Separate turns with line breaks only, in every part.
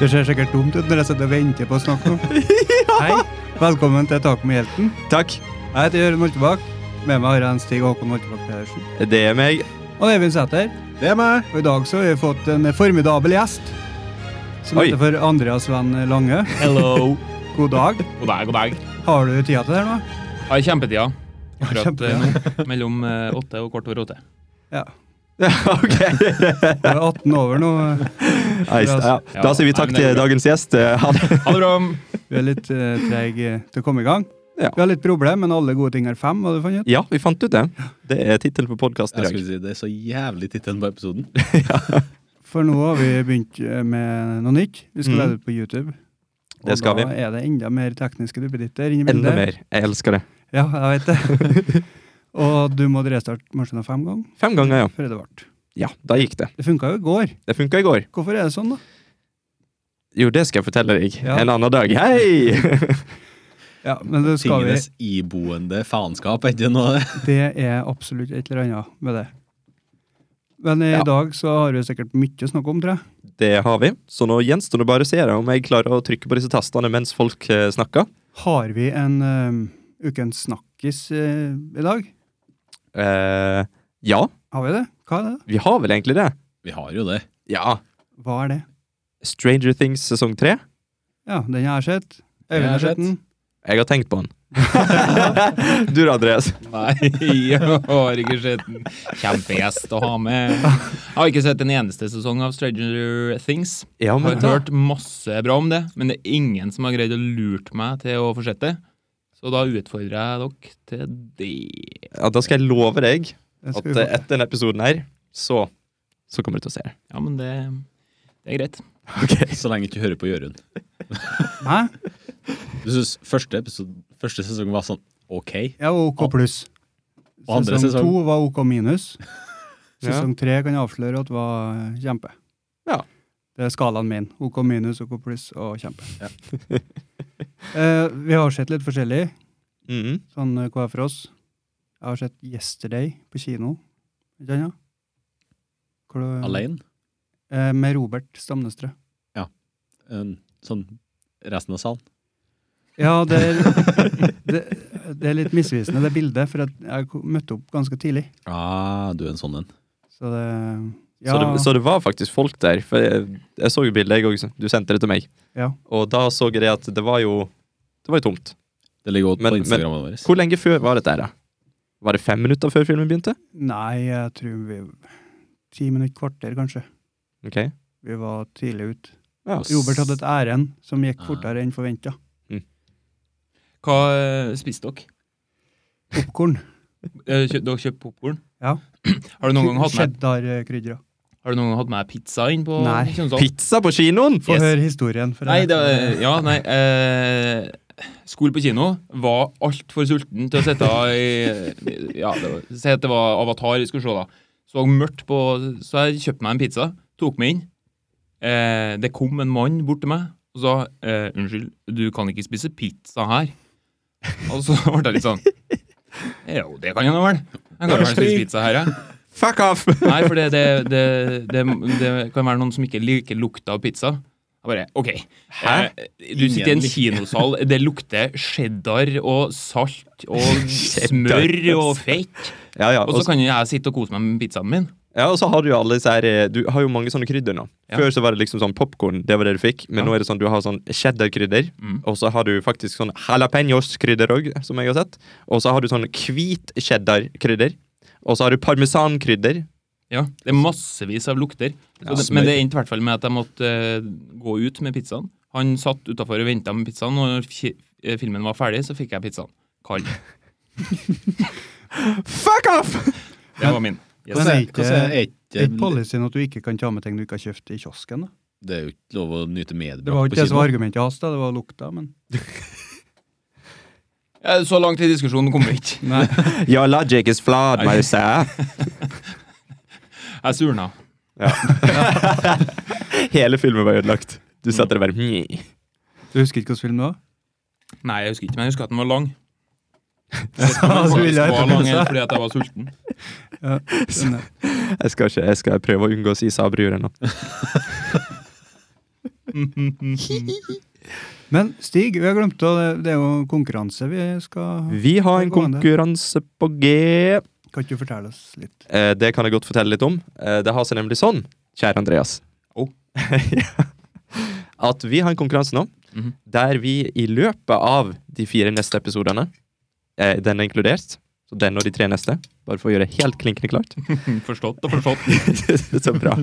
Det ser sikkert dumt ut når jeg sitter og venter på å snakke om.
Hei.
Velkommen til Tak med hjelten.
Takk.
Jeg heter Jørund Holtebakk. Med meg har jeg en Stig Håkon Holtebakk Pedersen.
Det er meg.
Og Eivind Sæther.
Det er meg.
Og i dag så har vi fått en formidabel gjest. Som
Oi.
heter for Andreas Venn Lange.
Hello.
God dag.
God dag, god dag.
Har du tida til det her nå?
Har kjempetida akkurat eh,
kjempetida.
nå. Mellom eh, åtte og kvart over åtte.
ok.
Du er 18 over nå.
Nice. Ja. Da sier vi takk til dagens gjest. Eh, Ha det.
Ha det bra.
Du er litt uh, treig eh, til å komme i gang.
Ja.
Vi har litt problem, men alle gode ting har fem. Har du funnet ut?
Ja, vi fant ut det. Det er tittelen på podkasten i
Jeg
dag.
skulle si, Det er så jævlig tittelen på episoden.
For nå har vi begynt eh, med noe nytt. Vi skal
Mm.
legge det ut på YouTube.
Det skal
Og da er det enda mer tekniske duppeditter inni
Enda
bildet.
mer. Jeg elsker det.
Ja, jeg vet det. og du måtte restarte maskinen fem ganger
Fem ganger, ja.
før det ble.
Ja, da gikk det.
Det funka jo i går.
Det funka i går.
Hvorfor er det sånn, da?
Jo, det skal jeg fortelle deg
Ja.
en annen dag. Hei!
Ja, men det skal vi.
Tingenes iboende faenskap, er ikke noe av det?
Det er absolutt et eller annet med det. Men i
Ja.
dag så har vi sikkert mye å snakke om, tror jeg.
Det har vi. Så nå gjenstår det bare å se da om jeg klarer å trykke på disse tastene mens folk eh, snakker.
Har vi en eh, ukens snakkis eh, i dag?
Eh, ja,
Har vi det? Hva er det?
vi har vel egentlig det.
Vi har jo det.
Ja.
Hva er det?
Stranger Things sesong tre.
Ja, den har jeg sett.
Den
Øyvind
har
har
jeg
sett den.
Jeg har tenkt på den. du da, Andreas?
Nei, jeg har ikke sett den. Kjempegjest å ha med. Jeg har ikke sett en eneste sesong av Stranger Things.
Ja,
Jeg har
men
ikke hørt masse bra om det, men det er ingen som har greid å lure meg til å fortsette. Så da utfordrer jeg dere til det.
ja, da skal jeg love deg
Den
at
skal vi
eh,
få se.
etter denne episoden her, så, så kommer du til å se det.
Ja, men det, det er greit.
Så lenge du ikke hører på Jørund.
Hæ?
Du syns første, episode- første sesong var sånn OK?
Ja, OK pluss.
Og andre
Sesong,
sesong.
to var OK minus.
Ja.
Sesong tre kan jeg avsløre at var eh, kjempe.
Ja.
Det er skalaen min. OK minus, OK pluss og kjempe.
Ja.
eh, vi har sett litt forskjellig,
Mhm.
sånn eh, hver for oss. Jeg har sett Yesterday på kino. Ikke sant, ja? Hvor du-
Alene?
Eh, med Robert Stamnestrø.
Um, Sånn resten av salen?
Ja, det er, det, det er litt misvisende, det bildet, for at jeg ko- møtte opp ganske tidlig.
Ah, du er en sånn en.
Så det ja.
Så, det, så det var faktisk folk der. For jeg, jeg så jo bildet, jeg også. Du sendte det til meg.
Ja.
Og da så jeg det at det var jo Det var jo tomt.
Det ligger godt
Men-
på
men-
Instagrammen vår.
Hvor lenge før var dette her, da? Var det fem minutter før filmen begynte?
Nei, jeg tror vi Ti minutter, kvarter kanskje.
Ok.
Vi var tidlig ute.
Ja, s-
Robert hadde et ærend som gikk
Ah.
fortere enn forventa.
Hva eh, spiste dere?
Popkorn.
Eh, kjø- Dere kjøpte popkorn?
Ja.
Har du noen gang hatt med
Cheddarkrydra.
Har du noen gang hatt med pizza inn på
Nei.
Kjønnsdal?
Pizza på kinoen!
Få
Yes.
høre historien. for
Nei,
jeg-
det, ja, nei eh, Skole på kino var altfor sulten til å sitte i ja, det var- Si at det var Avatar jeg skulle se, da. Så mørkt på Så jeg kjøpte meg en pizza, tok meg inn. Eh, det kom en mann bort til meg og sa eh, 'Unnskyld, du kan ikke spise pizza her'. Og så ble jeg litt sånn Jo, det kan jeg nå vel. Jeg kan vel spise pizza her, jeg.
Fuck off!
Nei, for det, det, det, det, det kan være noen som ikke liker lukta av pizza. Jeg bare, ok.
Hæ?
Eh, Du sitter i en kinosal, det lukter cheddar og salt og smør og fett.
Ja, ja.
Og
Og
så
så,
kan jo jeg sitte og kose meg med pizzaen min.
ja, og så har du jo alle disse her eh, Du har jo mange sånne krydder nå.
Ja.
Før så var det liksom sånn popkorn, det var det du fikk. Men
Ja. Mm.
nå er det sånn du har sånn cheddar-krydder. Og så har du faktisk sånn jalapeños-krydder òg, som jeg har sett. Og så har du sånn hvit cheddar-krydder. Og så har du parmesan-krydder.
Ja, det er massevis av lukter. Så
Ja,
det,
smør.
men det endte i hvert fall med at jeg måtte eh, gå ut med pizzaen. Han satt utafor og venta med pizzaen, og når fi- eh, filmen var ferdig, så fikk jeg pizzaen. Kald.
Fuck off!
Det var min. Yes.
Men
Hvordan
er
er
ikke-
hvordan er
Det er ikke
ikke
policyen at du ikke kan ta med ting du ikke har kjøpt i kiosken. da.
Det er jo ikke lov å
Det
nyte
var
medbrakt
jo
på
ikke det som
kino.
var argumentet hans, da. Det var lukta, men
Ja, Eh, Så langt i diskusjonen kom vi ikke.
Nei.
Your logic is flawed,
Nei.
Marissa.
Jeg surna.
Hele filmen var ødelagt. Du
Mm.
satt der og bare "Mjau."
Du husker ikke hvilken film det var?
Nei, jeg husker ikke, men jeg husker at den var lang.
så
Den
ville jeg
var
ikke
lang
pizza.
fordi at jeg var sulten.
Den er-
Jeg skal ikke, jeg skal prøve å unngå å si sabruer nå.
Men Stig, vi har glemt å Det er jo en konkurranse vi skal
Vi har en konkurranse på G.
Kan ikke du fortelle oss litt?
Eh, det kan jeg godt fortelle litt om. Eh, det har seg nemlig sånn, kjære Andreas
Oh.
At vi har en konkurranse nå
Mhm.
der vi i løpet av de fire neste episodene eh, Den er inkludert. Så den og de tre neste. Bare for å gjøre det helt klinkende klart.
Forstått og forstått.
Så bra.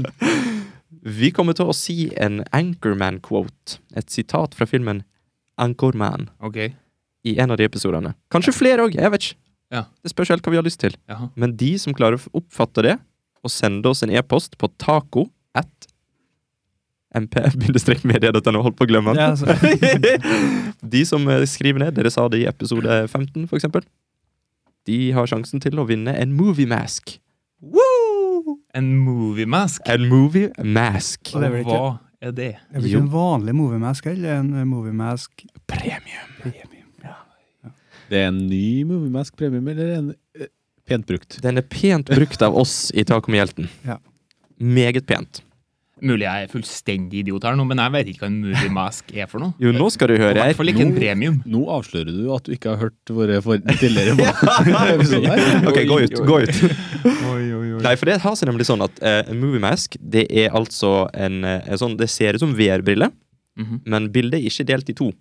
Vi kommer til å si en Anchorman-quote. Et sitat fra filmen Anchorman
Ok.
i en av de episodene. Kanskje flere òg, jeg vet ikke.
Ja.
Det spørs helt hva vi har lyst til.
Jaha.
Men de som klarer å oppfatte det, og sende oss en e-post på taco at mp-media.no Holdt på å glemme
Ja,
den.
altså,
de som eh, skriver ned, dere sa det i episode 15, for eksempel, de har sjansen til å vinne en movie mask. Woo!
En movie mask?
En movie mask.
Og det er vel ikke-
Hva er det?
er det
Jo.
ikke en vanlig moviemask eller en moviemask
Premium.
premium?
Det er en ny Moviemask premium, eller en eh, pent brukt?
Den er pent brukt av oss i Taco med hjelten.
Ja.
Meget pent.
Mulig jeg er fullstendig idiot her nå, men jeg vet ikke hva en movie mask er for noe.
Jo, nå skal du
I
høre
hvert
her.
fall ikke en premium.
Nå avslører du at du ikke har hørt våre for tidligere episoder. her.
Ok, gå ut. Gå ut.
Oi, oi, oi.
Nei, for det har seg nemlig sånn at eh, en movie mask, det er altså en, eh, en sånn Det ser ut som VR-brille,
Mhm.
men bildet er ikke delt i to.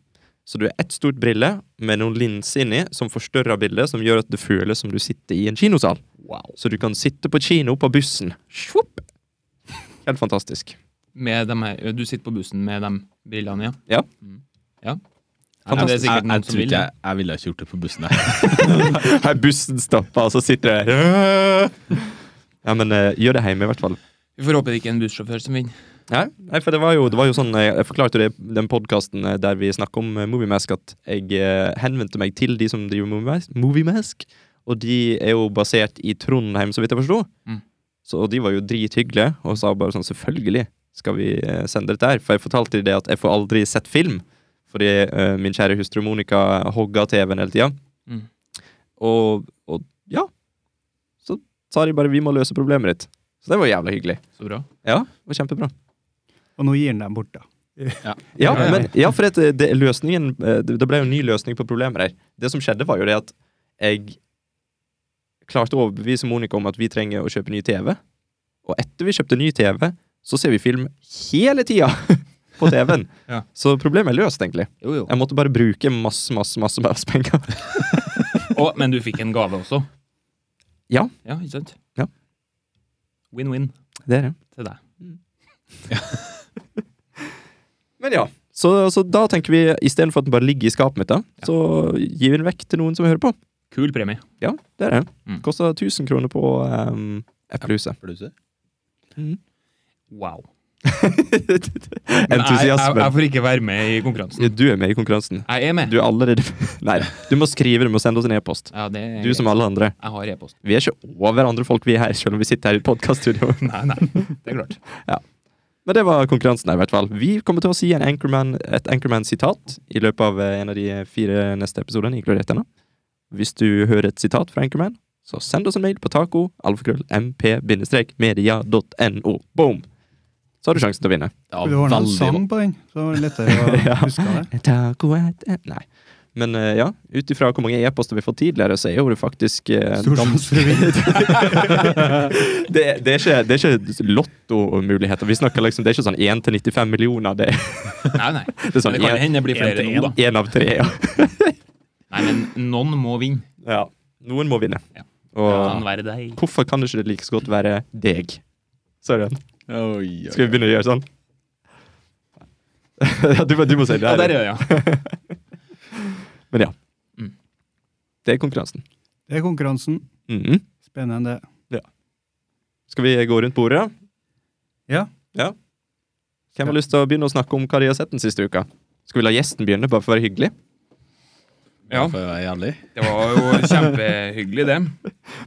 Så du er ett stort brille med noen linser inni som forstørrer bildet, som gjør at det føles som du sitter i en kinosal. Så du kan sitte på kino på bussen. Svupp! Helt fantastisk.
Med dem her, du sitter på bussen med de brillene, ja.
Ja.
Mm. ja.
Fantastisk.
Ja, det er
Jeg,
sikkert noen
jeg
som
tror
vil
ikke
det.
jeg, jeg ville ikke gjort det på bussen. Jeg.
Her bussen stopper, og så sitter du der. Ja, men eh, gjør det hjemme, i hvert fall.
Vi får håpe det ikke er en bussjåfør som vinner.
Nei, nei, for det var jo, det var jo sånn eh, Jeg forklarte det i den podkasten der vi snakker om eh, Movie Mask at jeg eh, henvendte meg til de som driver Movie Mask- Movie Mask og de er jo basert i Trondheim, så vidt jeg forsto.
Mm.
Så og de var jo drithyggelige og sa bare sånn Selvfølgelig skal vi eh, sende dette her. For jeg fortalte de det at jeg får aldri sett film, fordi eh, min kjære hustru Monica hogga TV-en hele tida.
Mm.
Og, og ja. Så sa de bare 'vi må løse problemet ditt'. Så det var jævla hyggelig.
Så bra.
Ja, det var kjempebra.
Og nå gir han dem bort, da.
Ja,
Ja, ja.
men, ja for at det, det, løsningen, eh, det, det ble jo en ny løsning på problemet der. Det som skjedde, var jo det at jeg klarte å overbevise Monica om at vi trenger å kjøpe ny TV. Og etter vi kjøpte ny TV, så ser vi film hele tida på TV-en.
Ja.
Så problemet er løst, egentlig.
Jo, jo.
Jeg måtte bare bruke masse, masse, masse masse penger.
Å, men du fikk en gave også.
Ja.
Ja, ikke sant?
Ja.
Win-win
Det er det.
til deg.
Men ja. Så, så da tenker vi, istedenfor at den bare ligger i skapet mitt, da, så gir vi den vekk til noen som hører på.
Kul premie.
Ja, det er det.
Mm.
Kosta 1000 kroner på um, Eplehuset.
Wow. Men jeg, jeg,
Entusiasme.
jeg får ikke være med i konkurransen.
Du er med i konkurransen.
Jeg er med.
Du er allerede Nei, du må skrive, du må sende oss en e-post.
ja, det er
Du som alle andre.
Jeg har e-post.
Vi er ikke over andre folk, vi er her, selv om vi sitter her i podkaststudio.
Nei, nei. Det er klart.
Men det var konkurransen, her, i hvert fall. Vi kommer til å si en Anchorman, et Anchorman-sitat i løpet av eh, en av de fire neste episodene, inkludert denne. Hvis du hører et sitat fra Anchorman, så send oss en mail på taco alfakrøll mp-media.no. Boom! Så har du sjansen til å vinne.
Ja,
Du ordna en
veldig
sang på den, så var det lettere å
Ja.
huske det.
Taco at Nei. Men eh, ja, ut ifra hvor mange e-poster vi har fått tidligere, så er jo det faktisk eh,
Stor
gans-
sjanse for å vinne.
det, det, er ikke, det er ikke lottomuligheter. Vi snakker liksom, Det er ikke sånn 1 til 95 millioner. Det, er-
Nei, nei.
det er
Men
sånn
det kan hende det blir
en
flere
til
nå, da.
én av tre. Ja.
Nei, men noen må vinne.
ja. Noen må vinne.
Ja. Det kan
Og
være deg.
hvorfor kan det ikke like så godt være deg? Søren,
Oi, oi,
skal vi begynne å gjøre sånn? Ja, du, må- du må si det.
Ja,
her.
der er det, ja.
Men ja.
Mm.
Det er konkurransen.
Det er konkurransen.
Mhm.
Spennende.
Skal vi gå rundt bordet, da?
Ja.
Ja. Hvem har lyst til å begynne å snakke om hva de har sett den siste uka? Skal vi la gjesten begynne, bare for å være hyggelig?
Ja,
For å være ærlig.
det var jo kjempehyggelig, det.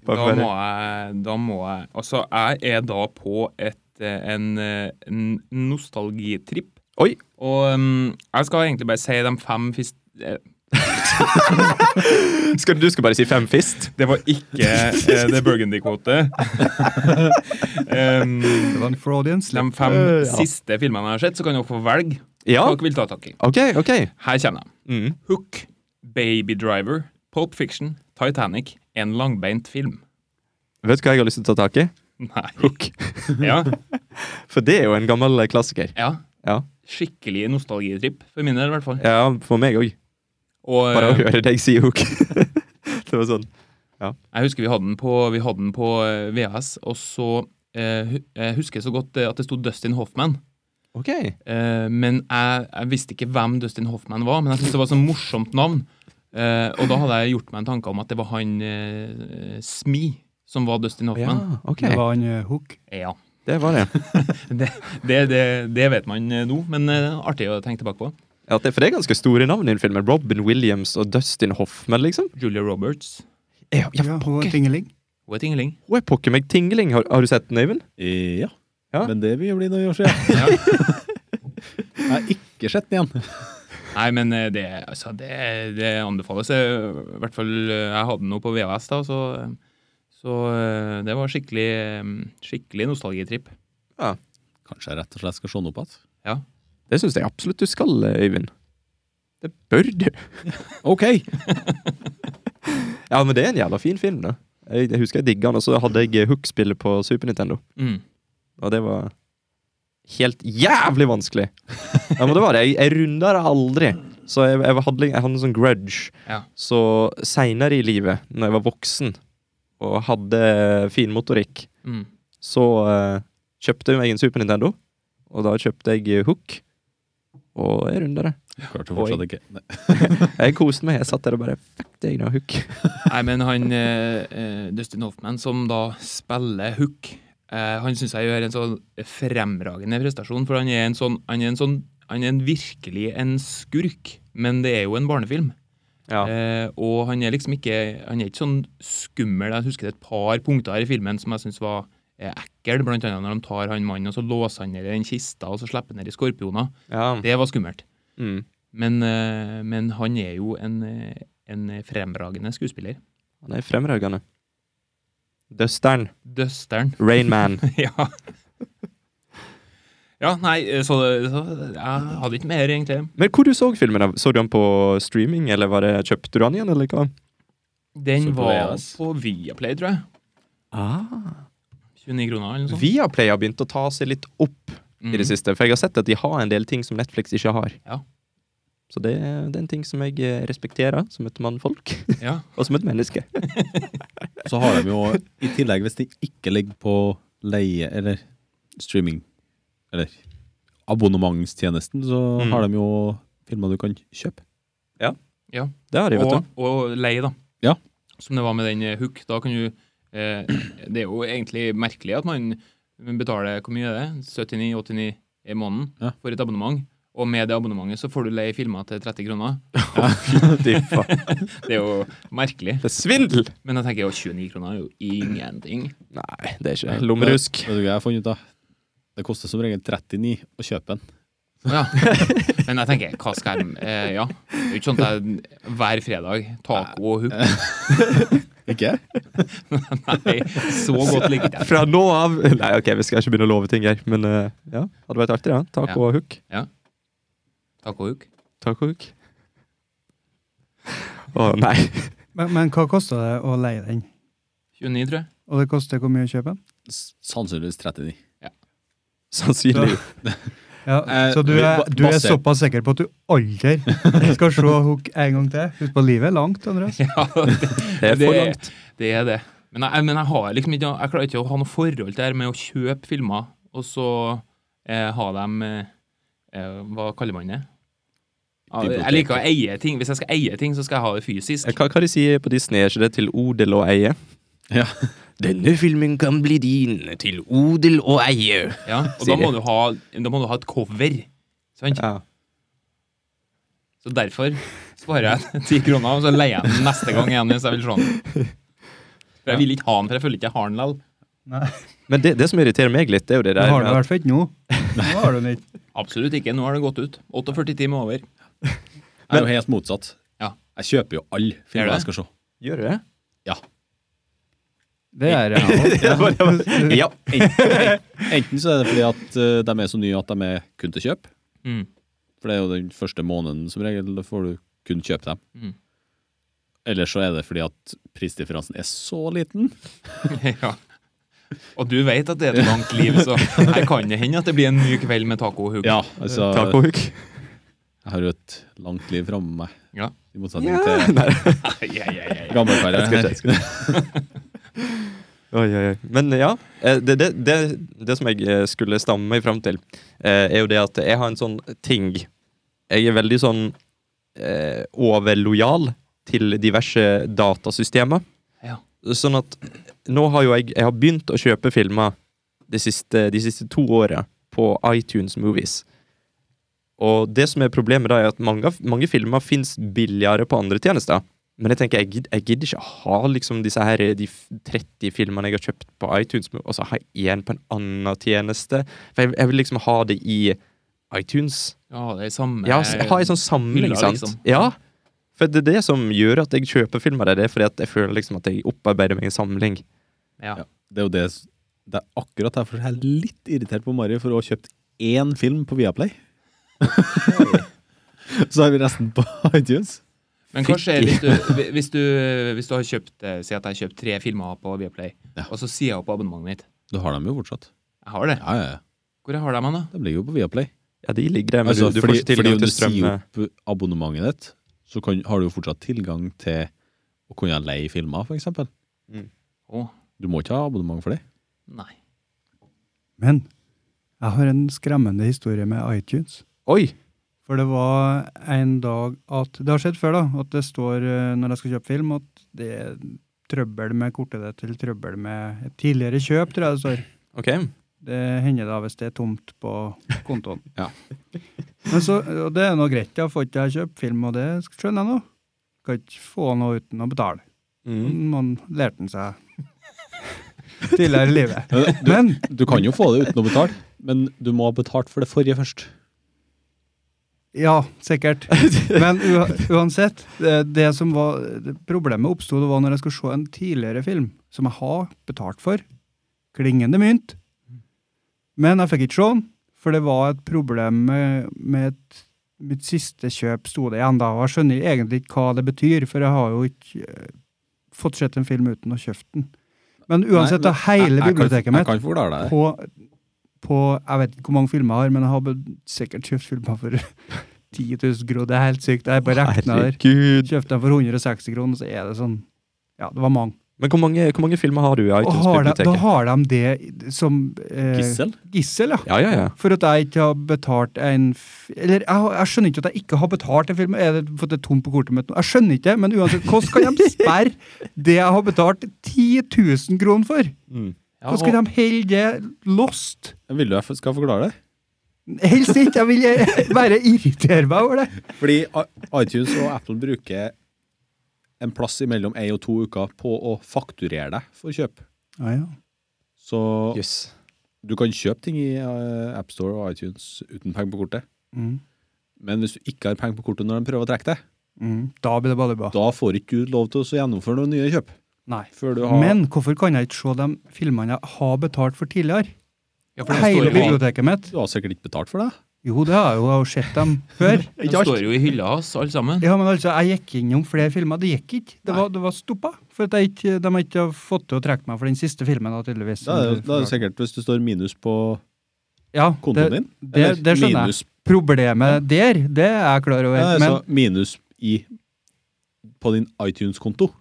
Bare
Da
for-
må jeg, da må jeg Altså, jeg er da på et, eh, en, eh, en nostalgitripp.
Oi!
Og mm, jeg skal egentlig bare si de fem fis... eh,
Skal, du skal bare si fem fist?
Det var ikke eh, det Burgundy-kvote. um,
Det var en Fraudian
de
slip.
fem
Eh, ja.
siste filmene jeg har sett, så kan dere få velge
Ja,
Dere vil ta tak i.
OK, OK.
Her kommer de.
Mm.
Hook, Baby Driver, Pulp Fiction, Titanic, en langbeint film.
Vet du hva jeg har lyst til å ta tak i?
Nei.
Hook.
Ja,
For det er jo en gammel eh, klassiker.
ja.
Ja,
Skikkelig nostalgitripp, for min del i hvert fall.
ja for meg òg.
Og,
Bare å
eh,
høre deg si hook. det var sånn.
jeg husker vi hadde den på, vi hadde den på eh, VHS, og så eh, hu- jeg husker så godt eh, at det sto Dustin Hoffman.
OK.
Eh, men jeg, jeg visste ikke hvem Dustin Hoffman var, men jeg syntes det var et sånn morsomt navn. Eh, og da hadde jeg gjort meg en tanke om at det var han eh, Smi som var
Ja,
Dustin Hoffman.
OK.
Det var en eh, hook.
Ja.
Det var det.
Det, det, det vet man eh, nå, men eh, artig å tenke tilbake på.
Ja, det, for det er ganske store navn i den filmen. Robin Williams og Dustin Hoffman, liksom.
Julia Roberts.
Ja, ja,
Ja, hun
pokker.
er tingeling.
Hun er tingling.
Hun er pokker meg tingling. Har, har du sett den, Øyvind?
Eh, Ja.
Ja.
Men det begynner å bli noen år siden.
Ja.
Jeg har ikke sett den igjen.
Nei, men eh, det, altså, det, det anbefales. eh, I hvert fall eh, jeg hadde noe på VHS da, så, så eh, det var skikkelig, eh, skikkelig nostalgitripp.
Kanskje jeg rett og slett skal se den opp igjen.
Det syns jeg absolutt du skal, eh, Øyvind. Det bør du.
OK!
Ja, men det er en jævla fin film, da. Jeg, jeg husker jeg digga den, og så hadde jeg eh, Hook-spillet på Super Nintendo.
Mm.
Og det var helt jævlig vanskelig. Ja, men det var det. Jeg, jeg runda det aldri. Så jeg, jeg, hadde, jeg hadde en sånn grudge.
Ja.
Så seinere i livet, når jeg var voksen og hadde fin motorikk,
Mm.
så eh, kjøpte jeg meg en Super Nintendo. Og da kjøpte jeg eh, Hook. Og jeg runda det.
Klarte fortsatt ikke. Nei.
Jeg koste meg. Jeg satt der og bare Fuck deg, da, Hook.
Nei, men han eh, eh, Dustin Hoffman, som da spiller Hook, eh, han syns jeg gjør en sånn fremragende prestasjon, for han er en sånn Han er, en sånn, han er en virkelig en skurk, men det er jo en barnefilm.
Ja.
Eh, og han er liksom ikke Han er ikke sånn skummel. Jeg husker det er et par punkter her i filmen som jeg syns var eh, ekkel, blant annet når de tar han mannen og så låser han ned i den kista og så slipper han ned i skorpioner.
ja.
Det var skummelt.
Mm.
Men, eh, men han er jo en, eh, en fremragende skuespiller.
Han er fremragende. Dusteren.
Dusteren.
Rainman.
ja. ja, nei, eh, så, så jeg hadde ikke mer, egentlig.
Men hvor du så filmen? av? Så du den på streaming, eller var det, kjøpte du den igjen, eller hva?
Den
Så på
var
VHS.
på Viaplay, tror jeg.
Ah.
29 kroner, eller noe sånt.
Altså, Viaplay har begynt å ta seg litt opp i det
Mm.
siste. For jeg har sett at de har en del ting som Netflix ikke har.
Ja.
Så det, det er en ting som jeg eh, respekterer som et mannfolk,
Ja.
og som et menneske.
Så har de jo i tillegg, hvis de ikke ligger på leie eller streaming eller abonnementstjenesten, så
Mm.
har de jo filmer du kan kjøpe.
Det har de, vet
og, og lei, da.
Ja.
Som det var med den eh, hook. Da kan du eh, Det er jo egentlig merkelig at man betaler hvor mye er det? 79-89 i måneden
Ja.
for et abonnement. Og med det abonnementet så får du leie filmer til 30 kroner.
du. Fy faen.
Det er jo merkelig.
Det er svindel!
Men jeg tenker jo 29 kroner er jo ingenting.
Nei, det er ikke det. Lommerusk.
Vet du hva jeg har funnet ut av? Det koster som regel 39 å kjøpe en.
Ja. Men jeg tenker, hva skal jeg eh, Ja. Det er jo ikke sånn at jeg hver fredag taco og hook.
Ikke?
Nei, så godt liker jeg det.
Fra nå av Nei, ok, vi skal ikke begynne å love ting her, men eh, ja. Hadde vært artig, da. Taco
Ja.
og hook.
Taco og hook.
Taco og hook. Å nei.
Men, men hva kosta det å leie den?
29, tror jeg.
Og det koster hvor mye å kjøpe den?
S- Sannsynligvis 39.
Sannsynlig.
Ja,
Eh,
så du er,
ba-
du er
basert-
såpass sikker på at du aldri skal se Hook en gang til? Husk på livet er langt, Andreas.
Ja, det,
Det er for
Det-
langt.
Det er det. Men jeg, men jeg har liksom ikke Jeg klarer ikke å ha noe forhold til det her med å kjøpe filmer, og så eh, ha dem eh, eh, Hva kaller man det? Ja, Jeg liker å eie ting. Hvis jeg skal eie ting, så skal jeg ha det fysisk.
Eh, Hva, hva de sier på Disney, er ikke det til odel og eie?
Ja.
Denne filmen kan bli din, til odel og eie.
Ja, og da
Sier de.
må, du ha, da må du ha et cover. Sant?
Ja.
Så derfor sparer jeg ti kroner, og så leier jeg den neste gang igjen hvis jeg vil se den. For jeg vil ikke ha den, for jeg føler ikke jeg har den likevel.
Men det, det som irriterer meg litt, det er jo det
Det
der
har du i
med at,
hvert fall ikke nå. Nå har du den ikke.
Absolutt ikke. Nå har det gått ut. 48 timer over.
Jeg er jo helt motsatt.
Ja.
Jeg kjøper jo alle
Gjør du
filmer
det?
jeg skal se.
Gjør du det?
Det er jeg òg.
Ja.
Enten så er det fordi at eh, de er så nye at de er kun til kjøp,
Mm.
For det er jo den første måneden som regel, da får du kun kjøpe dem.
Mm.
Eller så er det fordi at prisdifferansen er så liten.
ja. Og du vet at det er et langt liv, så her kan det hende at det blir en ny kveld med tacohugg.
Ja, altså
Tacohook?
Jeg har jo et langt liv framme meg.
Ja.
I motsetning til
Nei.
ja, ja, ja, ja.
gammelfaren
Jeg skal
her.
ikke- Oi, oi, oi. Men ja, eh, det, det, det, det som jeg eh, skulle stamme meg fram til, eh, er jo det at jeg har en sånn ting Jeg er veldig sånn eh, overlojal til diverse datasystemer.
Ja.
Sånn at nå har jo jeg, jeg har begynt å kjøpe filmer de siste, de siste to åra på iTunes Movies. Og det som er problemet da, er at mange, mange filmer fins billigere på andre tjenester. Men jeg tenker, jeg, gidd- jeg gidder ikke ha liksom disse her, de f- 30 filmene jeg har kjøpt på iTunes, men også ha én på en annen tjeneste. For jeg, jeg vil liksom ha det i iTunes.
ja, det er samme
Ja, s- ha en sånn samling,
hylla,
sant?
liksom.
Ja, for det er det som gjør at jeg kjøper filmer. Det er fordi at jeg føler liksom at jeg opparbeider meg en samling.
Ja.
Det er jo det s- Det er akkurat derfor jeg er litt irritert på Mari for å ha kjøpt én film på Viaplay. så har vi resten på iTunes.
Men hva skjer hvis du, hvis du, hvis du har kjøpt eh, Si at jeg har kjøpt tre filmer på Viaplay,
Ja.
og så sier jeg opp abonnementet mitt.
Du har dem jo fortsatt.
Jeg har det.
Ja, ja, ja.
Hvor jeg har de hen, da?
De ligger jo på Viaplay.
Ja, de ligger der, men
altså,
du, du får
fordi,
ikke
fordi
tilgang
om du
til strøm.
sier opp abonnementet ditt, så kan, har du jo fortsatt tilgang til å kunne leie filmer, f.eks.
Å,
Du må ikke ha abonnement for det.
nei.
Men jeg har en skremmende historie med iTunes.
Oi!
For det var en dag at Det har skjedd før, da. At det står eh, når jeg skal kjøpe film, at det er trøbbel med kortet ditt eller trøbbel med et tidligere kjøp, tror jeg det står.
Ok.
Det hender da hvis det er tomt på kontoen.
Ja.
Men så, og det er nå greit, da får ikke jeg kjøpt film, og det skjønner jeg nå. Kan ikke få noe uten å betale.
Mm.
Man lærte den seg tidligere i livet.
Du,
Men
du kan jo få det uten å betale, men du må ha betalt for det forrige først.
Ja, sikkert. Men ua- uansett, det, det som var det problemet oppsto det var når jeg skulle se en tidligere film som jeg har betalt for. Klingende mynt. Men jeg fikk ikke se den, for det var et problem med, med et, mitt siste kjøp, sto det igjen da. Og jeg skjønner egentlig ikke hva det betyr, for jeg har jo ikke eh, fått sett en film uten å kjøpt den. Men uansett,
Nei,
da, hele
jeg- jeg kan-
biblioteket mitt
Jeg kan forklare deg det.
på, på Jeg vet ikke hvor mange filmer jeg har, men jeg har be- sikkert kjøpt filmer for 10 000 kroner. Det er helt sykt. Jeg bare regna der.
Herregud.
Kjøpte dem for 160 kroner, så er det sånn Ja, det var mange.
Men hvor mange, hvor mange filmer har du i
Og har de, da
iTunes-biblioteket?
har de det som eh,
Gissel?
Gissel, ja.
Ja, ja, ja.
For at jeg ikke har betalt en f- Eller jeg, har- jeg skjønner ikke at jeg ikke har betalt en film. Er det for at det er tomt på kortet mitt nå? Jeg skjønner ikke, men uansett, hvordan kan de sperre det jeg har betalt 10 000 kroner for?
Mm.
Ja,
Hvordan skal de holde det lost?
Vil du jeg f- skal forklare det?
Helst ikke. Jeg vil jeg- bare irritere meg over det.
Fordi i- iTunes og Apple bruker en plass imellom én og to uker på å fakturere deg for kjøp.
Ja, ja.
Så
Jøss.
du kan kjøpe ting i eh, AppStore og iTunes uten penger på kortet.
Mm.
Men hvis du ikke har penger på kortet når de prøver å trekke det,
Mm. Da blir det baluba.
da får ikke du lov til å gjennomføre noen nye kjøp.
Nei.
Før du har
Men hvorfor kan jeg ikke se de filmene jeg har betalt for tidligere?
ja, for de
Hele
står, jo,
biblioteket mitt.
Du har sikkert ikke betalt for det.
Jo, det har jeg jo. Jeg har jo sett dem før.
de står jo i hylla hans, alle sammen.
Ja, men altså, Jeg gikk innom flere filmer. Det gikk ikke. Det var, det var stoppa. For at jeg ikke, de har ikke fått til å trekke meg for den siste filmen, da, tydeligvis.
Da er det, da er det sikkert hvis det står minus på
ja,
kontoen
det,
din.
Det, det skjønner jeg.
minus,
Problemet der, det er jeg klar over.
ja,
Men
altså, minus i, på din iTunes-konto.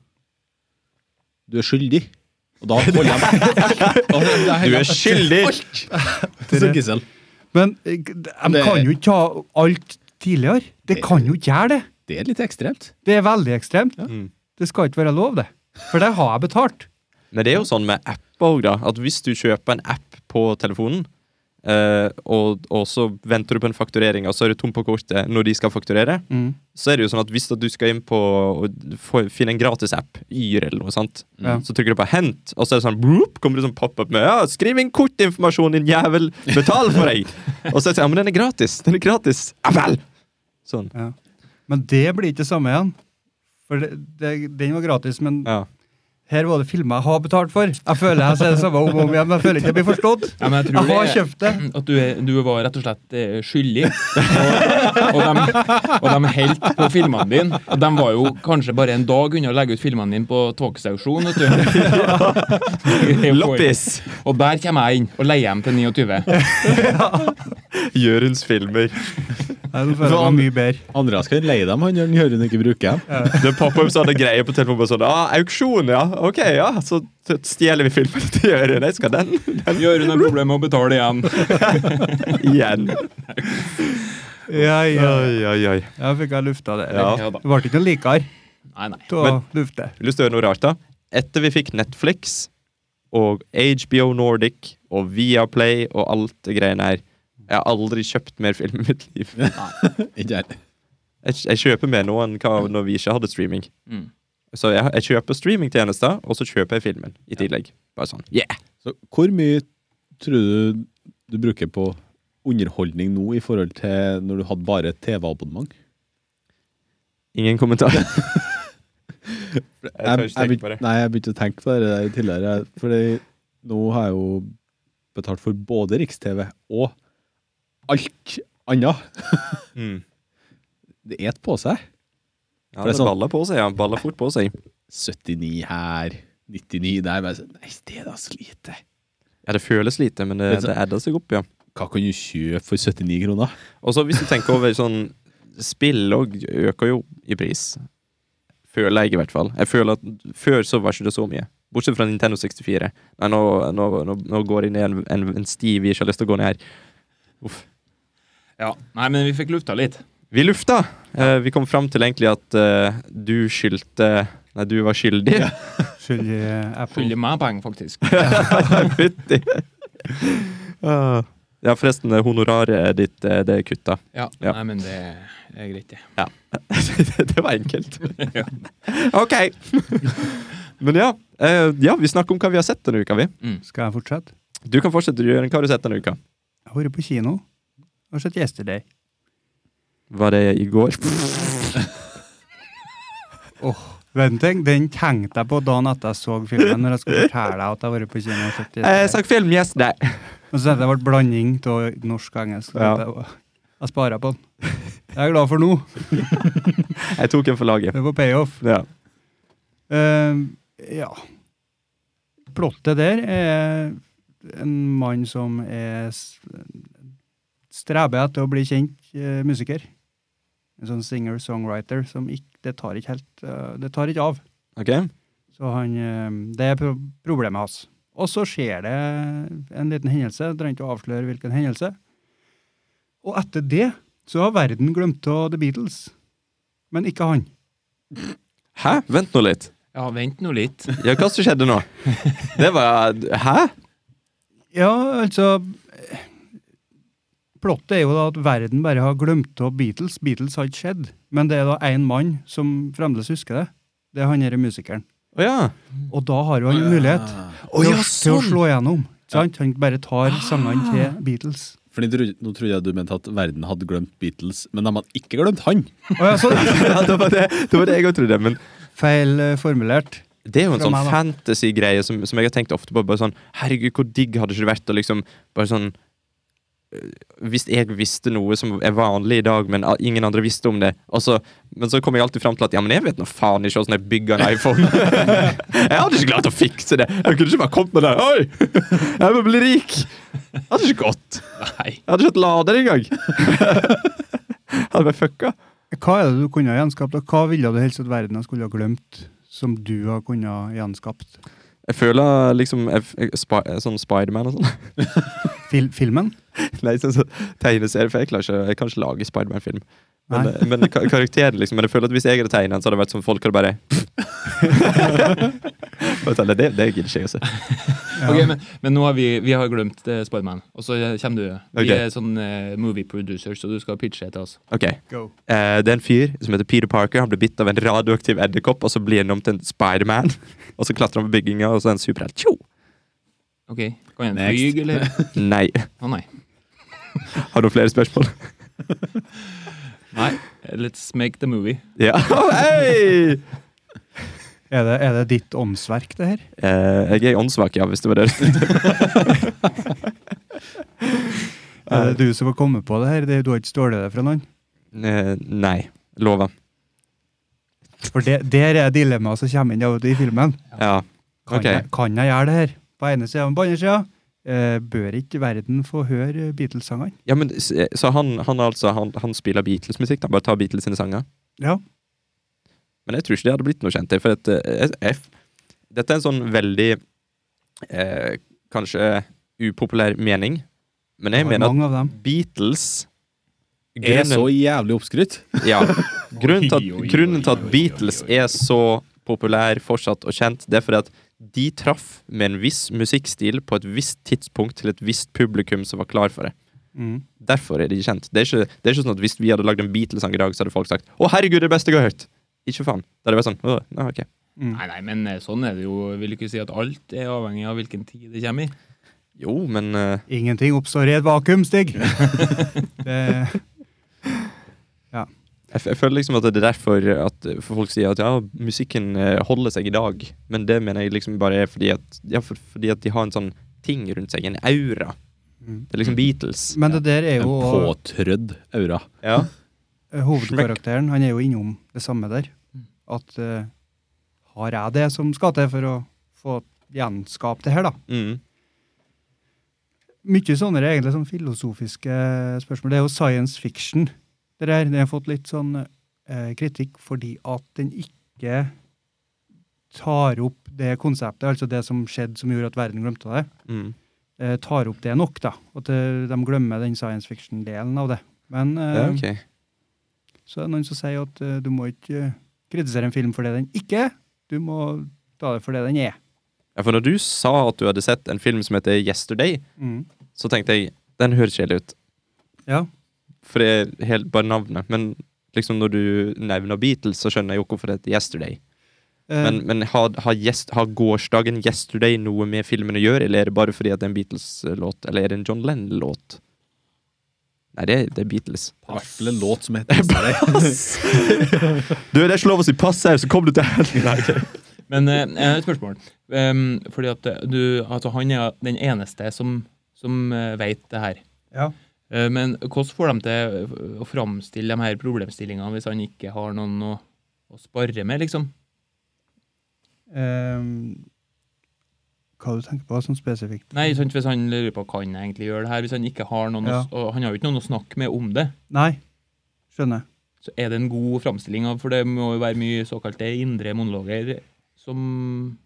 Du er skyldig. Og da holder jeg
Du er skyldig!
Så gissel.
Men eh, g- de
Det-
kan jo ikke ha alt tidligere. Det kan jo ikke gjøre det.
Det er litt ekstremt.
Det er veldig ekstremt.
Mm.
Det skal ikke være lov, det. For det har jeg betalt.
Men det er jo sånn med apper òg, da. At hvis du kjøper en app på telefonen, eh, og, og så venter du på en fakturering, og så er du tom på kortet når de skal fakturere, så er det jo sånn at hvis at du skal inn på og få, finne en gratis app, Yr eller noe sånt,
Ja.
så trykker du på 'hent', og så er det sånn bloop, kommer det sånn pop-up med 'ja, skriv inn kortinformasjon, din jævel, betal for deg'! og så er det sånn 'ja, men den er gratis', den er gratis! Ja vel! Sånn.
Men det blir ikke det samme igjen. For det, det, den var gratis, men
Ja.
Her var det filmer jeg har betalt for. Jeg føler jeg ser det samme om og om igjen, men jeg føler ikke jeg blir forstått.
Ja, men jeg
Jeg
tror
har
det er
kjøpt det.
at du, er, du var rett og slett eh, skyldig. Og, og de, og de holdt på filmene dine. Og de var jo kanskje bare en dag unna å legge ut filmene dine på Talksauksjon. vet du.
Loppis!
Og der kommer jeg inn og leier dem til 29.
Jørunds filmer.
Nei, nå føler jeg meg mye bedre.
Andreas kan leie dem, han gjør den gjør hun ikke bruker dem.
Det popper opp sånne greier på telefonen. Bare sånn, ah, auksjon, ja. Ok, ja. Så t- stjeler vi filmen til Jørund. Jeg skal den
Gjør hun et problem med å betale igjen.
igjen.
Ja, ja.
Oi, oi, oi.
Jeg fikk jeg lufta det.
Ja.
Ja da.
Det ble ikke noe likere
Nei, nei.
til å
Men-
lufte.
Vil du høre noe rart, da? Etter vi fikk Netflix og HBO Nordic og Viaplay og alt det greiene her Jeg har aldri kjøpt mer film i mitt liv.
Ikke jeg.
Jeg, jeg kjøper mer nå enn hva når vi ikke hadde streaming.
Mm.
Så jeg, jeg kjøper streamingtjenester, og så kjøper jeg filmen i tillegg. Bare sånn, yeah!
Så hvor mye tror du du bruker på underholdning nå i forhold til når du hadde bare TV-abonnement?
Ingen kommentar. jeg tør
Jeg,
ikke
jeg
tenke
begynte-
på det.
Nei, jeg begynte å tenke på det der tidligere. Fordi nå har jeg jo betalt for både Riks-TV og alt annet.
Mm.
Det et på seg.
Ja,
For det
det
er sånn-
baller på seg, ja. Baller fort på seg.
79 her, 99 der. Bare sånn, nei, det er da så lite.
Ja, det føles lite, men det,
Det er så-
det adder seg opp, ja.
Hva kan du kjøpe for 79 kroner?
Og så hvis du tenker over sånn Spill og øker jo i pris. Føler jeg, i hvert fall. Jeg føler at Før så var ikke det så mye. Bortsett fra Nintendo 64. Nei, nå, nå, nå, nå går jeg ned en, en, en sti vi ikke har lyst til å gå ned her.
Ja. Nei, men vi fikk lufta litt.
Vi lufta! Eh, vi kom fram til egentlig at eh, du skyldte Nei, du var skyldig.
Skyld i eh, Apple.
Skylder meg penger, faktisk.
Fytti. Ah. ja, forresten, eh, honoraret ditt, eh, det er kutta.
Ja.
Ja.
Nei, men det er greit, det.
det var enkelt. ok. Men ja, eh, ja, vi snakker om hva vi har sett denne uka, vi.
Skal jeg fortsette?
Du kan fortsette, Jørgen. Hva har du sett denne uka?
Jeg har vært på kino. Jeg har sett Yesterday.
Var det i går?
Vet du en ting? Den tenkte jeg på dagen etter jeg så filmen, når jeg skulle fortelle deg at jeg har vært på kino. og sett
Jeg
Yesterday.
så Eh, film yes, nei.
Og så tenkte jeg det ble blanding av norsk og engelsk.
Ja.
Jeg, jeg sparer på den. Jeg er glad for nå.
Jeg tok en for laget.
Det var payoff.
Ja.
Eh, ja. Plottet der er en mann som er s- streber etter å bli kjent eh, musiker. En sånn singer-songwriter som ikke, det tar ikke helt eh, Det tar ikke av.
Ok?
Så han, eh, det er pro problemet hans. Og så skjer det en liten hendelse. Jeg trenger ikke å avsløre hvilken hendelse. Og etter det så har verden glemt av The Beatles. Men ikke han.
Hæ? Vent nå litt.
Ja, vent nå litt.
Ja, hva som skjedde nå? Det var Hæ?
Ja, altså eh, Plottet er jo da at verden bare har glemt av Beatles. Beatles har ikke skjedd. Men det er da én mann som fremdeles husker det. Det er han derre musikeren.
Å ja.
Og da har jo han mulighet
Ah. Å ja,
til, å, til å
sånn.
slå gjennom. ikke Sant? Han bare tar sangene
Ah.
til Beatles.
Fordi tro- Nå trodde jeg du mente at verden hadde glemt Beatles, men de hadde ikke glemt han.
Å ja, sånn.
ja det, var det, det var det jeg òg trodde. Men
Feil eh, formulert.
Det er jo en
Fra
sånn
meg, da.
fantasy-greie som, som jeg har tenkt ofte på. Bare sånn, Herregud, hvor digg hadde ikke det vært å liksom bare sånn øh, Hvis jeg visste noe som er vanlig i dag, men a- ingen andre visste om det og så, Men så kommer jeg alltid fram til at ja, men jeg vet nå faen ikke åssen jeg bygger en iPhone. jeg hadde ikke klart å fikse det. Jeg kunne ikke bare kommet med det. Oi! Jeg må bli rik! Det hadde ikke gått.
Nei.
Jeg hadde ikke hatt lader engang. hadde vært fucka.
Hva er det du kunne ha gjenskapt, og hva ville du helst at verden skulle ha glemt, som du har kunnet ha gjenskapt?
Jeg føler liksom jeg, f- jeg, spa, Sånn Spiderman og sånn.
Fil filmen?
Nei, sånn så, tegneserie, for jeg, klarer ikke, jeg kan ikke lage Spiderman-film. Men, eh,
Nei.
men ka- karakteren, liksom. Men jeg føler at hvis jeg hadde tegnet den, så hadde det vært som folk hadde bare Bare sånn, det, det gidder ikke jeg å se.
Ja.
Ok, men, men nå har vi, vi har glemt uh, Spiderman, og så eh, kommer du. Vi
Ok.
er sånn eh, movie producer, så du skal pitche til oss.
Ok, eh, Det er en fyr som heter Peter Parker. Han blir bitt av en radioaktiv edderkopp, og så blir han om til en Spiderman. Og så klatrer han på bygginga, og så er han superhelt. Tjo!
Ok, Kan han
Next.
flyge, eller?
Nei.
Å nei.
Har du flere spørsmål?
nei. Let's make the movie.
Ja. Hei!
Er det, er det ditt åndsverk, det her?
Eh, jeg er åndssvak, ja, hvis det var det.
Er det du som har kommet på det her? Det, du har ikke stjålet det fra noen?
Eh, nei. Lover.
For det, der er dilemmaet som kommer inn ja, vet du, i filmen.
Ja.
Kan,
Ok.
jeg, kan jeg gjøre det her? På ene sida, men på andre sida eh, Bør ikke verden få høre Beatles-sangene?
ja men, s- eh, så han, han, altså, han, han spiller Beatles-musikk, da. Bare tar Beatles sine sanger.
Ja.
Men jeg tror ikke det hadde blitt noe kjent til. For at, eh, jeg, jeg, dette er en sånn veldig eh, Kanskje upopulær mening, men jeg
Det var
mener at
mange av dem.
Beatles
Er det så
grunnen,
jævlig oppskrytt?
ja, grunnen, til
Oi, oi,
at, grunnen til
oi,
at
oi,
Beatles
oi, oi.
er så populær fortsatt og kjent, det er fordi at de traff med en viss musikkstil på et visst tidspunkt til et visst publikum som var klar for det.
Mm.
Derfor er de kjent. Det er ikke, det er ikke sånn at Hvis vi hadde lagd en Beatles-sang i dag, så hadde folk sagt 'Å, herregud, det er det beste jeg har hørt'. Ikke faen. Da hadde det vært sånn «Åh, ja, ok.
Mm.
Nei, nei, men eh, sånn er det jo. Jeg vil ikke si at alt er avhengig av hvilken tid det kommer i.
Jo, men eh,
Ingenting oppstår i et vakuum, Stig! det,
jeg, f- jeg føler liksom at det er derfor at eh, for folk sier at ja, musikken eh, holder seg i dag. Men det mener jeg liksom bare er fordi at, ja, for, fordi at de har en sånn ting rundt seg, en aura.
mm.
Det er liksom Beatles.
Men det der er
En
jo
påtrødd aura.
Ja.
Eh, Hovedkarakteren han er jo innom det samme der. At eh, har jeg det som skal til for å få gjenskapt det her, da?
Mm.
Mye sånne er egentlig sånn filosofiske spørsmål. Det er jo science fiction. Det der, den har fått litt sånn eh, kritikk fordi at den ikke tar opp det konseptet, altså det som skjedde som gjorde at verden glemte det,
Mm.
eh, tar opp det nok, da. At eh, de glemmer den science fiction-delen av det. Men eh,
Ja, ok.
Så er det noen som sier at eh, du må ikke eh, kritisere en film for det den ikke er, du må ta det for det den er.
Ja, for når du sa at du hadde sett en film som heter Yesterday, så tenkte jeg den høres kjedelig ut.
Ja.
For det er helt bare navnet. Men liksom når du nevner Beatles, så skjønner jeg jo hvorfor det heter Yesterday.
Eh,
Men, men har, har, yes, har gårsdagen Yesterday noe med filmen å gjøre, eller er det bare fordi at det er en Beatles-låt? Eller er det en John Lennon-låt? Nei, det, er- det er Beatles.
Det er i hvert fall en låt som heter Yesterday.
Du, det er ikke lov å si pass her, så kom du til helvete!
Men eh, jeg har et spørsmål. Em, fordi at eh, du, altså han er den eneste som, som eh, vet det her.
ja.
Eh, men hvordan får de til eh, å framstille de her problemstillingene hvis han ikke har noen å, å spare med, liksom?
Ehm, hva du tenker på sånn spesifikt?
Nei, sant, hvis han lurer på kan jeg egentlig gjøre det her, hvis han ikke har noen å,
Ja.
og han har jo ikke noen å snakke med om det,
Nei, skjønner.
så er det en god framstilling av, for det må jo være mye såkalte indre monologer som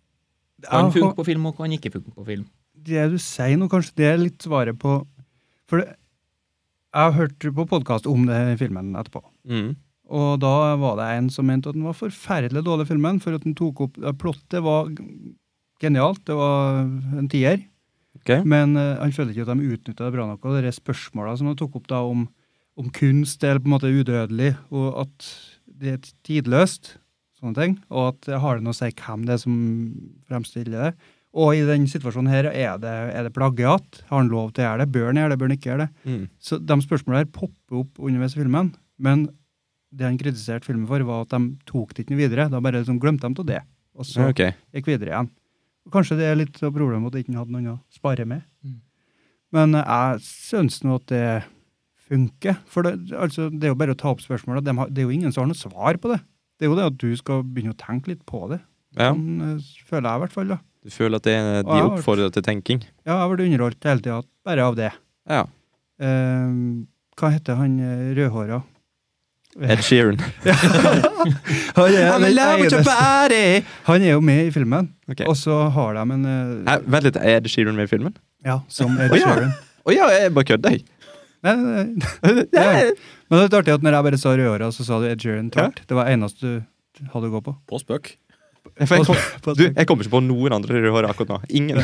kan
Ja,
funke på film og kan ikke funke på film.
det du sier nå, kanskje det er litt svaret på For det, jeg hørte på podkast om det her i filmen etterpå.
Mm.
Og da var det en som mente at den var forferdelig dårlig, filmen, for at den tok opp ja, Plottet var g- genialt, det var en tier.
Ok.
Men eh, han følte ikke at de utnytta det bra nok. Og det spørsmåla som han tok opp da om, om kunst er på en måte udødelig, og at det er tidløst, sånne ting, og at eh, har det noe å si hvem det er som fremstiller det? Og i den situasjonen her, er det, er det plagiat? Har han lov til å gjøre det? Bør han gjøre det? Bør han ikke gjøre det?
Mm.
Så de spørsmålene her popper opp underveis i filmen, men det han kritiserte filmen for, var at de tok det ikke noe videre. Da bare liksom glemte de av det, og så
Ja, ok.
gikk videre igjen. Og kanskje det er litt av problemet at de ikke hadde noen å spare med.
Mm.
Men eh, jeg syns nå at det funker. For det, altså, det er jo bare å ta opp spørsmålet. De har, det er jo ingen som har noe svar på det. Det er jo det at du skal begynne å tenke litt på det.
Ja.
Sånn eh, føler jeg i hvert fall. da.
Du føler at det, er- de
Ja,
oppfordrer til tenking?
Ja, jeg ble underholdt hele tida bare av det.
Ja.
Eh, hva heter han eh, rødhåra?
Ed Sheeran.
Han er,
I'm in love with your body!
han er jo med i filmen,
Ok.
og så har de en eh,
Hæ, vent litt, er Ed Sheeran med i filmen?
Ja, som Ed
Å ja.
Sheeran.
Å ja, jeg bare kødder, jeg.
Nei, nei, nei. Ja. Men det er litt artig at når jeg bare sa rødhåra, så sa du Ed Sheeran tvert. Det var eneste du hadde å gå på.
På spøk.
For jeg, kom, du, jeg kommer ikke på noen andre rødhåra akkurat nå. Ingen.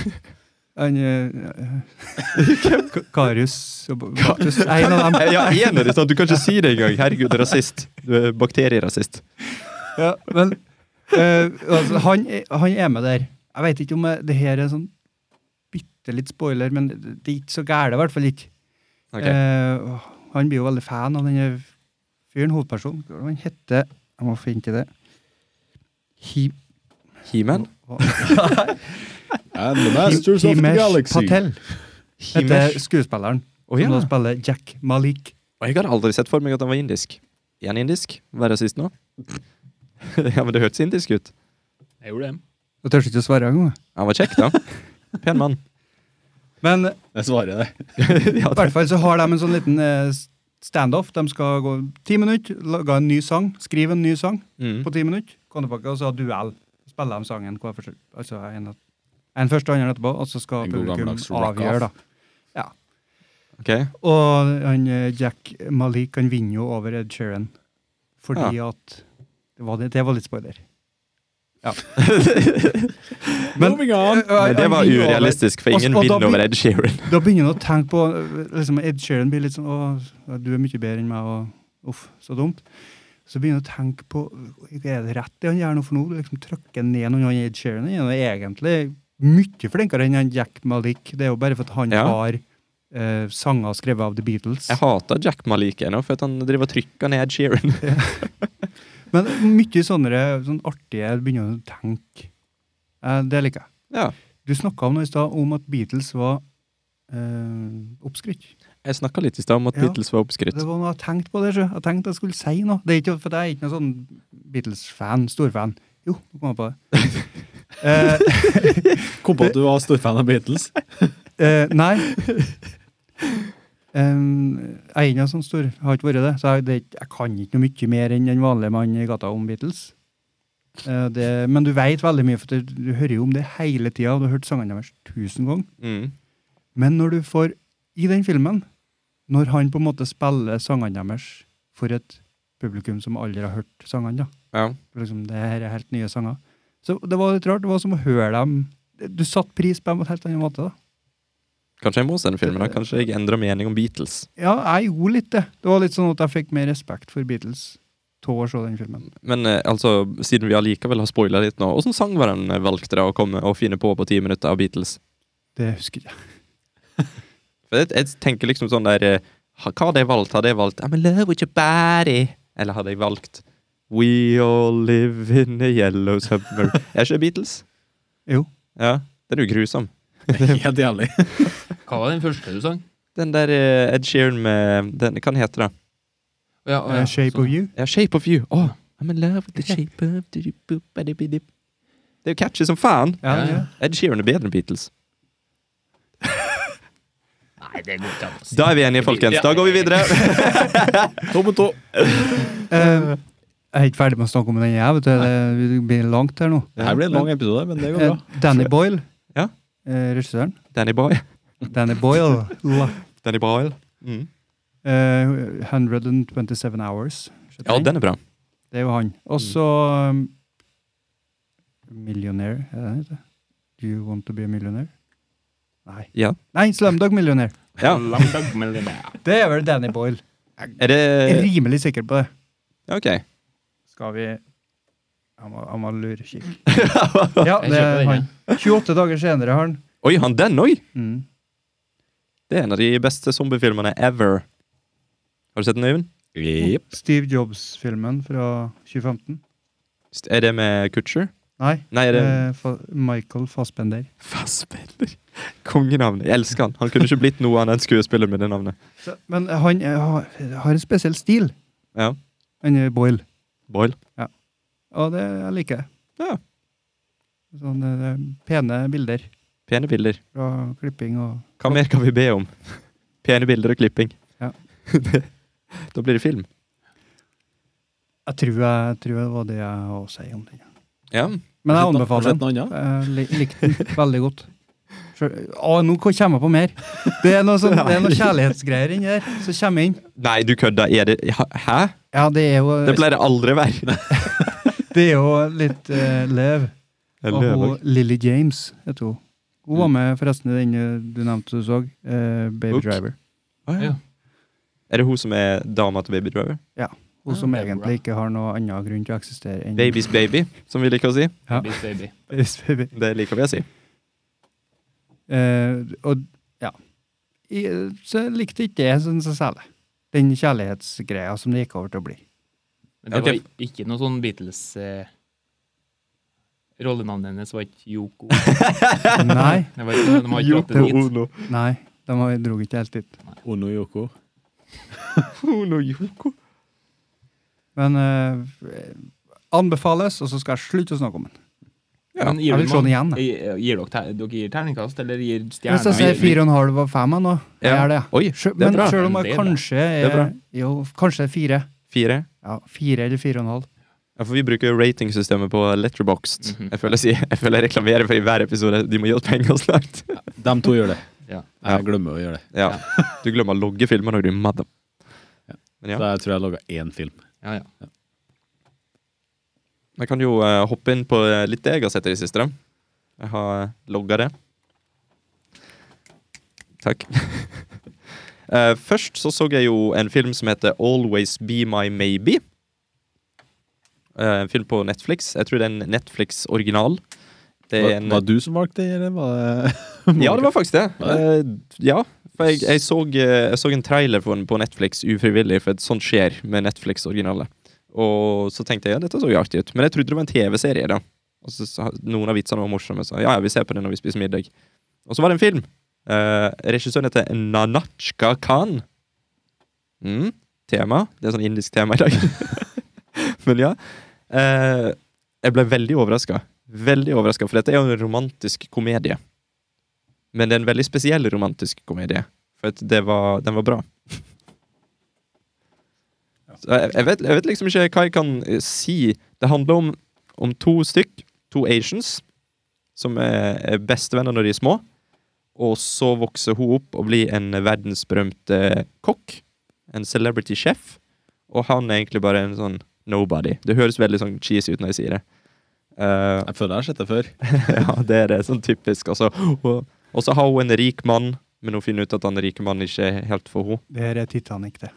Han eh, K- Karius og Ba- Baktus. En av dem.
Ja, en av de, sant? Du kan ikke si det engang. Herregud, du er rasist. Du er bakterierasist.
Ja, men eh, altså, han, er- han er med der. Jeg veit ikke om jeg, det her er sånn bitte litt spoiler, men det det er ikke så gære, i hvert fall ikke.
Ok.
Eh, han blir jo veldig fan av denne fyren, hovedpersonen. Hva er det Han heter Jeg må finne til det. Hi...
He-Man?
And the
Himesh Patel heter
Himesh?
skuespilleren
Å ja.
som da spiller Jack Malik.
Og jeg hadde aldri sett for meg at han var indisk. Er han indisk? Vær rasist nå? ja, men det hørtes indisk ut.
Jeg gjorde det.
Jeg tør ikke å svare engang. jeg.
Han var kjekk, da. Pen mann.
Men i
Jeg svarer det.
ja, det.
hvert fall så har de en sånn liten eh, standoff. De skal gå ti minutter, lage en ny sang, skrive en ny sang
Mm.
på ti minutter. Kom tilbake og så ha duell. Spiller de sangen hver for seg. Altså en, en først og andre etterpå, og så skal
En god
publikum
gammeldags rock-off.
avgjøre, da.
Ok.
Og han, eh, Jack Malik han vinner jo over Ed Sheeran fordi at det var, det var litt spoiler. Men-
Moving on.
Men det var urealistisk, for ingen
Og- og da
vinner
blir-
over Ed Sheeran.
Da begynner han å tenke på liksom Ed Sheeran blir litt sånn Å, du er mye bedre enn meg, og uff, så dumt. Så begynner han å tenke på Er det rett det han gjør nå for noe? Liksom Trykker ned noen han Ed Sheeran er. Han er egentlig mye flinkere enn han Jack Malik. Det er jo bare for at han
Ja.
har eh, sanger skrevet av The Beatles.
Jeg hater Jack Malik ennå, for at han driver og trykker ned Ed Sheeran.
Men mye sånne sånn artige begynner han å tenke. Eh, det liker jeg.
ja.
Du snakka om noe i stad om at Beatles var eh, oppskrytt.
Jeg snakka litt i stad om at
Ja.
Beatles var oppskrytt.
Det var noe jeg tenkte på det, sjø. Jeg tenkte jeg skulle si noe. Det er ikke, for jeg er ikke noen sånn Beatles-fan, storfan. Jo, nå kom jeg på det. eh,
Kom på at du var stor fan av Beatles.
eh, nei. Em, jeg er ikke noe sånn stor, jeg har ikke vært det. Så jeg, det, er ikke- jeg kan ikke noe mye mer enn den vanlige mann i gata om Beatles. Eh, det, men du veit veldig mye, for du, du hører jo om det hele tida. og Du har hørt sangene deres tusen ganger.
Mm.
Men når du får I den filmen, når han på en måte spiller sangene deres for et publikum som aldri har hørt sangene, da
Ja.
For liksom, Det her er helt nye sanger. Så det var litt rart. Det var som å høre dem Du satte pris på dem på en helt annen måte, da.
Kanskje jeg må se den filmen. da Kanskje jeg endrer mening om Beatles.
Ja, jeg gjorde litt det. Det var litt sånn at jeg fikk mer respekt for Beatles av å se den filmen.
Men eh, altså, siden vi allikevel har spoila litt nå, åssen sang var den eh, valgte dere å komme og finne på på ti minutter av Beatles?
Det husker jeg.
For jeg, jeg tenker liksom sånn der eh, ha- Hva hadde jeg valgt? Hadde jeg valgt I'm in love with your body? Eller hadde jeg valgt We all live in a yellow summer? er ikke det Beatles?
Jo.
Ja. Den er jo grusom.
Helt jævlig.
Hva var den første du sang?
Den der eh, Ed Sheeran med den, Hva den heter den?
Ja, ja,
Eh, Shape
sånn.
of You.
Ja, Shape of You. Åh, I'm in love with the shape of the Det er jo catchy som faen.
Ja,
Ja,
ja.
ja.
Ed Sheeran er bedre enn Beatles.
Nei, det går ikke an å si.
Da er vi enige, folkens. Da går vi videre.
To mot to.
Eh, jeg er ikke ferdig med å snakke om den, jeg. vet du. Det det blir langt her nå.
Det her blir en lang episode, men det går
Eh,
bra.
Danny Boyle,
Ja.
eh, regissøren.
Danny Boy.
Danny Boyle. La.
Danny Boyle. Mm.
Eh, 127 Hours. skjønner
Ja,
jeg.
den er bra.
Det er jo han. Og så um, Millionaire, er det den heter? Do you want to be a millionaire? Nei.
Ja.
Nei, Slumdog Millionaire.
Ja.
Lang dag med den der.
Det er vel Danny Boyle.
Er det
Jeg er rimelig sikker på det.
Ja, OK.
Skal vi Han var, han var lurekikke.
Oi,
Ja,
Jeg
det
kjøper
er
den,
han. 28 dager senere har han.
han den òg?
Mm.
Det er en av de beste zombiefilmene ever. Har du sett den, Øyvind?
Jepp.
Steve Jobs-filmen fra 2015.
St- Er det med Kutcher?
Nei,
Nei, er det
eh, Fa Michael Fassbender.
Fassbender. Kongenavnet. Jeg elsker han. Han kunne ikke blitt noe annet enn skuespiller med det navnet.
Så, men han eh, har, har en spesiell stil,
Ja.
han eh, Boyle.
Boyle.
Og det jeg liker jeg.
Ja.
Sånn eh, pene bilder
Pene bilder.
fra klipping og
Hva mer kan vi be om? Pene bilder og klipping.
Ja.
da blir det film.
Jeg tror, jeg, jeg tror det var det jeg har å si om den.
Ja.
Men jeg
Har du
anbefaler
sett
den.
noe annet?
Jeg Eh, li- likte den veldig godt. Sjøl- Å, nå ko- kommer jeg på mer! Det er noe, sånn, det er noe kjærlighetsgreier inni der som kommer inn.
Nei, du kødda. Er det ha- Hæ?
Ja, det er jo,
Det pleier det aldri å være.
det er jo litt uh, lev. Og hun, Lily James heter hun. Hun
Mm.
var med forresten i den eh, du nevnte du så, eh, Baby
Hook.
Driver.
Å, ja.
Ja.
Er det hun som er dama til Baby Driver?
Hun som
Ah, det er bra.
egentlig ikke har noen annen grunn til å eksistere enn
Baby's Baby, som vi liker å si.
Ja.
Baby's Baby.
Baby's Baby.
Det liker vi å si.
Eh, og ja. I, så jeg likte ikke det sånn så særlig. Den kjærlighetsgreia som det gikk over til å bli.
Men det
Ok.
var ikke noe sånn Beatles eh, Rollenavnet hennes var ikke Yoko.
Nei,
Det var ikke, de har ikke dratt det dit.
Ono.
nei, de har- dro ikke helt dit.
Ono Yoko.
Ono Yoko.
Men eh, anbefales, og så skal jeg slutte å snakke om den.
Ja,
Men
jeg
gir
vil se den igjen, da.
Gir, gir dere, ter, dere gir terningkast, eller gir
Hvis
stjerner?
jeg sier fire og en halv av fem jeg nå, jeg
Ja.
gjør det.
Oi,
Sjø-
det er
Men
bra.
selv om
Det
jeg
er bra.
kanskje
Det er bra.
er Jo, kanskje fire.
Fire.
Ja, fire eller fire og en halv.
Ja, for vi bruker ratingsystemet på Letterboxd.
Mhm.
Jeg føler jeg, sier- jeg føler jeg reklamerer for i hver episode. De må gi oss penger snart.
De to gjør det.
Ja.
Jeg glemmer å gjøre det.
Ja. Du glemmer å logge filmer når du er mad. Ja.
Så jeg tror jeg laga én film.
Ja, ja.
Jeg kan jo eh, hoppe inn på eh, litt det jeg har sett i det siste. da. Jeg har uh, logga det. Takk. Eh, først så så jeg jo en film som heter Always Be My Maybe. Eh, en film på Netflix. Jeg tror det er en Netflix-original. Det
Var,
er en,
var det du som valgte det, eller var det
ja, det var faktisk det.
Var
Eh, ja, for jeg, jeg, så, eh, jeg så en trailer for den på Netflix ufrivillig, for sånt skjer med Netflix-originaler. Og så tenkte jeg ja, dette så jo artig ut, men jeg trodde det var en TV-serie. da. Og så sa- Noen av vitsene var morsomme, så ja, ja, vi ser på det når vi spiser middag. Og så var det en film. Eh, regissøren heter Nanachka Khan. Mm, tema. Det er sånn indisk tema i dag. men ja. Eh, jeg ble veldig overraska. Veldig overraska, for dette er jo en romantisk komedie. Men det er en veldig spesiell romantisk komedie. For at det var, den var bra. Så jeg, jeg, vet, jeg vet liksom ikke hva jeg kan eh, si. Det handler om, om to stykk, to Asians, som er, er bestevenner når de er små. Og så vokser hun opp og blir en verdensberømt eh, kokk. En celebrity chef. Og han er egentlig bare en sånn nobody. Det høres veldig sånn cheesy ut når jeg sier det. Eh,
Jeg føler jeg har sett det før.
ja, det er det. Sånn typisk. Altså. Og, og så har hun en rik mann, men hun finner ut at han rike mannen ikke er helt for henne.
Det her er Titanic, det.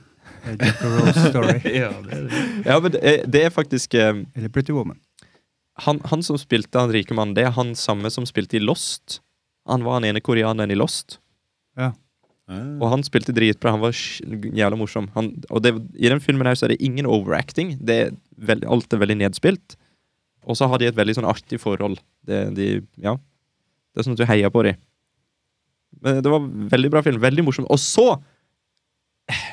Det er Jack Rose Story.
ja det, er det.
Ja, men det er, det er faktisk eh,
Eller Pretty Woman.
han, han som spilte han rike mannen, det er han samme som spilte i Lost. Han var han ene koreaneren i Lost, og han spilte dritbra. Han var sj- jævla morsom. Han, og det, i den filmen her så er det ingen overacting. Det er veld, alt er veldig nedspilt. Og så har de et veldig sånn artig forhold. Det, de, ja. det er sånn at du heier på dem. Men det var veldig bra film. Veldig morsom. Og så,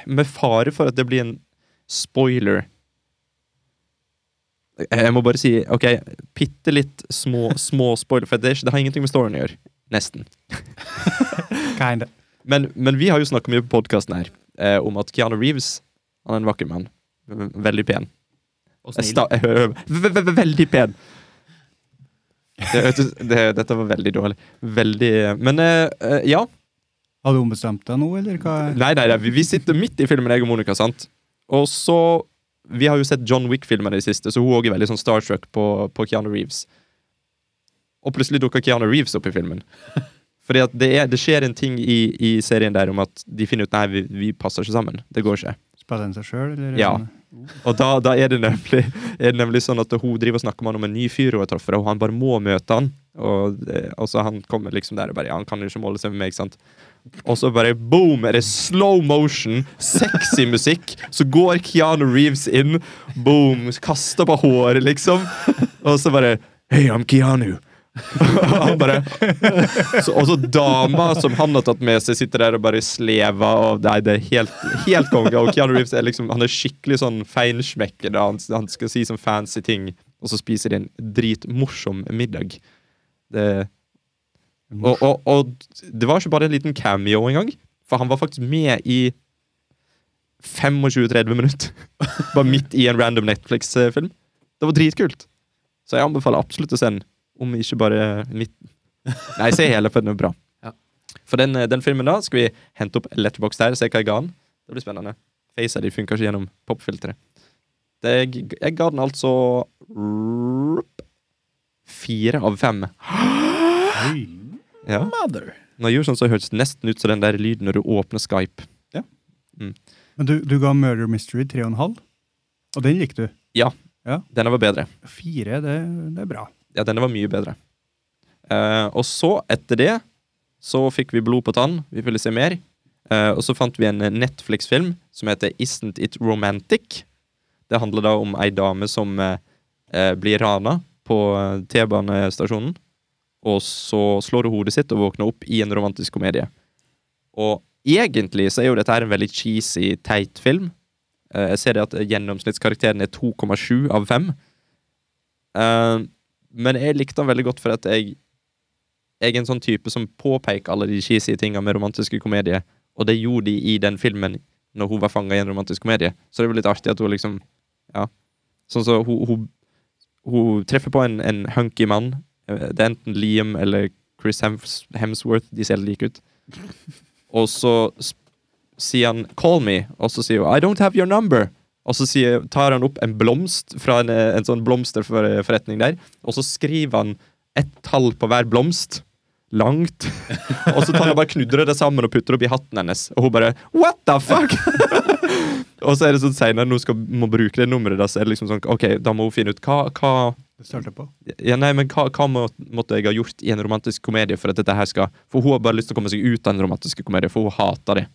med fare for at det blir en spoiler Jeg- Jeg må bare si ok, bitte litt små, små spoiler, for det, er ikke, det har ingenting med storyen å gjøre. Nesten.
Kinda.
Men, men vi har jo snakka mye på podkasten her eh, om at Keanu Reeves han er en vakker mann. V- Veldig pen.
Og
Jeg
snill.
sta- v- v- v- Veldig pen! Det, hørtes- det, dette var veldig dårlig. Veldig Men eh, eh, ja.
Har du ombestemt deg nå, eller hva?
Nei, nei, nei. Vi, vi sitter midt i filmen, jeg og Monica, sant? Og så Vi har jo sett John Wick-filmer i det siste, så hun òg er veldig sånn starstruck på, på Keanu Reeves. Og plutselig dukker Keanu Reeves opp i filmen. Fordi at det, er, det skjer en ting i, i serien der om at de finner ut Nei, vi, vi passer ikke sammen. Det går ikke.
Spiller den seg sjøl, eller? sånn?
Ja. Og da, da er, det nemlig, er det nemlig sånn at hun driver og snakker med han om en ny fyr hun har truffet, og han bare må møte han. Og, eh, og så han kommer liksom der og bare Ja, han kan jo ikke måle seg med meg, ikke sant. Og så bare boom, er det slow motion, sexy musikk. Så går Keanu Reeves inn, boom, kaster på håret, liksom. Og så bare Hey, I'm Keanu. og han bare så, Og så dama som han har tatt med seg, sitter der og bare slever. Og nei, det er helt, helt konge. Og Keanu Reeves er liksom Han er skikkelig sånn feinschmecker. da. Han, han skal si sånn fancy ting, og så spiser de en dritmorsom middag. Det, og, og, og det var ikke bare en liten cameo engang, for han var faktisk med i 25-30 minutter. Bare midt i en random Netflix-film. Det var dritkult. Så jeg anbefaler absolutt å se den, om ikke bare midt Nei, se hele, for den er bra.
Ja.
For den, eh, den filmen da skal vi hente opp letterbox der, se hva jeg ga den. Det blir spennende. Facet de funker ikke gjennom popfilteret. Det- Jeg, jeg ga den altså fire av fem. Ja.
Mother.
Når jeg gjorde sånn, så hørtes det nesten ut som den der lyden når du åpner Skype.
Men du, du ga Murder Mystery tre og en halv, og den likte du.
Denne var bedre.
Fire, det, det er bra.
Ja, denne var mye bedre. Eh, og så, etter det, så fikk vi blod på tann. Vi ville se mer. Eh, og så fant vi en Netflix-film som heter Isn't It Romantic? Det handler da om ei dame som eh, eh, blir rana på eh, T-banestasjonen, og så slår hun hodet sitt og våkner opp i en romantisk komedie. Og egentlig så er jo dette her en veldig cheesy, teit film. Eh, Jeg ser det at gjennomsnittskarakteren er 2,7 av 5. Eh, Men jeg likte den veldig godt for at jeg jeg er en sånn type som påpeker alle de cheesy tinga med romantiske komedier, og det gjorde de i den filmen når hun var fanga i en romantisk komedie. Så det var litt artig at hun liksom Ja. Sånn så hun, hun, hun treffer på en, en hunky mann. Eh, Det er enten Liam eller Chris Hems- Hemsworth. De ser like ut. Og så sp- sier han 'call me', og så sier hun 'I don't have your number'. Og så sier, tar han opp en blomst fra en, eh, en sånn blomsterforretning der, og så skriver han ett tall på hver blomst. Langt. Og så tar han og bare knudrer det sammen og putter opp i hatten hennes. Og hun bare 'what the fuck'? og så er det sånn senere når hun skal, må bruke det nummeret, da, så er det liksom sånn OK, da må hun finne ut hva, hva
Det starter på.
ja, nei, men hva, hva må, måtte jeg ha gjort i en romantisk komedie for at dette her skal For hun har bare lyst til å komme seg ut av en romantisk komedie, for hun hater det.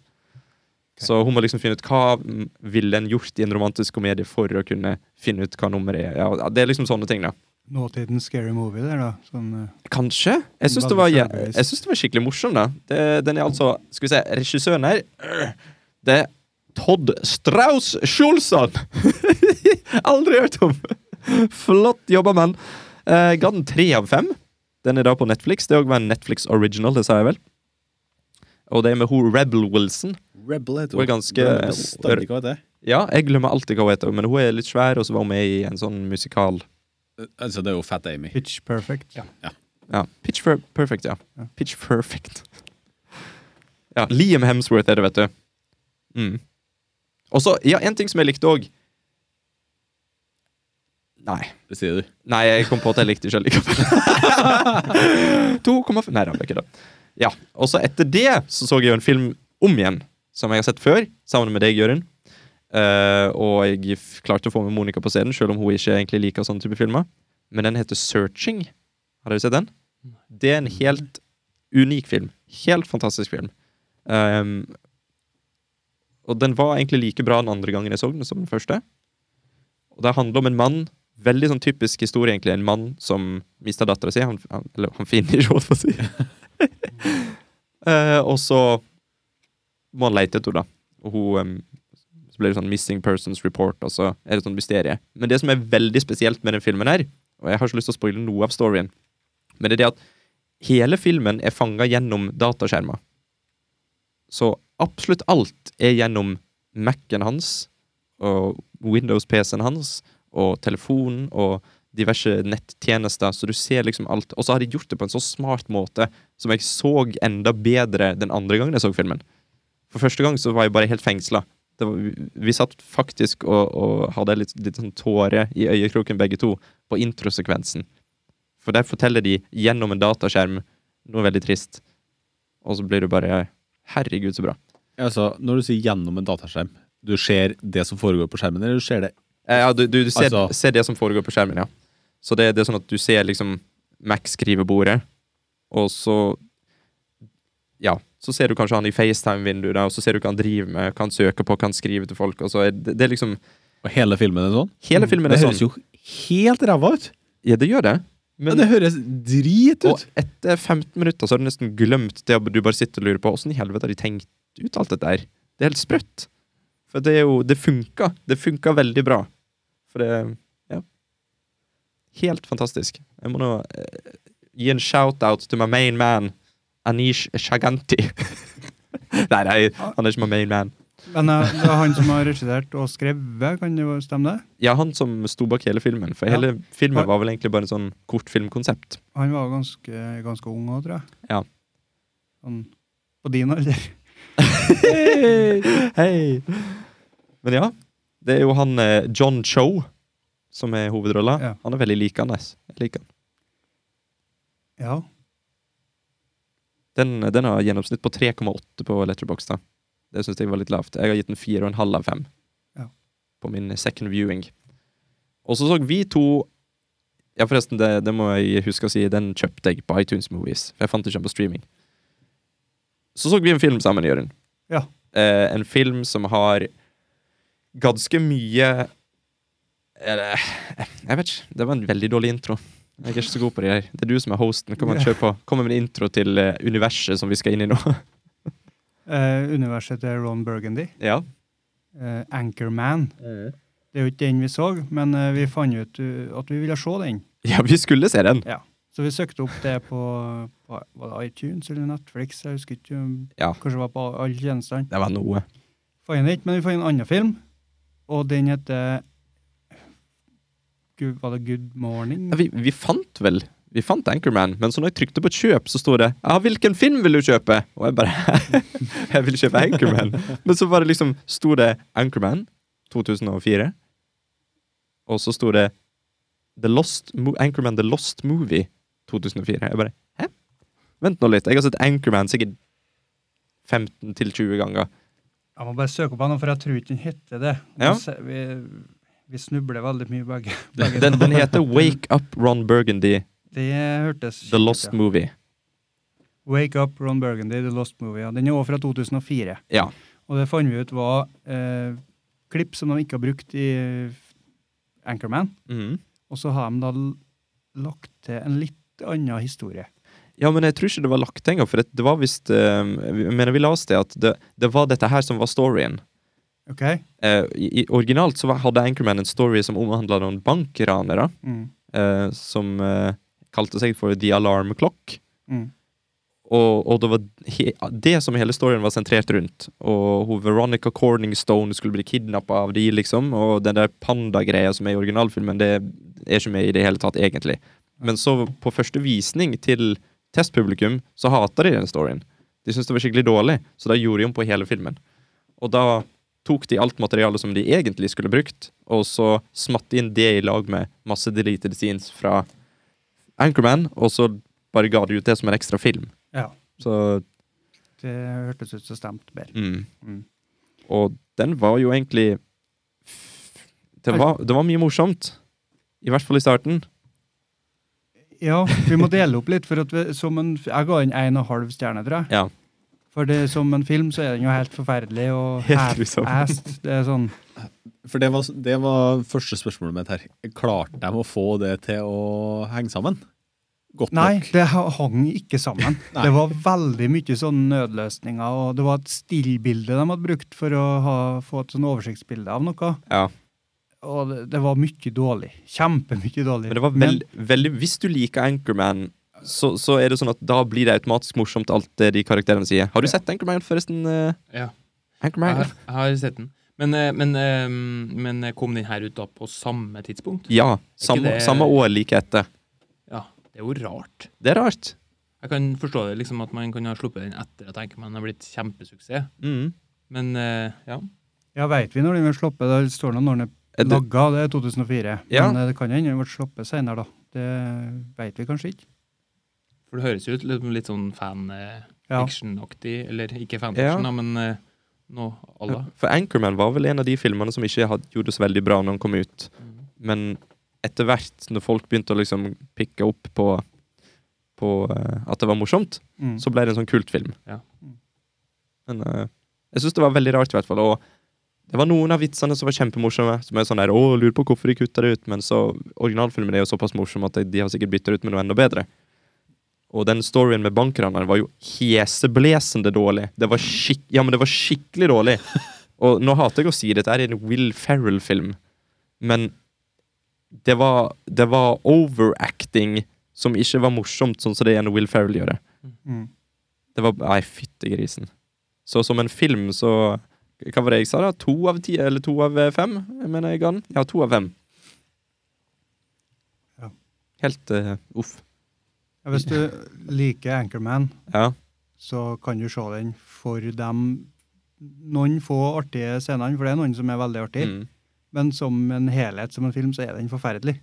Så hun må liksom finne ut hva mm, ville en gjort i en romantisk komedie for å kunne finne ut hva nummeret er. Ja, det er liksom sånne ting, da.
Nåtidens scary movie der, da. Sånn, eh,
Kanskje? Jeg syns det, var- jeg synes det var skikkelig morsom, da. Det, den er altså Skal vi se, regissøren her øh, Det er Todd Strauss Schulson! Aldri hørt om! Flott jobba, mann. Eh, ga den tre av fem. Den er da på Netflix. Det òg var en Netflix original, det sa jeg vel. Og det er med hun Rebel Wilson.
Rebel heter
Hun er ganske-
Rebel, bestandig, hva heter det?
Ja, jeg glemmer alltid hva hun heter, men hun er litt svær, og så var hun med i en sånn musikal
Altså, det er jo Fat Amy.
Pitch Perfect.
Ja, Pitch per Perfect, ja.
Ja.
Pitch Perfect. Ja, Liam Hemsworth er det, vet du. Mm. Og så, ja, en ting som jeg likte òg Nei.
Det sier du.
Nei, jeg kom på at jeg likte det sjøl likevel. 2,5 Nei, det var ikke det. Ja, Og så etter det så så jeg jo en film om igjen, som jeg har sett før, sammen med deg, Jørund. Eh, og jeg f- klarte å få med Monica på scenen, selv om hun ikke egentlig liker sånne type filmer. Men den heter Searching. Har dere sett den? Det er en helt unik film. Helt fantastisk film. Ehm, og den var egentlig like bra den andre gangen jeg så den, som den første. Og det handler om en mann Veldig sånn typisk historie, egentlig. En mann som mista dattera si. Han, han, eller han finner ikke hva jeg skal si. Eh, og så må han leite etter henne, da. Og hun em, Så blir det sånn Missing Persons Report, og så er det sånn mysterium. Men det som er veldig spesielt med den filmen her, og jeg har ikke lyst til å spoile noe av storyen, men det er det at hele filmen er fanga gjennom dataskjermer. Så absolutt alt er gjennom Mac-en hans og Windows-PC-en hans og telefonen og diverse nettjenester, så du ser liksom alt. Og så har de gjort det på en så smart måte som jeg så enda bedre den andre gangen jeg så filmen. For første gang så var jeg bare helt fengsla. Det var, vi, vi satt faktisk og, og hadde litt, litt sånn tåre i øyekroken begge to på introsekvensen. For der forteller de gjennom en dataskjerm noe veldig trist. Og så blir du bare Herregud, så bra.
Altså, når du sier gjennom en dataskjerm, du ser det som foregår på skjermen, eller du ser det
Eh, Ja, du, du, du ser,
Altså-
ser det som foregår på skjermen, ja. Så det, det er sånn at du ser liksom Mac-skrivebordet, og så Ja, så ser du kanskje han i FaceTime-vinduet, da, og så ser du hva han driver med, hva han søker på, hva han skriver til folk, og så er det, det er liksom
Og hele filmen er sånn?
Hele filmen
det
er
høres
sånn.
jo helt ræva ut!
Ja, det gjør det.
Ja,
Men
det høres drit
og
ut!
etter 15 minutter så har du nesten glemt det du bare sitter og lurer på. Åssen i helvete har de tenkt ut alt dette her? Det er helt sprøtt. For det er jo Det funka. Det funka veldig bra. For det Ja. Helt fantastisk. Jeg må nå eh, gi en shout-out til my main man, Anish Shaganti. nei, nei, han er ikke my main man.
Men eh, det er han som har regissert og skrevet, kan det jo stemme det?
Ja, han som sto bak hele filmen. For
Ja.
hele filmen
Har-
var vel egentlig bare en sånn kortfilmkonsept.
Han var ganske, ganske ung òg, tror jeg.
Ja.
Sånn på din alder.
Hei! Men ja, det er jo han eh, John Cho som er hovedrolla.
Ja.
Han er veldig likende. Jeg liker han.
Ja.
Den, den har gjennomsnitt på 3,8 på Letterboxd. da. Det syns jeg var litt lavt. Jeg har gitt den 4,5 av 5
Ja.
på min second viewing. Og så så vi to Ja, forresten, det, det må jeg huske å si. Den kjøpte jeg på iTunes Movies. For jeg fant ikke den på streaming. Så så vi en film sammen, Jørund.
Ja.
Eh, en film som har ganske mye Eller Jeg vet ikke. Det var en veldig dårlig intro. Jeg er ikke så god på det her. Det er du som er hosten. Kom og kjør på. Kom med en intro til eh, universet som vi skal inn i nå.
Eh, universet til Ron Burgundy.
ja.
Eh, Anchorman. Det er jo ikke den vi så, men eh, vi fant ut eh, at vi ville se den.
ja, vi skulle se den.
Så vi søkte opp det på, på var det iTunes eller Netflix, jeg husker ikke.
Ja.
Kanskje det var på alle tjenestene.
Det var noe.
Fant den ikke, men vi fant en annen film, og den heter Gud, Var det Good Morning?
Ja, vi, vi fant vel Vi fant Anchorman, men så når jeg trykte på kjøp, så sto det Ja, hvilken film vil du kjøpe? Og jeg bare Jeg vil kjøpe Anchorman. Men så bare liksom sto det Anchorman 2004, og så sto det The Lost Mo Anchorman The Lost Movie 2004. Jeg bare Hæ? Vent nå litt. Jeg har sett Anchorman sikkert 15 til 20 ganger.
Jeg må bare søke opp den, for jeg tror ikke den heter det. Vi
Ja.
se- Vi, vi snubler veldig mye, begge. begge
Den,
to.
den heter Wake Up Ron Burgundy
Det hørtes
The Lost
kjent ut,
Movie.
ja. Wake Up Ron Burgundy, The Lost Movie. Ja. Den er også fra 2004.
Ja.
Og det fant vi ut var eh, klipp som de ikke har brukt i eh, Anchorman.
Mhm.
Og så har de da l- lagt til en litt annen historie.
Ja, men jeg tror ikke det var lagt engang, for det, det var visst eh, Jeg mener, vi leste at det, det var dette her som var storyen.
OK?
Eh, i, i, originalt så var, hadde Anchorman en story som omhandla noen bankranere
Mm.
eh, som eh, kalte seg for The Alarm Clock.
Mm.
Og, og det var he, det som hele storyen var sentrert rundt. Og hun Veronica Corningstone skulle bli kidnappa av de, liksom. Og den der pandagreia som er i originalfilmen, det er ikke med i det hele tatt, egentlig. Men så, på første visning til testpublikum, så hata de den storyen. De syntes det var skikkelig dårlig, så da gjorde de om på hele filmen. Og da tok de alt materialet som de egentlig skulle brukt, og så smatt de inn det i lag med masse deleted scenes fra Anchorman, og så bare ga de ut det som en ekstra film.
Ja.
Så
Det hørtes ut som stemt bedre.
mm.
Mm.
Og den var jo egentlig det var, det var mye morsomt. I hvert fall i starten.
Ja, vi må dele opp litt, for at vi, som en, jeg ga den en og en halv stjerne, tror jeg.
Ja.
For det, som en film så er den jo helt forferdelig og
Helt
hæ-
grusom.
æst. Det er sånn
For det var, det var første spørsmålet mitt her. Klarte de å få det til å henge sammen? Godt
Nei,
nok?
det ha- hang ikke sammen.
Nei.
det var veldig mye sånne nødløsninger, og det var et stillbilde de hadde brukt for å ha, få et sånn oversiktsbilde av noe.
Ja.
Og det, det var mye dårlig. Kjempemye dårlig.
Men det var veld, veldig Hvis du liker Anchorman, så, så er det sånn at da blir det automatisk morsomt, alt det de karakterene sier. Har du sett Anchorman, forresten? eh,
Ja. Jeg
Anchorman?
har, jeg har sett den. Men, eh, men, eh, men kom den her ut da på samme tidspunkt?
Ja. Samme,
det-
samme år like etter.
Ja. Det er jo rart.
Det er rart.
Jeg kan forstå det, liksom at man kan ha sluppet den etter at Anchorman har blitt kjempesuksess.
Mm.
Men eh, ja.
Ja, veit vi når den ble sluppet? Det står noe når den
Eh,
er
det-
lagga, det er 2004.
Ja.
Men eh, det kan hende den ble sluppet senere, da. Det veit vi kanskje ikke.
For det høres jo ut litt, litt sånn
Ja.
fan-fiction-aktig. Eller ikke
Ja.
fan-fiction, da, men eh, noe à la.
For Anchorman var vel en av de filmene som ikke hadde, gjorde det så veldig bra når den kom ut.
Mhm.
Men etter hvert, når folk begynte å liksom pikke opp på, på eh, at det var morsomt,
Mm.
så ble det en sånn kultfilm.
Ja.
Men eh, jeg syns det var veldig rart, i hvert fall. Og det var noen av vitsene som var kjempemorsomme. Som er sånn der, å, lurer på hvorfor de kutta det ut. Men så, originalfilmen er jo såpass morsom at de, de har sikkert bytta ut med noe enda bedre. Og den storyen med bankraneren var jo heseblesende dårlig. Det var, skik ja, men det var skikkelig dårlig. Og nå hater jeg å si det, dette er en Will Ferrell-film. Men det var, det var overacting som ikke var morsomt, sånn som det er når Will Ferrell gjør det.
Mm.
Det var Nei, fytti grisen. Så som en film, så Hva var det jeg sa, da? To av ti, eller to av eh, fem, mener jeg ga den? Ja, to av fem.
Ja.
Helt eh, uff.
Ja, hvis du liker Anchorman,
Ja.
så kan du se den for dem noen få artige scenene, for det er noen som er veldig artige.
Mm.
Men som en helhet, som en film, så er den forferdelig.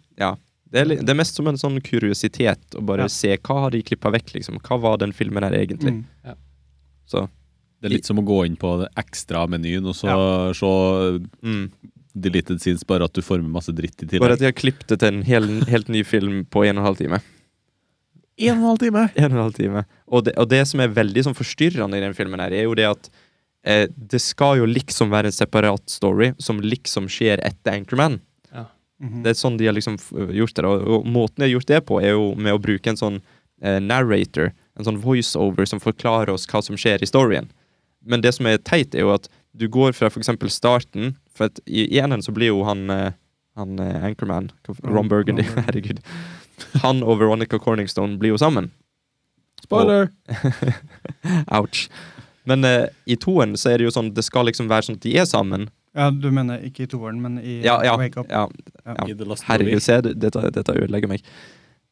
Det, er, li- det er mest som en sånn kuriositet å bare
Ja.
se hva har de klippa vekk, liksom. Hva var den filmen her egentlig?
Mm.
Så
Det er litt som å gå inn på det ekstra menyen og så se
mm.
deleted scenes, bare at du får med masse dritt i
Bare at
tillegg.
de har klippet det til en hel, helt ny film på en og en halv time.
En og en halv time!
En og en halv time. Og det, og det som er veldig sånn forstyrrende i den filmen, her er jo det at eh, det skal jo liksom være en separat story som liksom skjer etter Anchorman.
Ja.
Det er sånn de har liksom f- gjort det. da. Og, og måten de har gjort det på, er jo med å bruke en sånn eh, narrator, en sånn voiceover som forklarer oss hva som skjer i storyen. Men det som er teit, er jo at du går fra for eksempel starten For at i i enen så blir jo han, eh, han eh, Anchorman, hva f- Ron
Ron-
Burgundy,
Ron Burgundy.
herregud Han og Veronica Corningstone blir jo sammen.
Spoiler!
Ouch. Men eh, i toen så er det jo sånn, det skal liksom være sånn at de er sammen.
Ja, du mener ikke i toeren, men i
Ja, ja,
Wake Up.
ja.
I The Last
Herregud,
Movie.
se, du- dette, dette ødelegger meg.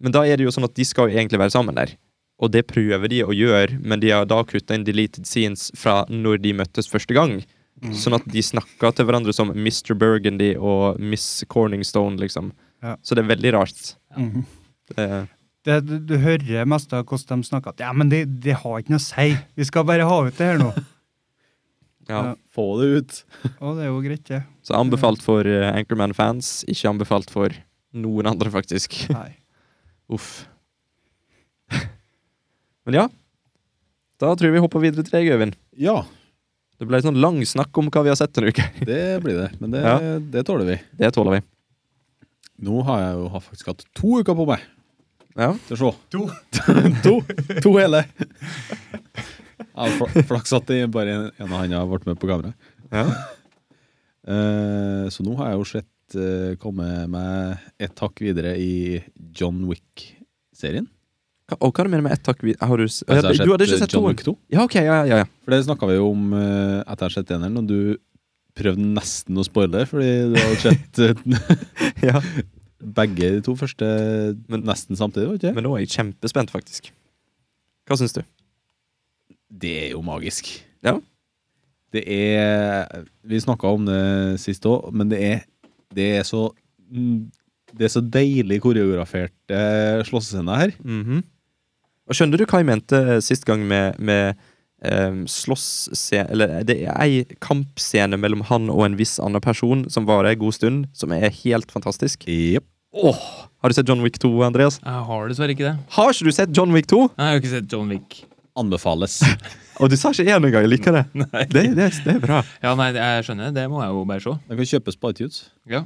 Men da er det jo sånn at de skal jo egentlig være sammen der. Og det prøver de å gjøre, men de har da kutta inn deleted scenes fra når de møttes første gang.
Mm.
Sånn at de snakka til hverandre som Mr. Burgundy og Miss Corningstone, liksom.
Ja.
Så det er veldig rart. Eh,
Mhm.
Det,
Det, du, du hører mest av hvordan de snakker. at, Ja, men det, det har ikke noe å si. Vi skal bare ha ut det her nå.
ja.
Ja.
Få det ut.
Og det er jo greit, det.
Så anbefalt for eh, Anchorman-fans, ikke anbefalt for noen andre, faktisk.
Nei.
Uff. Men ja. Da tror jeg vi hopper videre til deg, Øyvind.
Ja,
Det ble sånn lang snakk om hva vi har sett denne uka.
det blir det. Men det,
Ja.
det tåler vi.
Det tåler vi.
Nå har jeg jo faktisk hatt to uker på meg
Ja.
til å se.
To.
to. To hele. Ja, fl- Flaks at det bare en en av handa ble med på kamera.
Ja.
Eh, så nå har jeg jo sett eh, komme meg et hakk videre i John Wick-serien.
Hva- Og hva er det med med ett takk vi- Har du, s-
Altså, jeg har
du hadde ikke sett
John
toen?
Wick 2?
Ja, ok, ja, ja, ja.
For det snakka vi jo om eh, etter jeg hadde sett eneren, og du prøvde nesten å spoile, fordi du har jo sett eh,
ja.
begge de to første
Men-
nesten samtidig, var det ikke?
Men nå er jeg kjempespent, faktisk. Hva syns du?
Det er jo magisk.
Ja.
Det er Vi snakka om det sist òg, men det er, det er så Det er så deilig koreograferte slåssescener her.
Mhm. Og Skjønner du hva jeg mente eh, sist gang med, med um, slåssscene Eller eh, det er ei kampscene mellom han og en viss annen person som varer ei god stund, som er helt fantastisk.
Yep.
Åh, Har du sett John Wick 2, Andreas?
Jeg har dessverre ikke det.
Har ikke du sett John Wick 2?
Jeg har jo ikke sett John Wick.
Anbefales.
Og du sa ikke én engang. Jeg liker det. Det, det. det er bra.
Ja, nei, jeg skjønner. Det må jeg jo bare se.
Den kan kjøpes på iTunes.
Ja.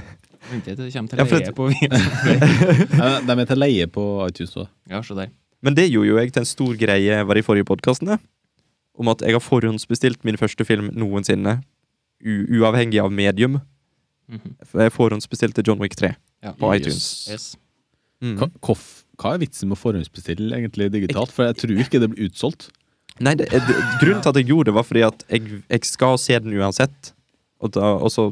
Vent til det kommer til
Ja, for
leie
at-
på Viaplay.
Eh, De er til leie på iTunes òg.
Ja, se der.
Men det gjorde jo jeg til en stor greie var i forrige podkasten, om at jeg har forhåndsbestilt min første film noensinne, u uavhengig av medium.
Mhm.
For Jeg forhåndsbestilte John Wick 3
Ja.
på
Yes.
iTunes.
Yes.
Mm.
Hva, hvorf- hva er vitsen med å forhåndsbestille egentlig digitalt? For jeg tror ikke det blir utsolgt.
Nei, det, det, grunnen til at jeg gjorde det, var fordi at jeg, jeg skal se den uansett. Og, da, og så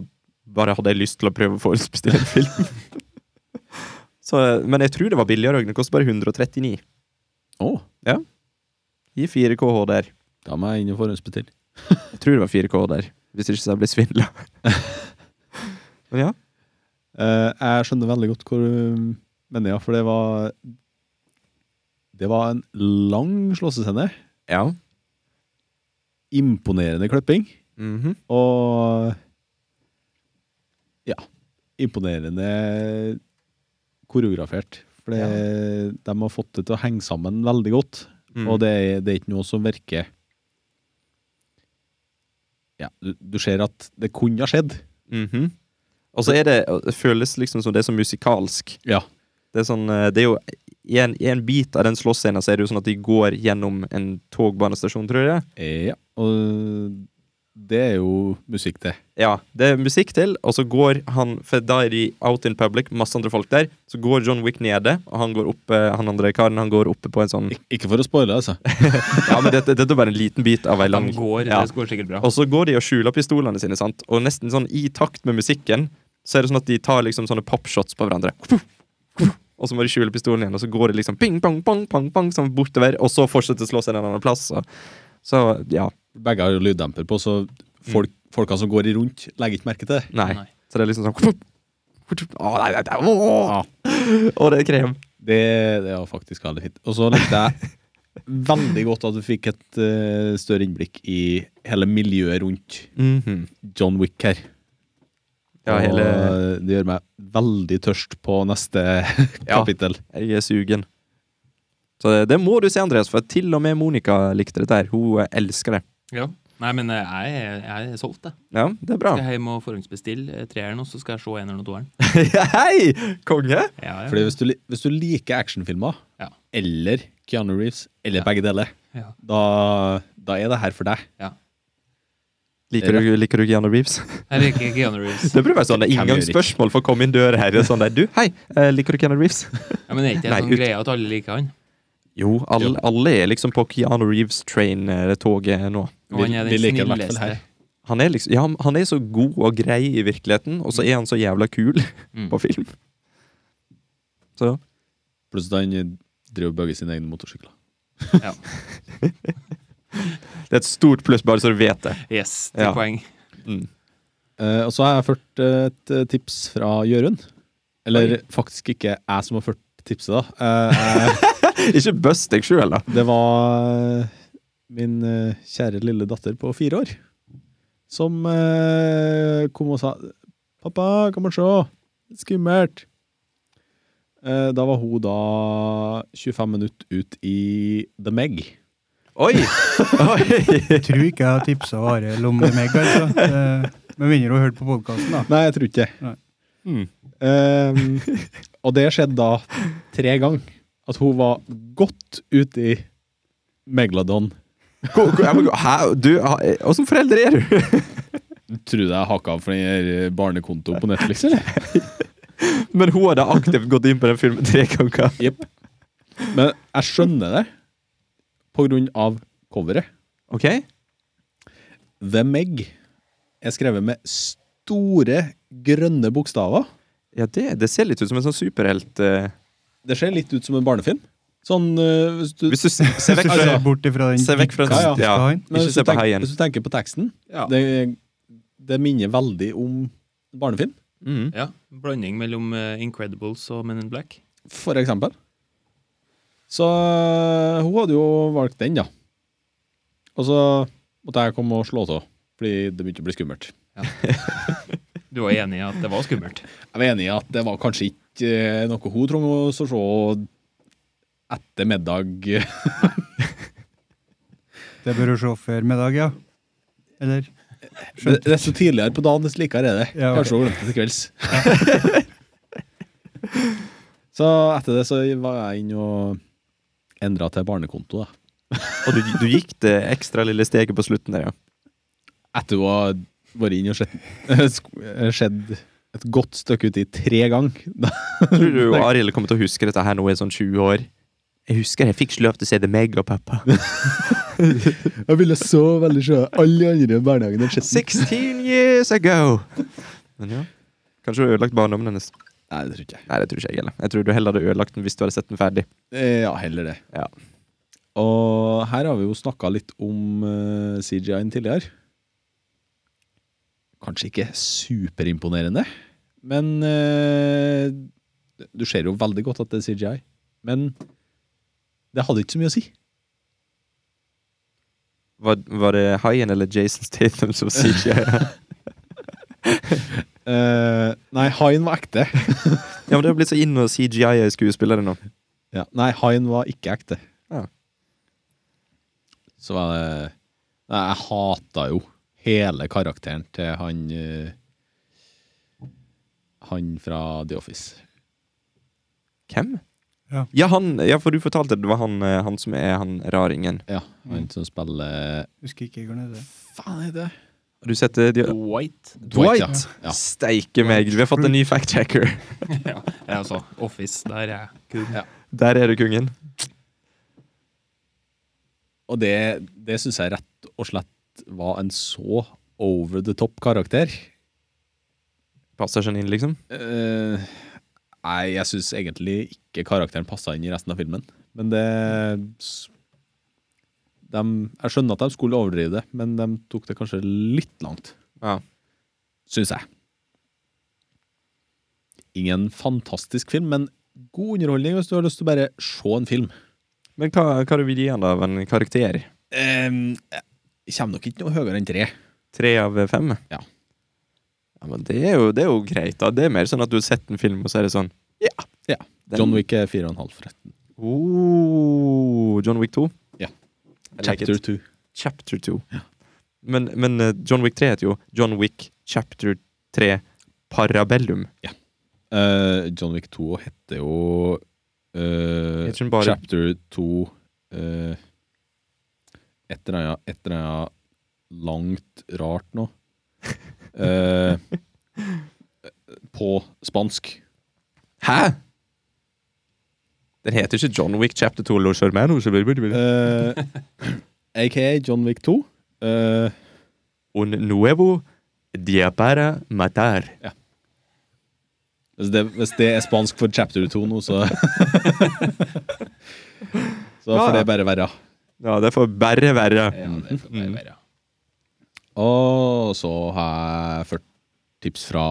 bare hadde jeg lyst til å prøve å forhåndsbestille en film. så, men jeg tror det var billigere. og Den koster bare 139
Å,
i 4K HDR.
da må jeg inn og forhåndsbestille.
Jeg tror det var 4K HDR, hvis ikke så jeg ble svindla. men ja.
Eh, jeg skjønner veldig godt hvor du mener, ja, for det var Det var en lang slåssescene.
ja.
Imponerende klipping.
Mhm.
Og Ja. Imponerende koreografert. For det, de har fått det til å henge sammen veldig godt.
Mm.
Og det, er- det er ikke noe som virker Ja, du, du ser at det kunne ha skjedd.
Mhm. Og så er det, det føles liksom som det er så musikalsk.
Ja.
Det er, sånn, eh, det er jo I en, i en bit av den slåssscenen så er det jo sånn at de går gjennom en togbanestasjon, tror jeg.
ja. Og det er jo musikk til.
Ja, Det er musikk til, og så går han For da er de out in public, masse andre folk der. Så går John Wick nede, og han går oppe, han andre karen han går oppe på en sånn
Ik ikke for å spoile, altså.
Ja, men dette, dette er bare en liten bit av ei lang
De går,
ja.
Det går sikkert bra.
Og så går de og skjuler pistolene sine, sant? og nesten sånn i takt med musikken så er det sånn at de tar liksom sånne pappshots på hverandre. Og så må de skjule pistolen igjen, og så går det liksom ping, pang, pang, pang, pang, sånn bortover, og så fortsetter å slå seg en annen plass. Så, så ja.
Begge har jo lyddemper på, så folk, folka som går i rundt, legger ikke merke til det.
Nei.
Nei.
Så det er liksom sånn Å, nei, nei, nei, å, å. Og det er krem.
Det, det var faktisk veldig fint. Og så likte jeg veldig godt at du fikk et eh, større innblikk i hele miljøet rundt
Mhm.
John Wick her.
Ja, hele
Og det gjør meg veldig tørst på neste
Ja.
kapittel.
Jeg er sugen. Så det, det må du se, Andreas, for til og med Monica likte dette her. Hun eh, elsker det.
Ja. Nei, men eh, jeg, er- jeg er solgt, jeg.
Ja, det er bra.
Skal hjem og forhåndsbestille eh, treeren, og så skal jeg se eneren og toeren.
Hei! Konge!
Ja, ja.
Fordi hvis du, li- hvis du liker actionfilmer,
Ja.
eller Keanu Reeves, eller begge deler,
Ja.
da, da er det her for deg.
Liker du, liker du Keanu Reeves?
Jeg liker Keanu Reeves.
Det burde være sånn det er
Hvem gjør ikke?
inngangsspørsmål for å komme inn døra her. det er Sånn der, du, hei, eh, liker du Keanu Reeves?
Ja, men er ikke det
Nei,
sånn
ut.
greie at alle liker han?
Jo, alle, alle er liksom på Keanu Reeves-train, eh, det toget nå.
Og han er
Vi-
den
vi liker han i hvert fall
snilleste.
Han er, liksom, ja, han- han er så god og grei i virkeligheten, og så er han så jævla kul
Mm.
på film. Så
Pluss at han driver og bygger sine egne motorsykler.
det er et stort pluss, bare så du vet det. Mm.
Yes, til
Ja.
poeng.
Eh, og så har jeg ført eh, et eh, tips fra Jørund. Eller faktisk ikke jeg som har ført tipset, da. Eh, jeg,
Ikke bust deg sjøl, da.
det var eh, min eh, kjære lille datter på fire år som eh, kom og sa 'Pappa, kan man se? Det er Skummelt.' Eh, da var hun da 25 minutter ut i The Meg.
Oi! Oi.
Jeg tror ikke jeg har tipsa Arild om det meg, altså. Eh, Med mindre hun hørte på podkasten, da.
Nei, jeg tror ikke det.
Nei.
Hmm.
Mm.
Eh, og det skjedde da tre ganger. At hun var godt ute i Megladon.
Ko- ko- jeg må gå- Hæ? Du, ha- eh, åssen forelder er du?
Tror du jeg hakka av for den her eh, barnekontoen på Netflix, eller?
Men hun har da aktivt gått inn på den filmen tre ganger.
Jepp. Men jeg skjønner det på grunn av coveret.
Ok?
The Meg er skrevet med store, grønne bokstaver.
Ja, det, det ser litt ut som en sånn superhelt eh,
Det ser litt ut som en barnefilm. Sånn øh, hvis du,
Hvis du s- ser vekk
Hvis du ser
fra
Altså, bort ifra den
Se vekk fra
Ja, ja.
den. Ja,
han.
Men
ikke
hvis, du
se på
tenker,
heien.
hvis du tenker på teksten,
Ja.
det, det minner veldig om barnefilm,
Mm.
ja. Blanding mellom eh, Incredibles og Men in Black.
for eksempel. Så eh, hun hadde jo valgt den, da. Og så måtte jeg komme og slå av, fordi det begynte å bli skummelt.
Du var enig i at det var skummelt?
Jeg var enig i at det var kanskje ikke eh, noe hun trengte å så se etter middag.
Det bør hun se før middag, ja. Eller?
Det- Desto tidligere på dagen, desto likere er det.
Ja, ok.
Kanskje hun glemte det til kvelds. så etter det så var jeg inne og endra til barnekonto, da.
Og du, du gikk det ekstra lille steget på slutten der, ja.
Etter å ha vært inne og sett, sk- eh, sett et godt stykke uti tre ganger. Da-
Tror du Arild kommer til å huske dette her nå i sånn 20 år? Jeg husker jeg fikk ikke lov til å se det meg og pappa.
Jeg ville så veldig se alle de andre barnehagene. og sett den.
16 years ago! Men ja. Kanskje du har ødelagt barndommen hennes.
Nei, det tror ikke jeg.
Nei, det tror ikke jeg heller. Jeg tror du heller hadde ødelagt den hvis du hadde sett den ferdig.
Eh, Ja, heller det.
Ja.
Og her har vi jo snakka litt om eh, CGI-en tidligere. Kanskje ikke superimponerende, men eh, Du ser jo veldig godt at det er CGI, men det hadde ikke så mye å si.
Var, var det haien eller Jason Statham som sier ikke
Eh, nei, haien var ekte.
Ja, men det har blitt så inn å CGI-e skuespillere nå.
Ja, nei, haien var ikke ekte.
Ja.
Så var det Nei, jeg hata jo hele karakteren til han eh, Han fra The Office.
Hvem?
Ja.
Ja, han, ja, for du fortalte det var han, eh, han som er han raringen.
Ja, han
Mm.
som spiller
Husker ikke hvordan det er.
Faen, er det
Har du sett det? De,
White.
Dwight,
Dwight?
ja. Ja.
Steike meg, vi har fått en ny fact-checker.
ja, det er altså Office. Der er jeg kul.
Ja.
Der er du kongen.
Og det, det syns jeg rett og slett var en så over the top-karakter.
Passasjen inn, liksom.
Eh, nei, jeg syns egentlig ikke karakteren passa inn i resten av filmen. Men det s- dem- Jeg skjønner at de skulle overdrive det, men de tok det kanskje litt langt,
Ja.
syns jeg. Ingen fantastisk film, men god underholdning hvis du har lyst til å bare se en film.
Men hva, hva du vil gi han da av en karakter?
Um, kommer nok ikke noe høyere enn tre.
Tre av fem?
Ja.
Ja, men det er, jo, det er jo greit, da. Det er mer sånn at du har sett en film, og så er det sånn Ja!
Ja.
Den,
John Wick er fire og en halv, forresten.
Oh, John Wick 2.
Ja.
I like
Chapter
it.
two.
Chapter 2. Men, men eh, John Wick 3 heter jo John Wick Chapter 3 Parabellum.
Eh, John Wick 2 heter jo eh,
Heter den bare-
Chapter 2 eh, Et eller annet Et eller annet langt rart nå. Eh, på spansk.
Hæ?! Den heter ikke John Wick Chapter 2 Los Hermanos Un
Eh, AKA John Wick 2. Eh,
Nuevo Diapara Matar.
hvis, det, hvis det er spansk for chapter 2 nå, så Så
Ja, ja.
får det bare være. Mm.
Ja, det får bare være.
Ja, det får bare være.
Og så har jeg ført tips fra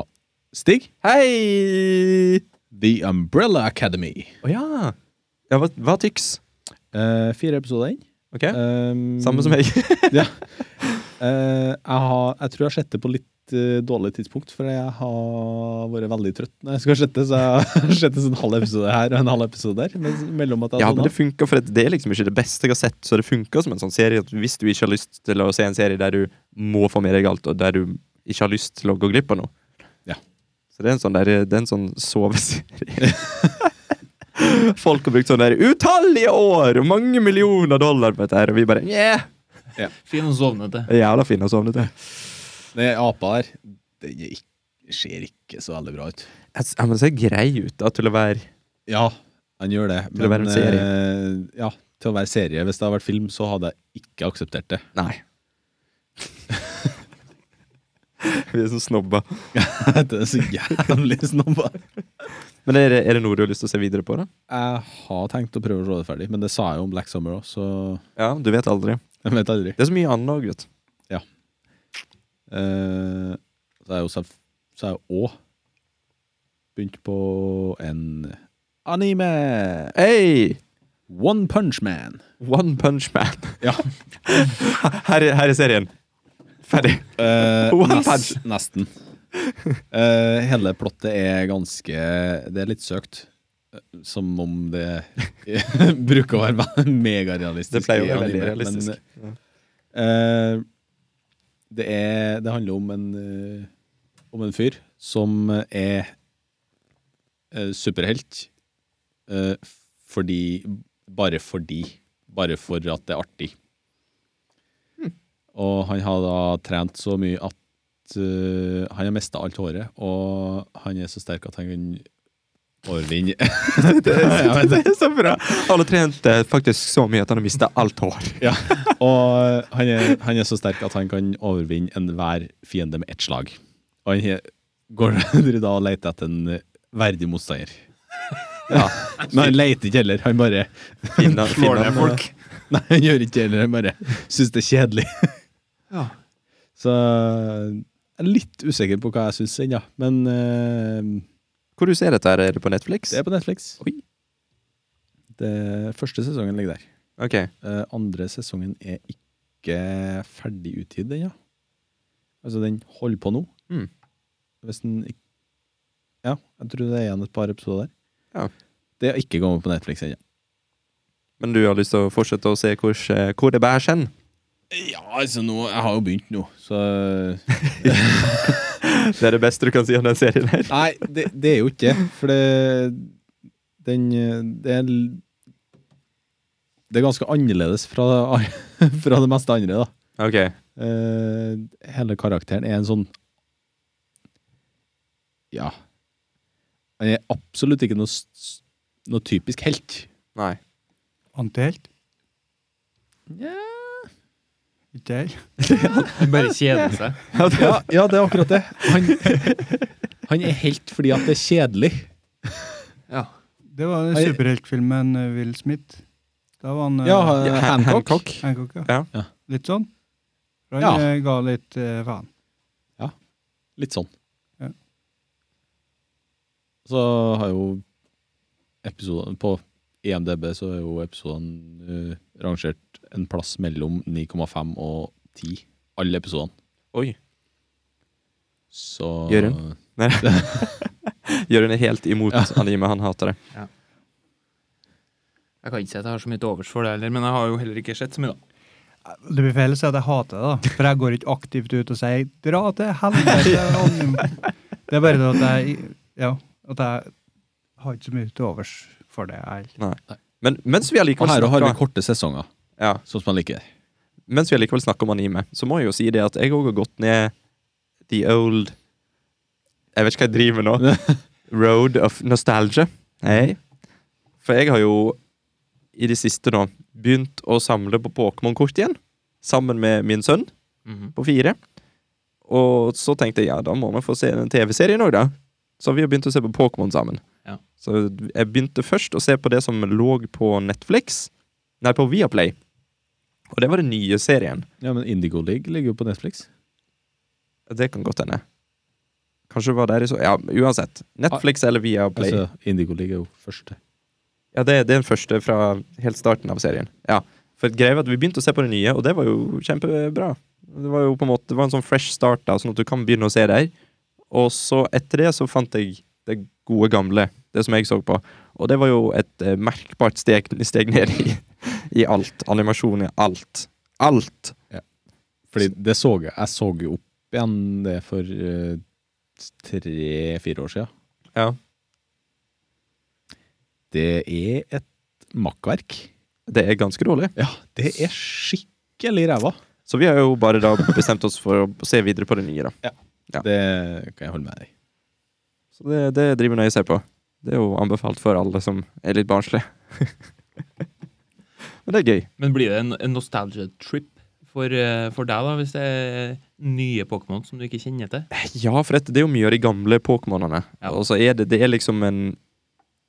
Stig.
Hei!
The Umbrella Academy.
Å ja. ja hva, hva tyks?
Eh, fire episoder inn.
Ok, Samme som
jeg.
jeg.
eh, jeg, har, jeg tror jeg har sett det på litt eh, dårlig tidspunkt, for jeg har vært veldig trøtt når jeg skal sette, så jeg har sett en sånn halv episode her og en halv episode der. Mens, mellom at jeg
Ja,
har
men
sovnet.
Det funker, for det er liksom ikke det beste jeg har sett, så det funker som en sånn serie. at Hvis du ikke har lyst til å se en serie der du må få med deg alt, og der du ikke har lyst til å gå glipp av noe.
Ja.
Så det er en sånn, der, det er en sånn soveserie. Folk har brukt sånn der utallige år og mange millioner dollar på dette, her, og vi bare yeah,
Fin å sovne til.
Jævla fin å sovne til.
Den apa der, den er ikk- ser ikke så veldig bra ut.
Jeg, jeg må se grei ut da, til å være
Ja, han gjør det.
Til å være en
eh, ja, til å være serie. Hvis det hadde vært film, så hadde jeg ikke akseptert det.
Nei. vi er så snobba.
det er så jævlig snobba.
Men er det, er det noe du har lyst til å se videre på? da?
Jeg har tenkt å prøve å se det ferdig, men det sa jeg jo om Black Summer òg, så
Ja, Du vet aldri.
jeg vet aldri.
Det er så mye annet òg, vet du.
Eh, så er jo så så er jo òg begynt på en anime.
Hey!
One Punch Man.
One Punch Man.
Ja.
her, er- her er serien. Ferdig.
Eh,
One
nes-
Punch.
Nesten. Eh, hele plottet er ganske Det er litt søkt. Eh, Som om det bruker å være ve- megarealistisk.
Det pleier å
i
være veldig
anime, men,
realistisk.
Eh, det, er, det handler om en, eh, om en fyr som er eh, superhelt eh, fordi Bare fordi. Bare for at det er artig.
Hmm.
Og han har da trent så mye at eh, han har mista alt håret, og han er så sterk at han kan overvinne Jeg vet
Det er så bra! Han har trent eh, faktisk så mye at han har mista alt hår.
Ja, og han er, han er så sterk at han kan overvinne enhver fiende med ett slag. Og han he- går da og leter etter en verdig motstander. Ja, Men han leter ikke heller. Han bare
Finner,
Slår ned folk.
Nei, han gjør ikke det heller. Han bare syns det er kjedelig.
Ja.
Så jeg er litt usikker på hva jeg syns ennå, men eh,
Hvor du ser dette? her? Er det på Netflix?
det er på Netflix.
Oi.
Det første sesongen ligger der.
Ok.
Eh, andre sesongen er ikke ferdig utgitt ennå. Altså, den holder på nå.
Mm.
Hvis den ikk- Ja, jeg tror det er igjen et par episoder der.
Ja.
Det har ikke kommet på Netflix ennå.
Men du har lyst til å fortsette å se hvor, eh, hvor det bærer hen?
Ja, altså, nå, jeg har jo begynt nå, så
Det er det beste du kan si om den serien her.
Nei, det, det er jo ikke det. For det Den eh, Det er, l- det er ganske annerledes fra, fra det meste andre, da.
Ok.
Eh, hele karakteren er en sånn Ja. Han er absolutt ikke noe, s- s- noe typisk helt.
Nei.
Antihelt?
Ja.
Ikke helt?
Han bare kjeder seg.
Ja, det er akkurat det. Han, han er helt fordi at det er kjedelig.
Ja.
Det var
Nei.
superheltfilmen eh, Will Smith. Da var han eh,
Ja, eh,
Ja, Han-
Hancock.
Hancock.
Hancock,
Ja.
ja.
Ja.
Litt sånn. Han
Ja.
eh, ga litt eh, faen.
Litt sånn.
Ja.
Så har jo episoden På E EMDb så er jo episodene eh, rangert en plass mellom 9,5 og 10. Alle episodene.
Oi.
Så
Gjør hun? Nei. Jørund er helt imot anime. Han hater det.
Jeg kan ikke si at jeg har så mye til overs for det heller, men jeg har jo heller ikke sett så mye, da.
Det blir feil å si at jeg hater det, da. For jeg går ikke aktivt ut og sier 'dra til helvete'. Anne». Det er bare det at jeg ja, at jeg har ikke så mye til overs for det. Jeg.
Men mens vi
Og
allikevel
her har vi
snakker,
korte sesonger,
ja,
sånn som man liker.
mens vi allikevel snakker om anime, så må jeg jo si det at jeg òg har gått ned the old Jeg vet ikke hva jeg driver med nå. Road of nostalgia. Hei. For jeg har jo i det siste nå begynt å samle på Pokémon-kort igjen. Sammen med min sønn.
Mhm.
på fire. Og så tenkte jeg ja, da må man få se en TV-serie nå, da. Så vi har begynt å se på Pokémon sammen.
Ja.
Så jeg begynte først å se på det som lå på Netflix. Nei, på Viaplay. Og det var den nye serien.
Ja, men Indigo League ligger jo på Netflix.
Det kan godt hende. Kanskje det var der i så Ja, uansett. Netflix eller Viaplay.
Altså, Indigo League er jo første.
Ja, det, det er den første fra helt starten av serien. Ja, for greia var at Vi begynte å se på det nye, og det var jo kjempebra. Det var jo på en måte, det var en sånn fresh start, da, sånn at du kan begynne å se der. Og så etter det så fant jeg det gode gamle, det som jeg så på. Og det var jo et eh, merkbart steg, steg ned i, i alt. Animasjon i alt. Alt!
Fordi det så jeg. Jeg så jo opp igjen det for tre-fire år siden.
Ja.
Det er et makkverk.
Det er ganske dårlig.
Ja, det er skikkelig ræva.
Så vi har jo bare da bestemt oss for å se videre på det nye, da. Ja.
Det kan jeg holde med deg i.
Så det, det driver nøye seg på. Det er jo anbefalt for alle som er litt barnslige. Men det er gøy.
Men blir det en, en nostalgia trip for, eh, for deg, da, hvis det er nye Pokémon som du ikke kjenner til?
Ja, for dette, det er jo mye av de gamle Pokémonene.
Ja.
Og så er det, det er liksom en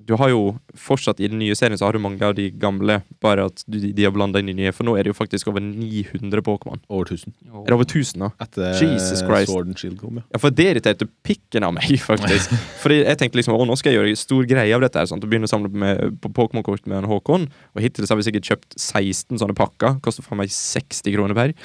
Du har jo fortsatt i den nye serien så har du mange av de gamle, bare at du, de har blanda inn de nye. For nå er det jo faktisk over 900 Pokémon.
Over 1000.
Er det over 1000 nå?
Etter eh,
Jesus Christ.
Sword and Shield kom, ja.
Ja, for det irriterte pikken av meg, faktisk. Fordi jeg tenkte liksom, å, nå skal jeg gjøre stor greie av dette her, sånn, og begynne å samle med, på Pokémon-kort med en Håkon. Og hittil så har vi sikkert kjøpt 16 sånne pakker. Koster faen meg 60 kroner per.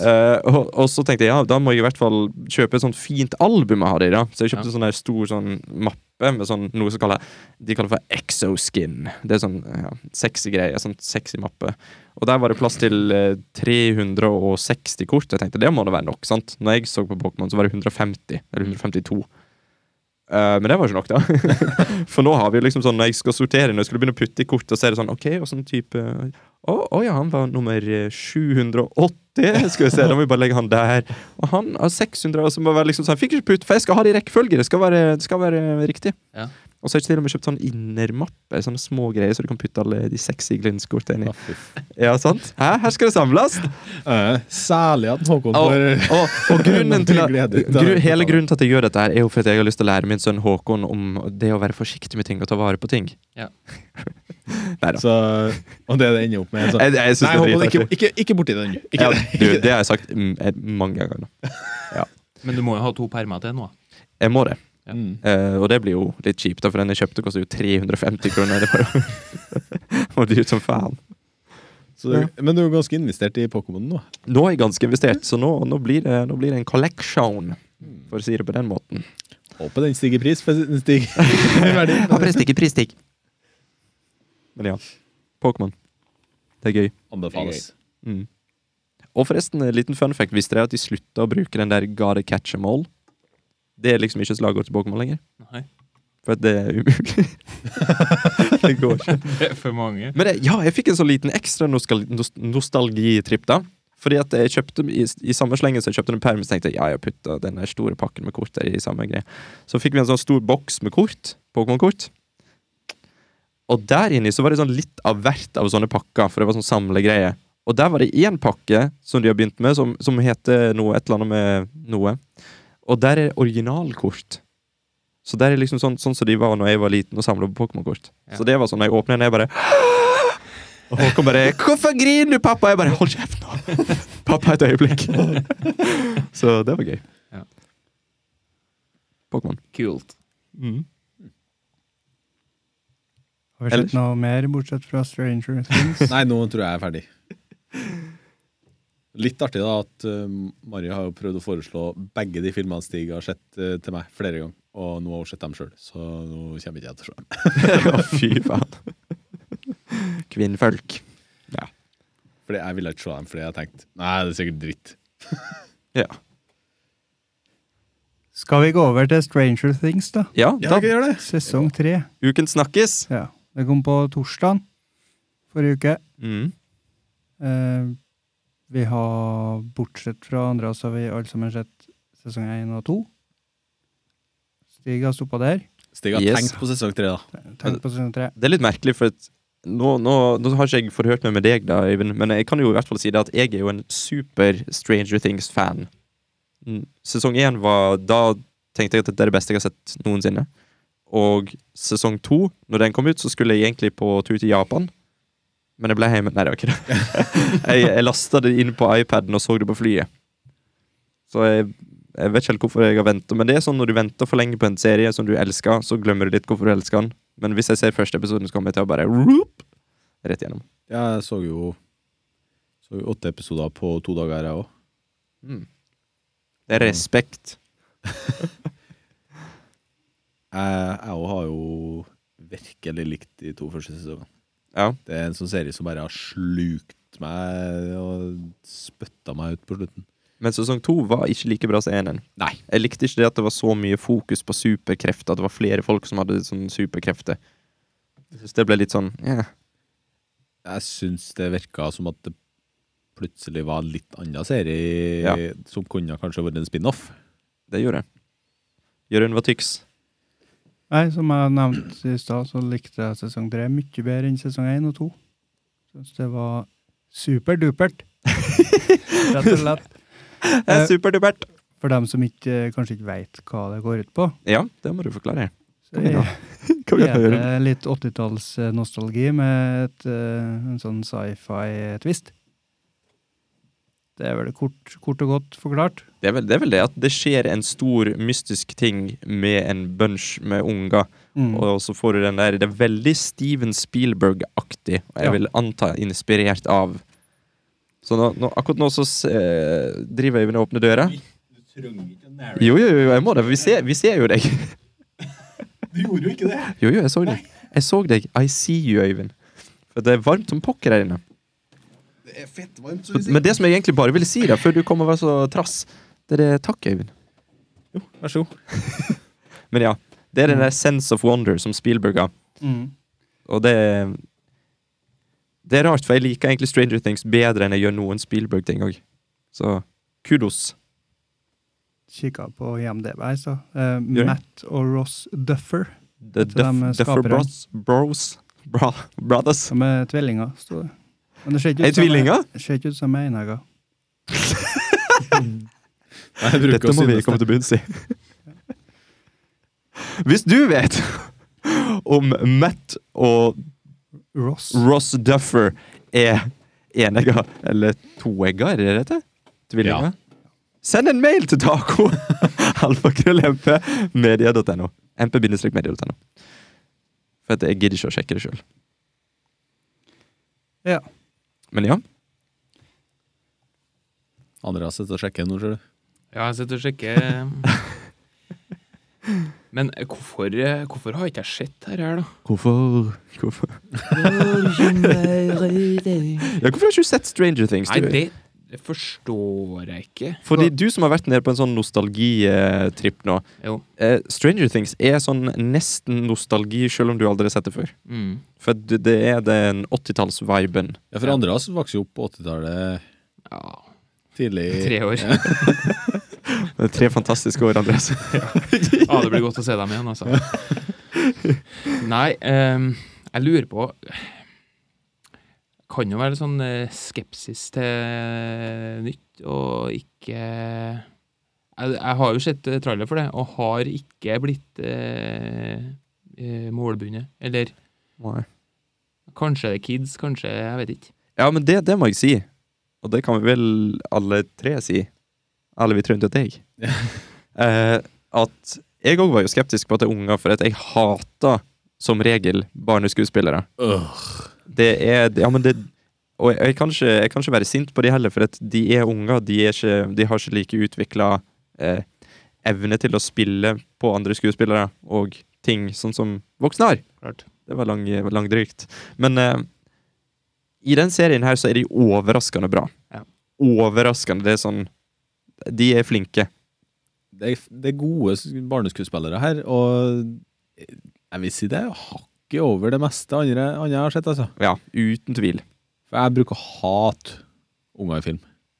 Eh, og, og så tenkte jeg, ja, da må jeg i hvert fall kjøpe et sånt fint album jeg har i da. Så jeg kjøpte
Ja.
sånn der stor sånn mappe med sånn, noe som kaller, de kaller for exoskin. Det er sånn ja, sexy greie, sånn sexy mappe. Og der var det plass til eh, 360 kort. Jeg tenkte det må da være nok. sant? Når jeg så på Pokémon, så var det 150. Eller 152. Eh, men det var ikke nok, da. For nå har vi jo liksom sånn, når jeg skal sortere, når jeg skulle begynne å putte i kort, og så er det sånn OK, og sånn type Å å ja, han var nummer eh, 780. Skal vi se, da må vi bare legge han der. Og han har 600, og så må det være liksom sånn Fikk ikke putte, for jeg skal ha det i rekkefølge. Det skal være, det skal være eh, riktig.
Ja.
Og så har jeg til og med kjøpt sånn innermappe, sånne små greier, så du kan putte alle de sexy glinskortene i.
Ja, fy f-
Ja, sant? Hæ? Her skal det samles!
Eh, Særlig at Håkon
Og,
får
og, og grunnen til at,
Glede ut av
gru,
det.
Hele grunnen til at jeg gjør dette, her er jo for at jeg har lyst til å lære min sønn Håkon om det å være forsiktig med ting og ta vare på ting. da.
så, Og det det ender opp med. Så.
Jeg, jeg synes
Nei,
det
Håkon,
er
ikke,
dritartig.
ikke, ikke borti den. Ikke
Ja,
det.
du, det har jeg sagt mm, eh, mange ganger. nå.
Men du må jo ha to permer til nå.
Jeg må det.
Ja.
Mm.
Eh, og det blir jo litt kjipt, da, for den jeg kjøpte, koster jo 350 kroner. Det var jo var dyrt som faen.
Så, du- Men du er jo ganske investert i Pokémon nå.
Nå er jeg ganske investert, så nå, nå, blir, det, nå blir det en collection, for å si det på den måten.
Håper den stiger i pris. for Den stiger i verdi.
Ja, prisstikk, prisstikk. Men ja. Pokémon. Det er gøy.
Anbefales.
Mm. Og forresten, en liten fun fact. Visste dere at de slutta å bruke den der gotta catch em all? Det er liksom ikke slagord til Pokémon lenger.
Nei,
For at det er umulig. det går ikke.
det er for mange.
Men det, ja, jeg fikk en sånn liten ekstra nostal nos- nostalgitripp, da. Fordi at jeg kjøpte i, i samme slengen som jeg kjøpte en perm, så tenkte jeg ja, jeg putta den der store pakken med kort der i samme greie. Så fikk vi en sånn stor boks med kort. Pokémon-kort. Og der inni så var det sånn litt av hvert av sånne pakker, for det var sånn samlegreie. Og der var det én pakke som de har begynt med, som, som heter noe, et eller annet med noe. Og der er originalkort. Så der er liksom sånn sånn som de var når jeg var liten og samla på Pokémon-kort.
Ja.
Så det var sånn, når jeg åpna den, jeg bare og Håkon bare 'Hvorfor griner du, pappa?' Jeg bare 'Hold kjeft nå!' pappa et øyeblikk. så det var gøy.
Ja.
Pokémon.
Kult. Mhm.
Har vi sett
Ellers?
noe mer, bortsett fra Stranger Things?
Nei, nå tror jeg jeg er ferdig. Litt artig da at eh, Mari har jo prøvd å foreslå begge de filmene Stig har sett eh, til meg flere ganger. Og nå har hun sett dem sjøl, så nå kommer ikke jeg til å se dem.
Å, fy faen. Kvinnfolk.
Fordi jeg ville ikke se dem fordi jeg tenkte Nei, det er sikkert dritt.
Skal vi gå over til Stranger Things, da?
Ja,
Ja,
da.
dere gjør det.
Sesong tre.
Uken snakkes.
Ja. Det kom på torsdag forrige uke.
Mm.
Eh, vi har, bortsett fra andre, så har vi alle sammen sett sesong én og to. Stig har stoppa der.
Stig har
Yes.
tenkt på sesong tre, da.
Tenk på sesong tre.
Det er litt merkelig, for at nå, nå, nå har ikke jeg forhørt meg med deg, da, Øyvind, men jeg kan jo i hvert fall si det at jeg er jo en super Stranger Things-fan. Mm. Sesong én var Da tenkte jeg at det er det beste jeg har sett noensinne. Og sesong to, når den kom ut, så skulle jeg egentlig på tur til Japan. Men jeg ble hjemme Nei, det var ikke det. jeg jeg lasta det inn på iPaden og så det på flyet. Så jeg, jeg vet ikke helt hvorfor jeg har venta, men det er sånn når du venter for lenge på en serie som du elsker, så glemmer du litt hvorfor du elsker den. Men hvis jeg ser første episoden, så kommer jeg til å bare roop, rett gjennom.
Jeg så jo, så jo åtte episoder på to dager, jeg òg.
Det er respekt.
Jeg jeg òg har jo virkelig likt de to første sesongene.
Ja.
Det er en sånn serie som bare har slukt meg og spytta meg ut på slutten.
Men sesong to var ikke like bra som eneren.
Nei.
Jeg likte ikke det at det var så mye fokus på superkrefter, at det var flere folk som hadde sånn superkrefter. Jeg synes det ble litt sånn ja.
Jeg syns det virka som at det plutselig var en litt annen serie
Ja.
som kunne kanskje vært en spin-off.
Det gjorde jeg. Jørund var tyks.
Nei, som jeg nevnte i stad, så likte jeg sesong tre mye bedre enn sesong én og to. Syns det var superdupert. Rett og slett.
Eh,
Eh,
Superdubert!
For dem som ikke, eh, kanskje ikke veit hva det går ut på.
Ja, det må du forklare.
Så
Kom igjen, da. Kom igjen,
er det
Jørund.
litt 80-tallsnostalgi med et, eh, en sånn sci-fi-twist. Det er vel kort, kort og godt forklart.
Det er, vel, det er vel det at det skjer en stor mystisk ting med en bunch med unger.
Mm.
Og så får du den der Det er veldig Steven Spielberg-aktig, og jeg
Ja.
vil anta inspirert av. Så nå, nå, akkurat nå så eh, driver Øyvind og åpner døra.
Du trenger ikke å narrate.
Jo, jo, jo, jeg må det. Vi ser, vi ser jo deg.
Du gjorde jo ikke det.
Jo, jo, jeg så deg. Jeg så deg. I see you, Øyvind. For det er varmt som pokker her inne.
Det er fett varmt,
Men det som jeg egentlig bare ville si, da, før du kom og var så trass, det er det- takk, Øyvind.
Vær så god.
Men ja. Det er
Mm.
den der sense of wonder som Spielberg har.
Mm.
Og det Det er rart, for jeg liker egentlig Stranger Things bedre enn jeg gjør noen Spielberg-ting òg. Så kudos.
Kikka på IMDb i stad. Eh,
jeg?
Matt og Ross Duffer,
The
Til dem, eh,
Duff, Duffer
skaperne.
Bros. Bros. Bra, brothers.
som er tvillinger, sto det. Men det ser ikke
Er
ut som-
tvillinger?
det ser ikke ut som enegger.
Jeg bruker
Dette
å
må vi
synes
komme
det.
til bunns i. Hvis du vet om Matt og
Ross.
Ross Duffer er enegga eller toegga, er det det heter? Tvillinger? Send en mail til taco! Alfakrøllmp.media.no. mp-media.no. For at jeg gidder ikke å sjekke det sjøl.
Ja.
Men ja.
Andreas sitter og sjekker nå, ser du.
Ja, jeg sitter og sjekker. Men eh, hvorfor, eh, hvorfor har ikke jeg sett dette her, da?
Hvorfor? Hvorfor? Ja, hvorfor har ikke du sett Stranger Things?
Nei,
Du?
det, det forstår jeg ikke.
Fordi du som har vært nede på en sånn nostalgitripp nå
Jo.
eh, Stranger Things er sånn nesten nostalgi, selv om du aldri har sett det før.
Mm.
For det, det er den 80-talls-viben.
Ja, for Andreas vokste jo opp på 80-tallet
Ja,
tidlig.
Eh,
tre år.
Det er Tre fantastiske år, Andreas.
Ja, det blir godt å se dem igjen, altså. Nei, ehm, jeg lurer på Kan jo være litt sånn eh, skepsis til nytt, og ikke jeg, jeg har jo sett eh, trailer for det, og har ikke blitt eh, eh, målbundet. Eller kanskje det er kids, kanskje Jeg vet ikke.
Ja, men det, det må jeg si. Og det kan vi vel alle tre si. Alle vi tre unntatt deg. eh, at jeg òg var jo skeptisk på at det er unger, for at jeg hater som regel barneskuespillere.
Øh.
Det er Ja, men det Og jeg, jeg, kan ikke, jeg kan ikke være sint på de heller, for at de er unger. De, er ikke, de har ikke like utvikla eh, evne til å spille på andre skuespillere og ting, sånn som voksne har.
Klart.
Det var lang, langdrygt. Men eh, I den serien her så er de overraskende bra.
Ja.
Overraskende. Det er sånn De er flinke.
Det er, det er gode s- barneskuespillere her, og jeg vil si det er hakket over det meste andre, andre jeg har sett, altså.
Ja, uten tvil.
For jeg bruker å hate unger i film.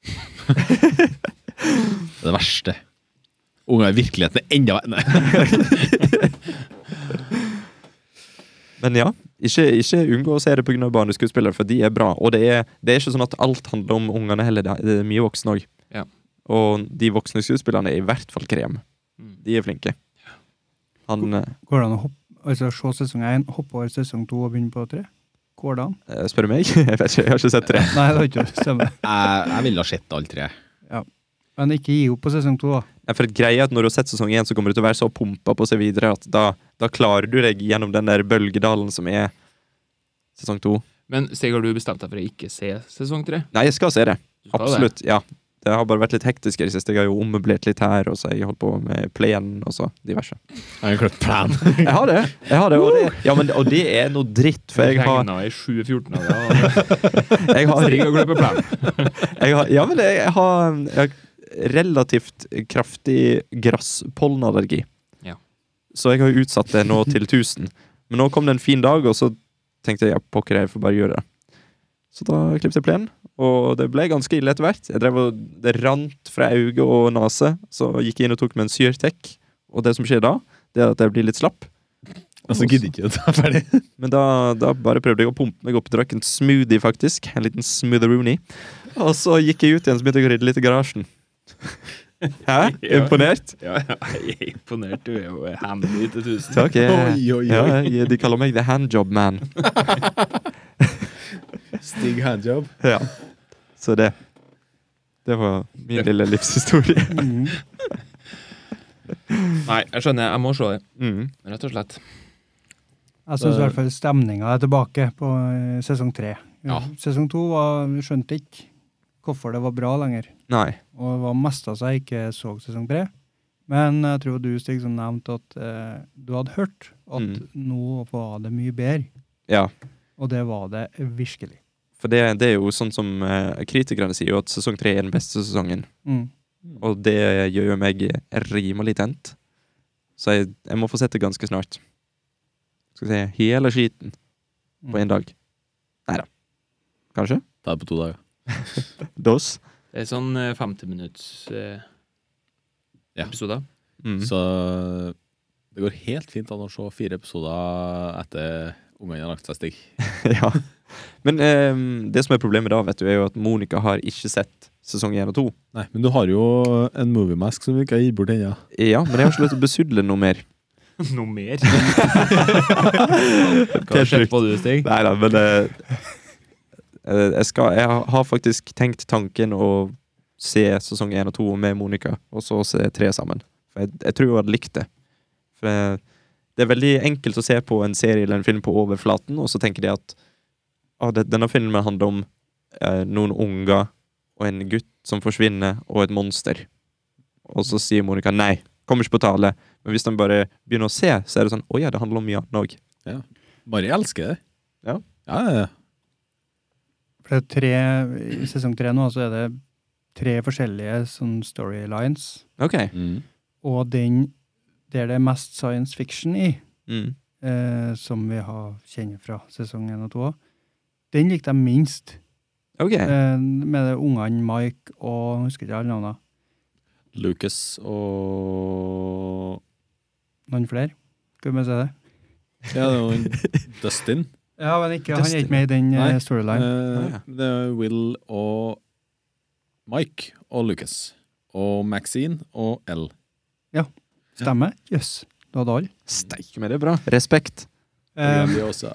det er det verste. Unger i virkeligheten er enda verre. Nei.
Men ja, ikke, ikke unngå å se det pga. barneskuespillere, for de er bra. Og det er, det er ikke sånn at alt handler om ungene heller. Det er- Det er mye voksne òg.
Ja.
Og de voksne skuespillerne er i hvert fall krem.
Mm.
De er flinke. Han eh,
Går det an å hoppe, altså, se sesong én, hoppe over sesong to og begynne på tre? Går det an?
Spør du meg? Jeg vet ikke, jeg har ikke sett tre.
Nei, det har ikke det stemmer.
Jeg, jeg ville ha sett alle tre.
Men ikke gi opp på sesong to, da.
Nei, for greia er at Når du har sett sesong én, så kommer du til å være så pumpa på seg videre at da, da klarer du deg gjennom den der bølgedalen som er sesong to.
Men Stig, har du bestemt deg for å ikke se sesong tre?
Nei, jeg skal se det.
Du skal det.
Absolutt. ja. Det har bare vært litt hektisk i det siste. Jeg har jo ommøblert litt her, og så har jeg holdt på med plenen og så diverse.
Jeg har en kløtt plan.
Jeg har det! jeg har det, og det, ja, men, og det er noe dritt, for jeg har,
Regnet i 7.14 av det. og-
jeg har,
Stig har glemt planen.
jeg har Ja, men jeg har, um, jeg har relativt kraftig gresspollenallergi.
Ja.
Så jeg har jo utsatt det nå til 1000. Men nå kom det en fin dag, og så tenkte jeg ja, pokker, jeg får bare gjøre det. Så da klippet jeg plenen, og det ble ganske ille etter hvert. Jeg drev og, Det rant fra øyne og nese, så gikk jeg inn og tok med en Syrtec. Og det som skjer da, det er at jeg blir litt slapp.
Og så Altså, gidder jeg ikke å ta ferdig.
Men da, da bare prøvde jeg å pumpe meg opp. Drakk en smoothie, faktisk. En liten smootheroony. Og så gikk jeg ut igjen, så begynte jeg å rydde litt i garasjen. Hæ?
Ja.
Imponert?
Ja, ja, jeg er imponert. Du er jo handy til 1000.
Takk. Jeg,
Oi, oi, oi.
ja, jeg, de kaller meg The Handjob Man.
Stig handjob.
Ja. Så det Det var min lille livshistorie.
Nei, jeg skjønner. Jeg må se det,
Mm.
rett og slett.
Jeg syns i hvert fall stemninga er tilbake på eh, sesong tre.
Ja.
Sesong to var, vi skjønte ikke hvorfor det var bra lenger.
Nei.
Og det var mest av seg jeg ikke så sesong tre. Men jeg tror du, Stig, som nevnte at eh, du hadde hørt at
Mm.
nå var det mye bedre.
Ja.
Og det var det virkelig.
For det, det er jo sånn som eh, kritikerne sier, jo at sesong tre er den beste sesongen.
Mm.
Og det gjør jo meg rimelig tent. Så jeg, jeg må få sett det ganske snart. Skal vi se Hele skiten
Mm.
på én dag. Nei da. Kanskje?
Ta det på to dager.
Dos.
Det er sånn eh, 50 minutts eh,
Ja.
episoder.
Mm.
Så det går helt fint an å se fire episoder etter ungene har lagt seg, Stig.
ja. Men ehm, det som er problemet da, vet du, er jo at Monica har ikke sett sesong én og to.
Nei, men du har jo en moviemask som du ikke har gitt bort ennå.
Ja, men jeg har ikke lyst til å besudle noe mer.
Noe mer?
Det
Hva
er
skjer på du, Stig?
Nei da, men eh, eh, jeg, skal, jeg har faktisk tenkt tanken å se sesong én og to med Monica, og så se tre sammen. For jeg, jeg tror hun hadde likt det. For eh, det er veldig enkelt å se på en serie eller en film på overflaten, og så tenker de at ah, det, denne filmen handler om eh, noen unger og en gutt som forsvinner, og et monster. Og så sier Monica nei, kommer ikke på tale. Men hvis de bare begynner å se, så er det sånn Å ja, det handler om mye annet òg.
Mari elsker det.
Ja.
Ja, ja, ja.
For det er tre, I sesong tre nå så er det tre forskjellige sånn storylines.
Ok.
Mm.
Og den der det er mest science fiction i,
Mm.
eh, som vi har kjenner fra sesong én og to, også, den likte jeg minst.
Ok.
Eh, med det ungene Mike og jeg husker ikke alle navnene.
Lucas og
Noen flere? Skal vi se det?
Ja, det var en Dustin.
Ja, men ikke, han er
Destiny.
ikke med i den eh,
Nei.
storyline.
Eh,
ja.
Det er Will og Mike og Lucas. Og Maxine og L.
Stemmer? Jøss. Yes. Du hadde alle.
Steike meg, det er bra. Respekt.
Eh,
vi også.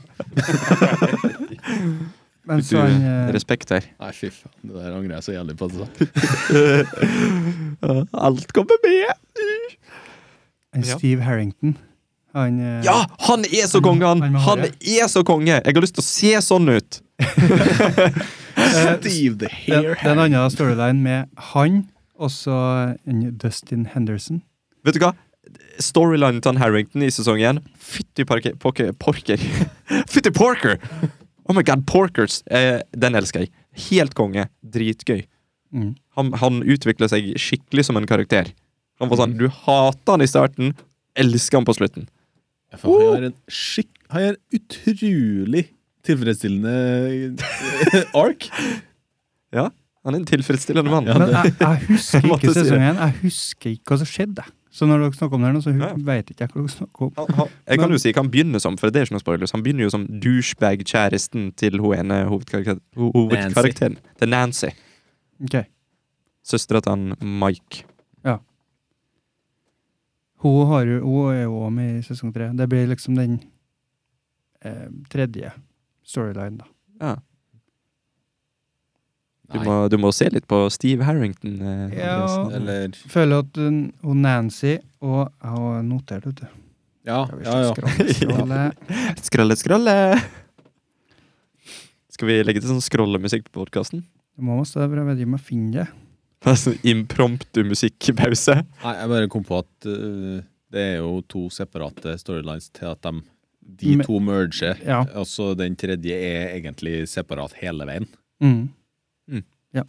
men så han eh,
Respekt her.
Nei, fy faen. Det der angrer jeg så jævlig på. Altså.
Alt kommer med! Eh.
han
Ja.
Steve Harrington han, eh,
Ja, han er så konge, han! Han er så konge! Jeg har lyst til å se sånn ut!
eh,
Steve the
Det, det er en annen storyline med han, og så en Dustin Henderson.
Vet du hva? Storylinen til han Harrington i sesong én Fytti parke- pokke- porker. Fytti porker! Oh my god, Porkers! Eh, den elsker jeg. Helt konge. Dritgøy.
Mm.
Han, han utvikler seg skikkelig som en karakter. Han var sånn, Du hater han i starten, elsker han på slutten.
Ja, for Han har en skikk... Han har en utrolig tilfredsstillende eh, ark.
Ja, Han er en tilfredsstillende mann.
Ja,
Men
det,
jeg, jeg husker
Jeg måtte
ikke
si det.
sesong én. Jeg husker ikke hva som skjedde. Så når dere snakker om det, her nå, så
Ja, ja.
hu- vet ikke jeg hva dere snakker om.
Han, han, jeg kan
Men-
jo si hva han begynner som, for det er ikke noe spoilers. Han begynner jo som douchebag-kjæresten til hun ene hovedkarakter, ho- hovedkarakteren. Til Nancy.
Ok.
Søstera til han Mike.
Hun, har, jo- hun er jo også med i sesong tre. Det blir liksom den eh, tredje storyline, da.
Ja. Du,
Nei.
må, du må se litt på Steve Harrington. eh,
Ja.
Andreas.
eller
Føler at hun hun Nancy og Jeg har notert, vet du.
Ah,
Ja,
Skal vi
ja, ja.
skrolle, skrolle.
Skralle, skralle! Skal vi legge til sånn scrollemusikk på podkasten?
Det må masse, for jeg vet ikke om jeg finner det.
Sånn impromptu musikkpause.
Nei, jeg bare kom på at øh, det er jo to separate storylines til at de, de
Men-
to merger.
Ja.
Og så den tredje er egentlig separat hele veien.
Mm.
Mm.
Ja.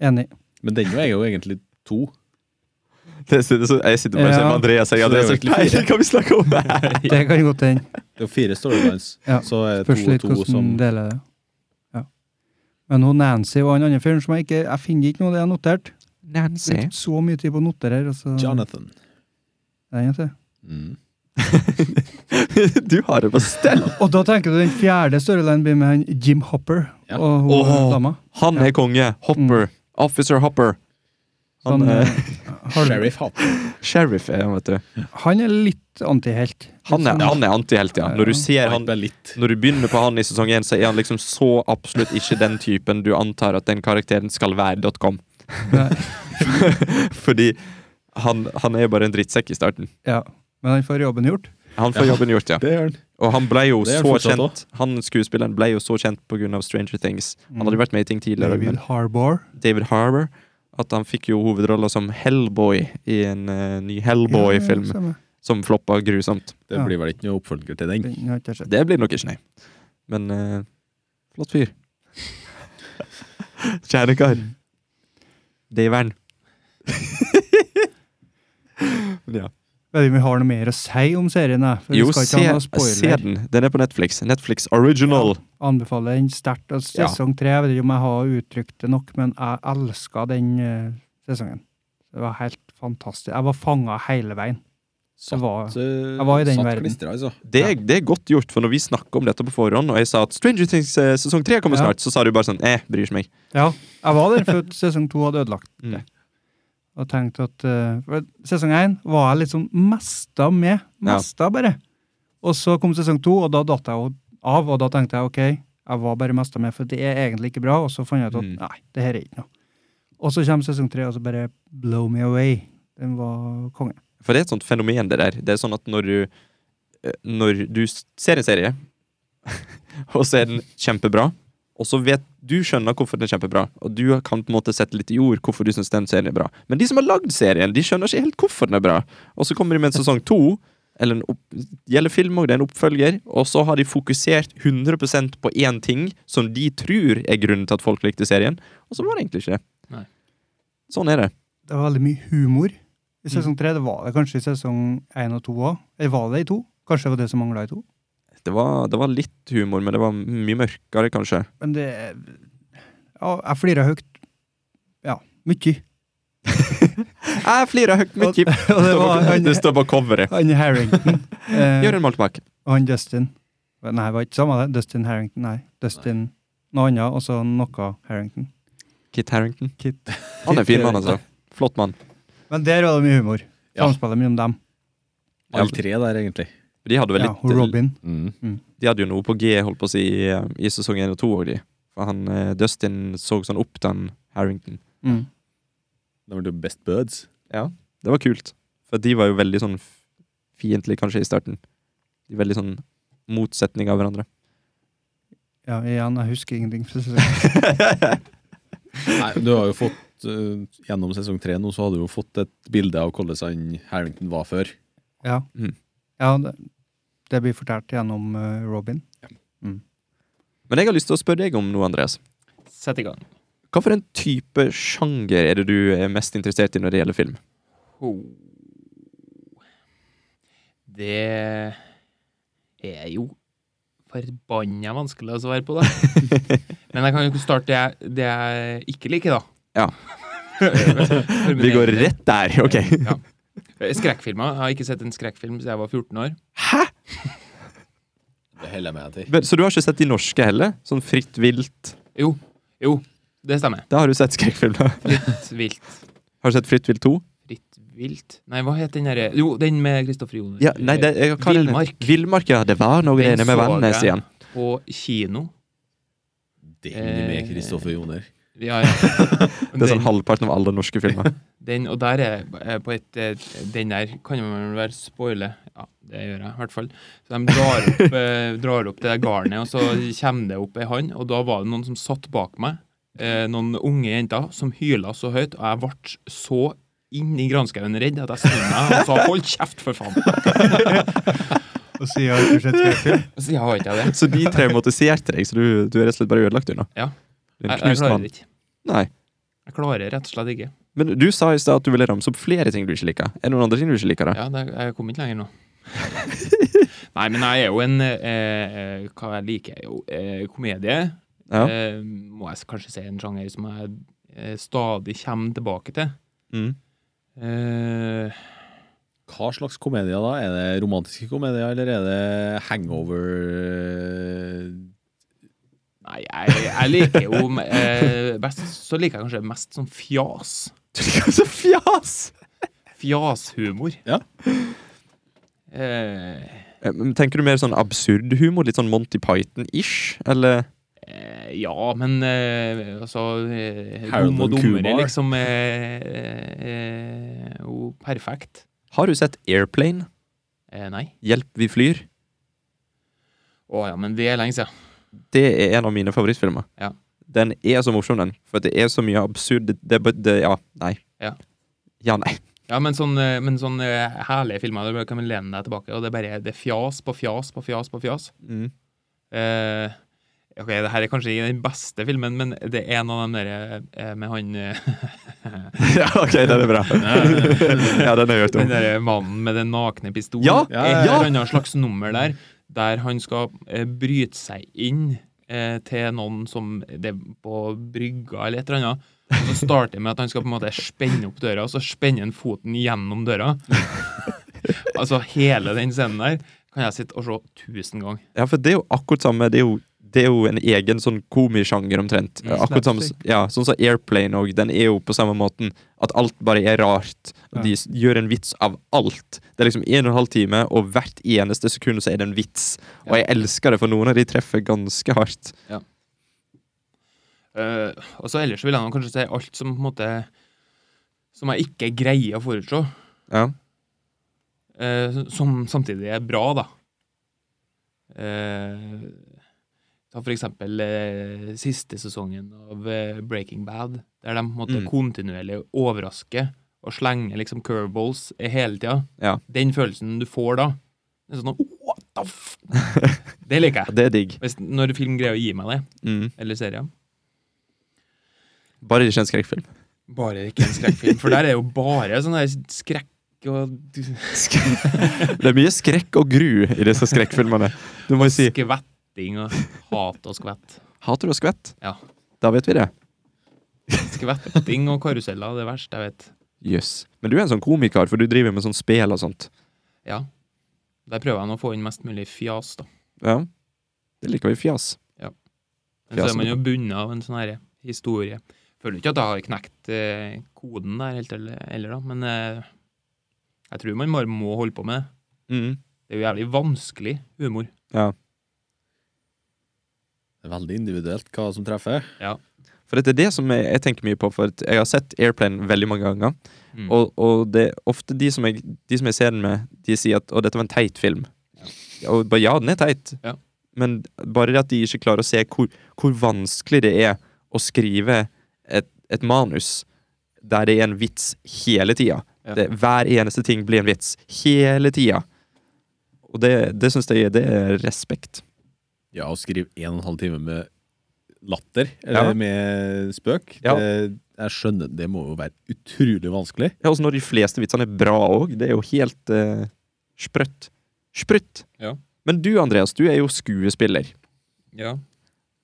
Enig.
Men den jo er jo egentlig to.
Det sitter så, jeg sitter bare og ser
Ja.
på Andreas. Jeg
Så det er
Andreas
jo
er
egentlig
peiling
fire.
hva vi snakker om her!
Det kan godt hende.
Det er jo fire storylines.
Ja,
Så er det
Spørs
to og
litt
to
hvordan
som
deler det. Ja. Men hun Nancy og han andre fyren som jeg ikke Jeg finner ikke noe av det jeg har notert.
Nancy.
Brukt så mye tid på å notere her. Altså,
Jonathan.
Nei, jeg vet det.
Mm.
Du har det på stell!
Og da tenker du den fjerde storylinen blir med han Jim Hopper
Ja.
og hun
Åh.
dama.
Han er konge. Hopper. Officer Hopper. Han,
Sånn,
er
eh, har-
Sheriff Hatt.
sheriff er han, vet du.
han er litt antihelt.
Han er, han er antihelt, ja. Når du ser han
Bare litt.
når du begynner på han i sesong 1, så er han liksom så absolutt ikke den typen du antar at den karakteren skal være dot .com.
Nei.
Fordi han, han er jo bare en drittsekk i starten.
Ja. Men han får jobben gjort.
Han får
Ja.
jobben gjort, ja.
Det gjør han.
Og han ble jo
Det er han
så
fortsatt
kjent Han skuespilleren ble jo så kjent pga. Stranger Things. Han hadde vært med i ting tidligere.
David
men
Harbour.
David Harbour. At han fikk jo hovedrolla som Hellboy i en eh, ny Hellboy-film,
Ja, stemmer.
som floppa grusomt.
Det
Ja.
blir vel ikke noe oppfølger til den.
Den har ikke jeg sett.
Det blir nok ikke, nei. Men eh, flott fyr. Kjære kar. Davern. Men ja.
Vet ikke om vi har noe mer å si om serien. jeg, For
Jo,
vi skal
se,
ikke ha noe
se
spoiler.
den. Den er på Netflix. Netflix Original.
Anbefaler den sterkt. Og
Ja.
Sesong tre, jeg vet ikke om jeg har uttrykt det nok, men jeg elska den eh, sesongen. Det var helt fantastisk. Jeg var fanga hele veien.
Satt,
var-
eh,
jeg var i den
satt
verden.
klistra, altså.
Det, er, det er godt gjort, for når vi snakker om dette på forhånd, og jeg sa at Stranger Things eh, sesong tre kommer
Ja.
snart, så sa du bare sånn eh, bryr ikke meg.
Ja, jeg var der før sesong to hadde ødelagt
Mm.
det. Og tenkte at eh, for Sesong én var jeg liksom mesta med.
Ja.
Mesta, bare. Og så kom sesong to, og da datt jeg jo av. Og da tenkte jeg OK, jeg var bare mesta med, for det er egentlig ikke bra. Og så fant jeg ut at
Mm.
nei, det her er ikke noe. Og så kommer sesong tre, og så bare blow me away. Den var konge.
For det er et sånt fenomen, det der. Det er sånn at når du eh, Når du s- ser en serie, og så er den kjempebra, og så vet du skjønner hvorfor den er kjempebra, og du kan på en måte sette litt i ord hvorfor du syns den serien er bra. Men de som har lagd serien, de skjønner ikke helt hvorfor den er bra. Og så kommer de med en sesong to, eller en opp, gjelder film og det er en oppfølger, og så har de fokusert 100 på én ting som de tror er grunnen til at folk likte serien, og så var det egentlig ikke det.
Nei.
Sånn er det.
Det var veldig mye humor i sesong
Mm.
tre. Det var det kanskje i sesong én og to òg. Eller var det i to? Kanskje det var det som mangla i to?
Det var, det var litt humor, men det var mye mørkere, kanskje.
Men det Ja, jeg flirer høyt. Ja, mye.
Jeg flirer høyt
mye.
mye. Det,
Og det var
står på-
han,
det står på coveret.
han Harrington eh,
Gjør en maltbakk.
og han Dustin. Nei, det var ikke samme det. Dustin Harrington, nei. Dustin noe annet, og så noe Harrington.
Kit Harrington.
Kit. eh,
Han er fin mann, altså. Flott mann.
Men der var det mye humor.
Ja.
Samspillet mellom dem.
Alle tre der, egentlig. Mm.
De hadde vel
Ja,
litt eh,
og Robin.
De hadde jo noe på G, holdt på å si, i, i sesong 1 og 2 òg, de. For han eh, Dustin så sånn opp til han Harrington.
Mm.
De var jo best buds.
Det var kult. For de var jo veldig sånn f- fiendtlige, kanskje, i starten. De Veldig sånn motsetning av hverandre.
Ja, igjen, jeg husker ingenting. fra sesongen.
Nei, du har jo fått eh, Gjennom sesong tre nå så har du jo fått et bilde av hvordan han Harrington var før.
Ja,
Mm.
ja det, det blir fortalt gjennom eh, Robin. Mm.
Men jeg har lyst til å spørre deg om noe, Andreas.
Sett i gang.
Hva for en type sjanger er det du er mest interessert i når det gjelder film?
Ho. Det er jo forbanna vanskelig å svare på, da. Men jeg kan jo starte det jeg, det jeg ikke liker, da.
Ja. Vi går rett der, OK?
Ja. Skrekkfilmer. Jeg har ikke sett en skrekkfilm siden jeg var 14 år.
Det holder jeg meg til.
Men, så du har ikke sett de norske heller? Sånn Fritt vilt?
Jo, jo, det stemmer.
Da har du sett skrekkfilmer.
Fritt vilt.
Har du sett Fritt vilt 2?
Fritt vilt Nei, hva het den derre Jo, den med Kristoffer Joner.
Ja, nei, det, jeg, hva er den?
Villmark.
Villmark, ja. Det var noe
Den
inne med
så
Vannes
jeg.
igjen.
På kino.
Den med Kristoffer Joner.
Ja, ja.
Det er sånn halvparten av alle norske filmer.
Den, og der er eh, på et eh, Den der kan man vel være spoile. Ja, det gjør jeg i hvert fall. Så de drar opp, eh, drar opp det der garnet, og så kommer det opp ei hand, og da var det noen som satt bak meg. Eh, noen unge jenter som hyla så høyt, og jeg ble så inn i granskauen redd at jeg snudde meg og sa 'hold kjeft, for faen'.
Og sier jeg har ikke sett skrekkfilm.
Og så har ikke jeg det.
Så de traumatiserte deg, så du, du er rett og slett bare ødelagt unna.
Ja.
Du er en
Jeg, jeg
knust
klarer
mann.
det ikke.
Nei.
Jeg klarer rett og slett ikke.
Men du sa i stad at du ville ramse opp flere ting du ikke liker. Er det noen andre ting du ikke liker, da?
Ja, det, jeg kom ikke lenger nå. Nei, men jeg er jo en eh, eh, Hva jeg liker jeg jo? Eh, komedie.
Ja.
eh, må jeg s- kanskje si en sjanger som jeg eh, stadig kommer tilbake til.
Mm.
Eh,
Hva slags komedier da? Er det romantiske komedier, eller er det hangover
eh,
nei, jeg, jeg liker jo eh, best, Så liker jeg kanskje mest sånn fjas.
Du liker så fjas!
Fjashumor.
Ja.
Eh,
Eh, men Tenker du mer sånn absurd humor? Litt sånn Monty Python-ish? Eller
eh, ja, men eh, altså eh,
Harold
Dum og
and
dummere,
Kumar.
liksom. Eh, eh, eh, jo, perfekt.
har du sett Airplane?
Eh, nei.
Hjelp, vi flyr?
Å ja, men det er lenge siden.
Det er en av mine favorittfilmer.
Ja.
Den er så morsom, den. For det er så mye absurd Det, det, det Ja, nei.
Ja.
ja, nei.
Ja, men sånn, eh, men sånn eh, herlige filmer, da kan man lene deg tilbake, og det er bare det er fjas på fjas på fjas på fjas.
Mm.
Eh, ok, det her er kanskje ikke den beste filmen, men det er en av dem der eh, med han eh,
ja, ok, den er bra. ja, den har jeg hørt
Den
om.
derre mannen med den nakne pistolen.
Ja,
ja,
Et
ja.
eller annet slags nummer der, der han skal eh, bryte seg inn eh, til noen som det er på brygga eller et eller annet. Og så starter det med at han skal på en måte spenne opp døra, og så spenner han foten gjennom døra. altså hele den scenen der kan jeg sitte og se tusen ganger.
Ja, for det er jo akkurat samme Det er jo, det er jo en egen sånn komisjanger omtrent.
Mm,
akkurat samme,
slapstick.
ja, Sånn som Airplane òg. Den er jo på samme måten at alt bare er rart.
Ja.
De s- gjør en vits av alt. Det er liksom en og en halv time, og hvert eneste sekund så er det en vits. Og jeg elsker det, for noen av de treffer ganske hardt.
Eh, og så ellers vil jeg nok kanskje si alt som på en måte Som jeg ikke greier å forutse,
Ja.
eh, som samtidig er bra, da. Eh, ta for eksempel eh, siste sesongen av eh, Breaking Bad, der de på en måte
Mm.
kontinuerlig overrasker og slenger liksom curveballs i hele tida.
Ja.
Den følelsen du får da, det er sånn What the f... Det liker jeg.
Det er digg.
Hvis, når film greier å gi meg det,
Mm.
eller serier.
Bare det ikke er en skrekkfilm.
Bare ikke en skrekkfilm, for der er jo bare sånn der skrekk og
Det er mye skrekk og gru i disse skrekkfilmene. Du må jo si
skvetting og hat og skvett.
Hater du å skvette?
Ja.
Da vet vi det.
Skvetting og karuseller, det er verst, jeg vet.
Jøss. Men du er en sånn komiker, for du driver med sånn spel og sånt.
Ja. Der prøver jeg nå å få inn mest mulig fjas, da.
Ja. Det liker vi fjas.
Men så
Fjas,
er man jo bundet av en sånn her historie. Føler ikke at jeg har knekt eh, koden der helt eller, eller da, men eh, jeg tror man bare må holde på med det.
Mm.
Det er jo jævlig vanskelig humor.
Det er veldig individuelt hva som treffer.
For dette er det som jeg, jeg tenker mye på, for at jeg har sett Airplane veldig mange ganger.
Mm.
Og, og det er ofte de som, jeg, de som jeg ser den med, de sier at 'Å, dette var en teit film'. Ja. Og bare, ja, den er teit,
Ja.
men bare det at de ikke klarer å se hvor, hvor vanskelig det er å skrive et, et manus der det er en vits hele tida.
Ja.
Det- Hver eneste ting blir en vits hele tida. Og det, det syns jeg det er respekt.
Ja, å skrive en og en halv time med latter, eller
Ja.
med spøk
Ja.
det, Jeg skjønner, det må jo være utrolig vanskelig.
Ja, også når de fleste vitsene er bra òg. Det er jo helt eh, sprøtt. Sprutt!
Ja.
Men du, Andreas, du er jo skuespiller.
Ja.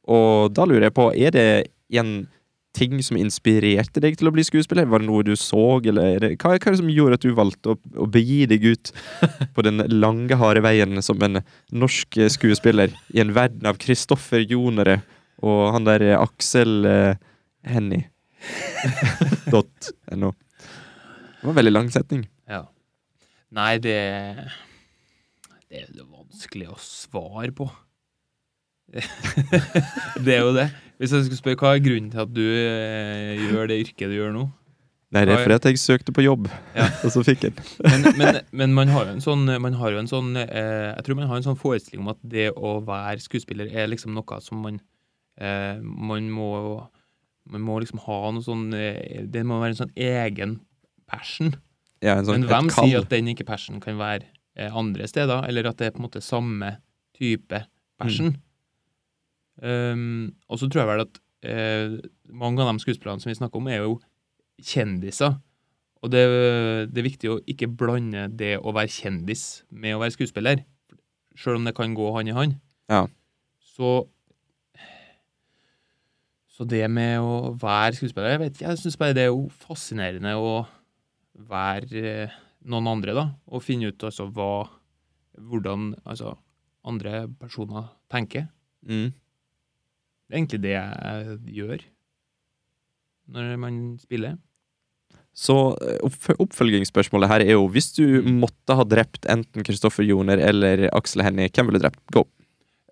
Og da lurer jeg på, er det en ting som inspirerte deg til å bli skuespiller? Var det noe du så, eller er det, hva, hva er det som gjorde at du valgte å, å begi deg ut på den lange, harde veien som en norsk eh, skuespiller i en verden av Kristoffer Jonere og han der eh, Aksel eh, Hennie? Dot no. Det var en veldig lang setning.
ja. Nei, det Det er det vanskelig å svare på. det er jo det. Hvis jeg skulle spørre, hva er grunnen til at du eh, gjør det yrket du gjør nå?
Nei, det er fordi at jeg søkte på jobb,
Ja.
og så fikk jeg den.
Men, men, men man har jo en sånn, man har jo en sånn eh, Jeg tror man har en sånn forestilling om at det å være skuespiller er liksom noe som man eh, Man må Man må liksom ha noe sånn eh, Det må være en sånn egen passion.
Ja, en sånn,
men hvem
et kall.
sier at den ikke passion kan være eh, andre steder, eller at det er på en måte samme type passion?
Mm.
Um, og så tror jeg vel at eh, mange av de skuespillerne som vi snakker om, er jo kjendiser. Og det, det er viktig å ikke blande det å være kjendis med å være skuespiller, sjøl om det kan gå hånd i hånd.
Ja.
Så så det med å være skuespiller Jeg vet ikke, jeg syns bare det er jo fascinerende å være eh, noen andre, da, og finne ut altså hva Hvordan altså andre personer tenker.
Mm.
Det er egentlig det jeg gjør når man spiller.
Så eh, oppf- oppfølgingsspørsmålet her er jo Hvis du
Mm.
måtte ha drept enten Kristoffer Joner eller Aksel Hennie, hvem ville du drept? Go!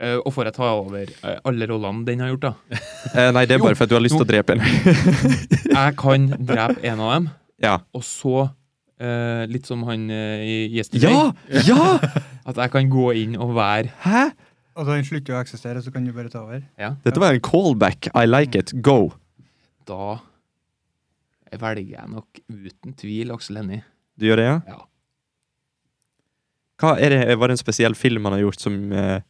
Eh, og får jeg ta over eh, alle rollene den har gjort, da?
Eh, nei, det er
Jo,
bare for at du har lyst til å drepe en.
Jeg kan drepe en av dem,
Ja!
og så eh, litt som han eh, i Yesterday.
Ja! ja!
At jeg kan gå inn og være
Hæ?
Og da den slutter å eksistere, så kan du bare ta over.
Dette var en callback. I like it. Go!
Da velger jeg nok uten tvil Aksel Hennie.
Du gjør det, ja?
Ja.
Hva er det, var det en spesiell film han har gjort som eh,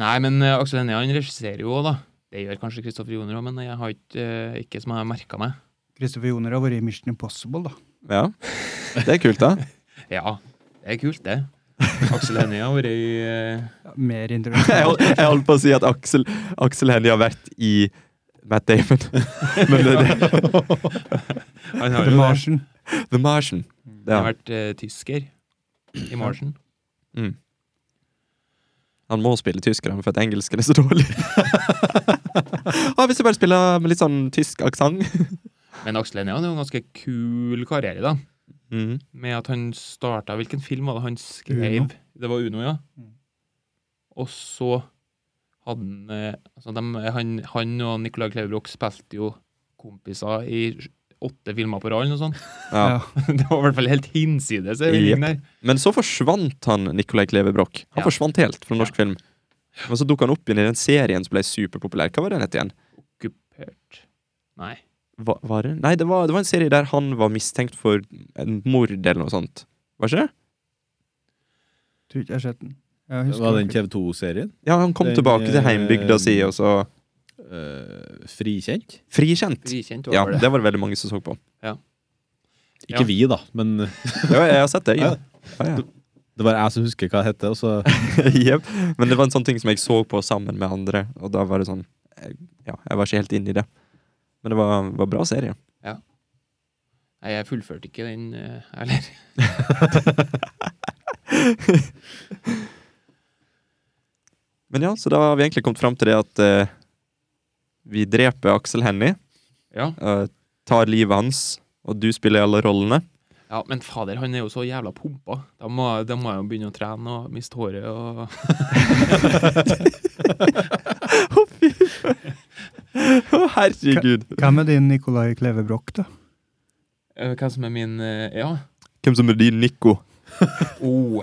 Nei, men eh, Aksel Hennie han regisserer jo òg, da. Det gjør kanskje Kristoffer Joner òg, men jeg har ikke, eh, ikke som jeg har merka meg.
Christopher Joner har vært i Mission Impossible, da.
Ja. Det er kult, da.
Ja, det er kult, det. Aksel Hennie har vært i eh,
Ja, mer
Jeg
interessant.
holdt, jeg holdt på å si at Aksel, Aksel Hennie har vært i Matt Damon. Men det, det,
Han har
The
jo det.
Martian.
The Martian.
Han har
Ja.
vært eh, tysker i Marsen.
Mm. Han må spille tysker, han, for at engelsken er så dårlig. ah, hvis jeg bare spiller med litt sånn tysk aksent
Men Aksel Hennie hadde jo en ganske kul karriere, da.
Mhm.
Med at han starta Hvilken film var det han skrev?
Uno.
Det var Uno, ja.
Mm.
Og så hadde han eh, altså dem- han, han og Nicolai Kleverbrok spilte jo kompiser i sj- åtte filmer på rad, eller noe sånt.
Ja.
Ja.
Det var i hvert fall helt hinsides. er det
Jepp.
der.
Men så forsvant han Nicolai Klevebrok. Han
Ja.
forsvant helt fra norsk film. Men så dukka han opp igjen i den serien som ble superpopulær. Hva var den het igjen?
Okkupert Nei.
Hva, var det? Nei, det var, det var en serie der han var mistenkt for en mord eller noe sånt. Var ikke det?
Tror ikke jeg har sett den. Jeg
Det
husker
var den
ikke.
TV2-serien.
Ja, han kom
Den,
tilbake til
eh,
heimbygda si, og så
eh, frikjent.
Frikjent!
Frikjent
Ja,
var det.
det var det veldig mange som så på.
Ikke
Ja.
vi, da, men det
Ja, jeg har sett det. Ja. Ja, ja.
var jeg som husker hva det het. Og så
Jep. Men det var en sånn ting som jeg så på sammen med andre, og da var det sånn jeg- Ja, jeg var ikke helt inne i det. Men det var, var bra serie.
Nei, jeg fullførte ikke den, eh, eller?
Men ja, så da har vi egentlig kommet fram til det at eh, vi dreper Aksel Hennie,
Ja.
eh, tar livet hans, og du spiller alle rollene.
ja, men fader, han er jo så jævla pumpa. Da må, da må jeg jo begynne å trene og miste håret og
Å, herregud!
Hvem er din Nicolai Klevebrok, da?
Eh, Hva som er min eh, Ja.
Hvem som er din Nico?
Oh.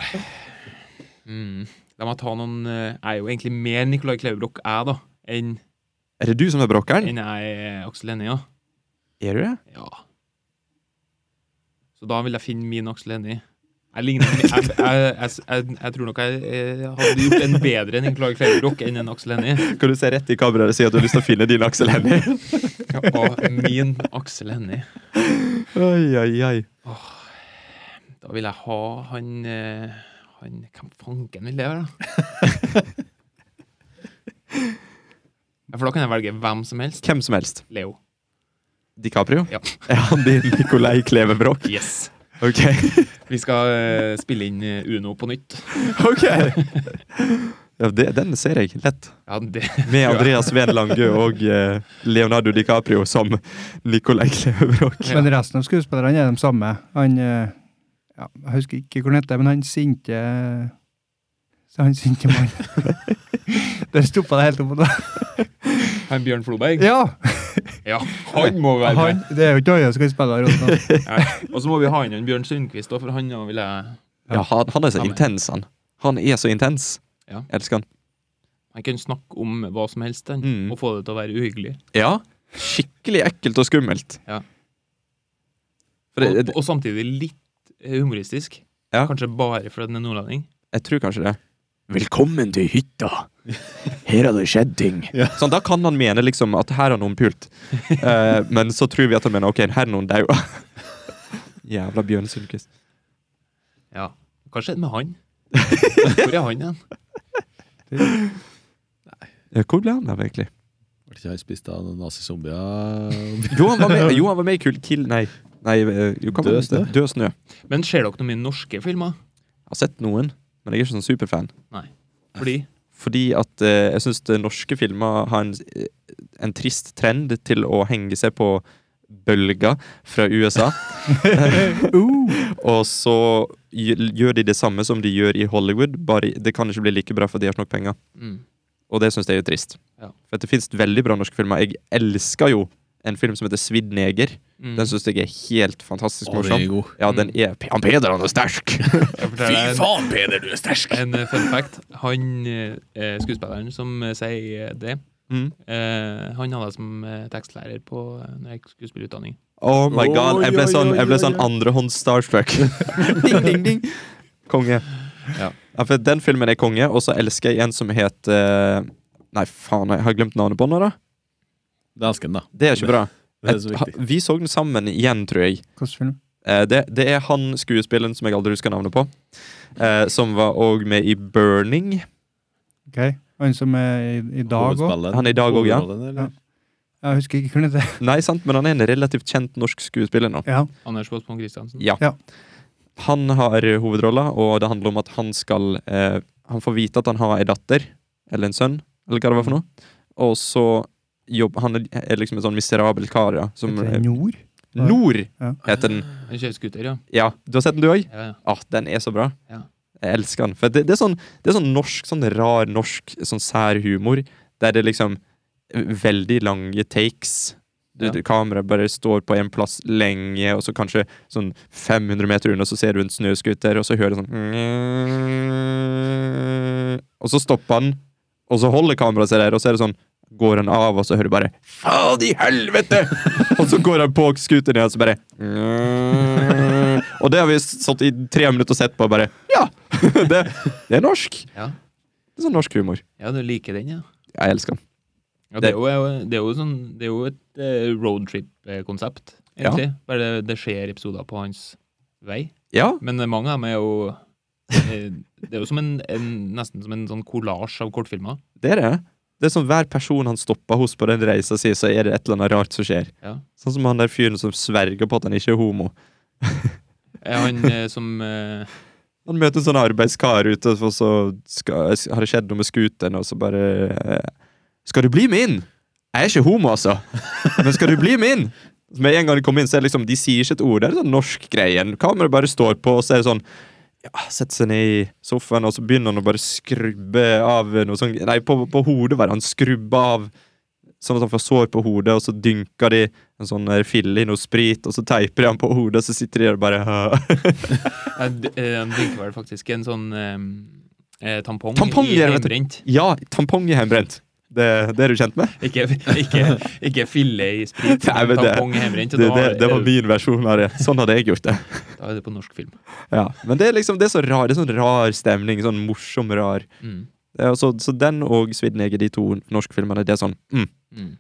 Mm. La meg ta noen eh, Jeg er jo egentlig mer Nicolai Klevebrok, jeg, da, enn
Er det du som er brokkeren?
enn jeg er Aksel Hennie, ja.
Er du det?
ja. Så da vil jeg finne min Aksel Hennie. Jeg, ligner, jeg, jeg, jeg, jeg, jeg tror nok jeg, eh, hadde gjort en bedre enn en Clark Kleverrock enn en Aksel Hennie.
Kan du se rett i kameraet og si at du har lyst til å finne din Aksel Hennie?
Og min Aksel Hennie.
Oi, oi, oi.
Da vil jeg ha han, eh, han Hvem fanken vil det være, da? Ja, For da kan jeg velge hvem som helst.
Hvem som helst.
Leo.
DiCaprio?
Ja.
Er han din Nikolai Klevebrok?
Yes.
Ok.
Vi skal eh, spille inn eh, Uno på nytt.
ok. Ja, det, den ser jeg lett.
Ja, det
Med Andreas Ven Lange og eh, Leonardo DiCaprio som Nikolai Klevebrok.
Men resten av skuespillerne er de samme. Han eh, ja, Jeg husker ikke hvor han heter, men han sinte så Han sinte mannen. Der stoppa det helt opp. og da-
Han Bjørn Floberg?
Ja!
Ja, han må være med.
Han, det er jo ikke alle som kan spille her. også.
Og så må vi ha inn en Bjørn Sundquist, da, for han eh, også vil jeg
Ja, han, han er så
Ja, men-
intens, han. Han er så intens.
Ja.
Elsker han.
Han kan snakke om hva som helst, han,
Mm.
og få det til å være uhyggelig.
Ja. Skikkelig ekkelt og skummelt.
Ja.
For det,
Og,
det,
og samtidig litt eh, humoristisk.
Ja.
Kanskje bare fordi han er nordlending.
jeg tror kanskje det. Velkommen til hytta! Her har det skjedd ting.
Ja.
Sånn, da kan han mene liksom at her har noen pult, Eh, men så tror vi at han mener ok, her er noen daua. Jævla Bjørn Sundquist.
Ja. Hva skjedde med han? Hvor er han hen?
Ja, Eh, hvor ble han av, egentlig?
Ble ikke han spist av noen nazizombier?
Jo, han var med, jo, han var med i Kull Kill Nei. Nei eh, jo, hva var
Død
det?
snø?
Død snø. Jeg
Men ser dere noen mye norske filmer?
har sett noen, men jeg er ikke sånn superfan.
Fordi
Fordi at eh, jeg syns norske filmer har en, eh, en trist trend til å henge seg på bølger fra USA. Og så gj- gjør de det samme som de gjør i Hollywood, bare det kan ikke bli like bra for de har ikke nok penger.
mm.
Og det syns jeg er trist.
Ja.
For at det fins veldig bra norske filmer. Jeg elsker jo en film som heter 'Svidd neger'.
Mm.
Den syns jeg er helt fantastisk
Å, den er
morsom.
god.
Ja, den er Han Peder, han er sterk!
Jeg forteller en,
faen, Peder, du er sterk!
en eh, fun fact. Han eh, eh, skuespilleren som eh, sier eh, det,
Mm.
eh, han hadde jeg som eh, tekstlærer på eh, når jeg gikk skuespillerutdanning.
Oh my god, jeg ble
Oi, oi,
sånn, jeg ble
oi, oi.
sånn andrehånds starstruck. ding, ding, ding. Konge.
Ja.
Ja, for den filmen er konge, og så elsker jeg en som heter eh, Nei, faen, jeg har glemt navnet på den. da
Det er asken, da.
Det er ikke bra.
Det er så
Et-
viktig.
ha- vi så den sammen igjen, tror jeg.
Hvilken film?
Eh, det, det er han skuespilleren som jeg aldri husker navnet på, eh, som var òg med i Burning.
Ok. Han som er i, i dag òg?
Hovedspilleren.
Han er i dag også, ja.
Hovedrollen, eller?
Ja. Jeg husker ikke hva han heter.
Nei, sant, men han er en relativt kjent norsk skuespiller nå.
Ja.
Anders Båtsmo Christiansen.
Ja.
Ja.
Han har hovedrolla, og det handler om at han skal eh, Han får vite at han har ei datter, eller en sønn, eller hva det var for noe. Og så jobb, Han er- er liksom en sånn miserabel kar, ja. Som,
Heter det Nord?
Nord
Ja.
heter den.
Han kjører scooter, ja.
Ja, du har sett den du òg?
ja, ja.
Ah, den er så bra.
Ja.
Jeg elsker den. For det, det, er sånn, det er sånn norsk, sånn rar norsk, sånn sær humor, der det liksom Veldig lange takes. Du,
Ja.
du, kameraet bare står på en plass lenge, og så kanskje sånn 500 meter unna, så ser du en snøscooter, og så hører du sånn Og så stopper han, og så holder kameraet seg der, og så er det sånn Går han av, og så hører du bare 'Faen i helvete!' og så går han på scooteren igjen, og så bare Og det har vi stått i tre minutter og sett på, og bare Ja! det, det er norsk.
Ja.
Det er sånn norsk humor.
Ja, du liker den, ja.
Jeg elsker den.
ja det, er jo, det, er jo sånn, det er jo et eh, roadtrip-konsept, egentlig. Bare det, det skjer episoder på hans vei.
Ja,
Men eh, mange av dem er jo eh, Det er jo som en, en, nesten som en sånn kollasj av kortfilmer.
det er det. Det er sånn Hver person han stopper hos på den reisa si, så er det et eller annet rart som skjer.
Ja.
Sånn som han der fyren som sverger på at han ikke er homo.
Eh, Han eh, som eh,
Han møter en sånn arbeidskar ute, og så skal, har det skjedd noe med scooteren, og så bare eh, Skal du bli med inn? Jeg er ikke homo, altså, men skal du bli med inn? Så Med en gang de kommer inn, så er det liksom, de sier ikke et ord. Det er sånn norsk greie. Kameraet bare står på, og så er det sånn ja, Setter seg ned i sofaen, og så begynner han å bare skrubbe av noe sånn Nei, på, på hodet bare. Han skrubber av sånn at han får sår på hodet, og så dynker de en sånn der fille i noe sprit, og så teiper de han på hodet, og så sitter de der og bare
eh, d- eh, Han drikker vel faktisk en sånn eh, eh, tampong,
Tampong,
i
ja, vet du.
hjemmebrent.
Ja, tampong i hjemmebrent. Det, det er du kjent med?
Ikke, ikke, ikke filet i sprit.
Nei, men det-
tampong hjemmebrent.
Det,
og da
det,
er-
det var min versjon av det. Sånn hadde jeg gjort det.
Da er det på norsk film.
Ja. Men det er liksom, det er så rar, det er sånn rar stemning. Sånn morsom, rar.
Mm.
Det er, så, så den og 'Svidd neger', de to norskfilmene, det er sånn mm,
Mm.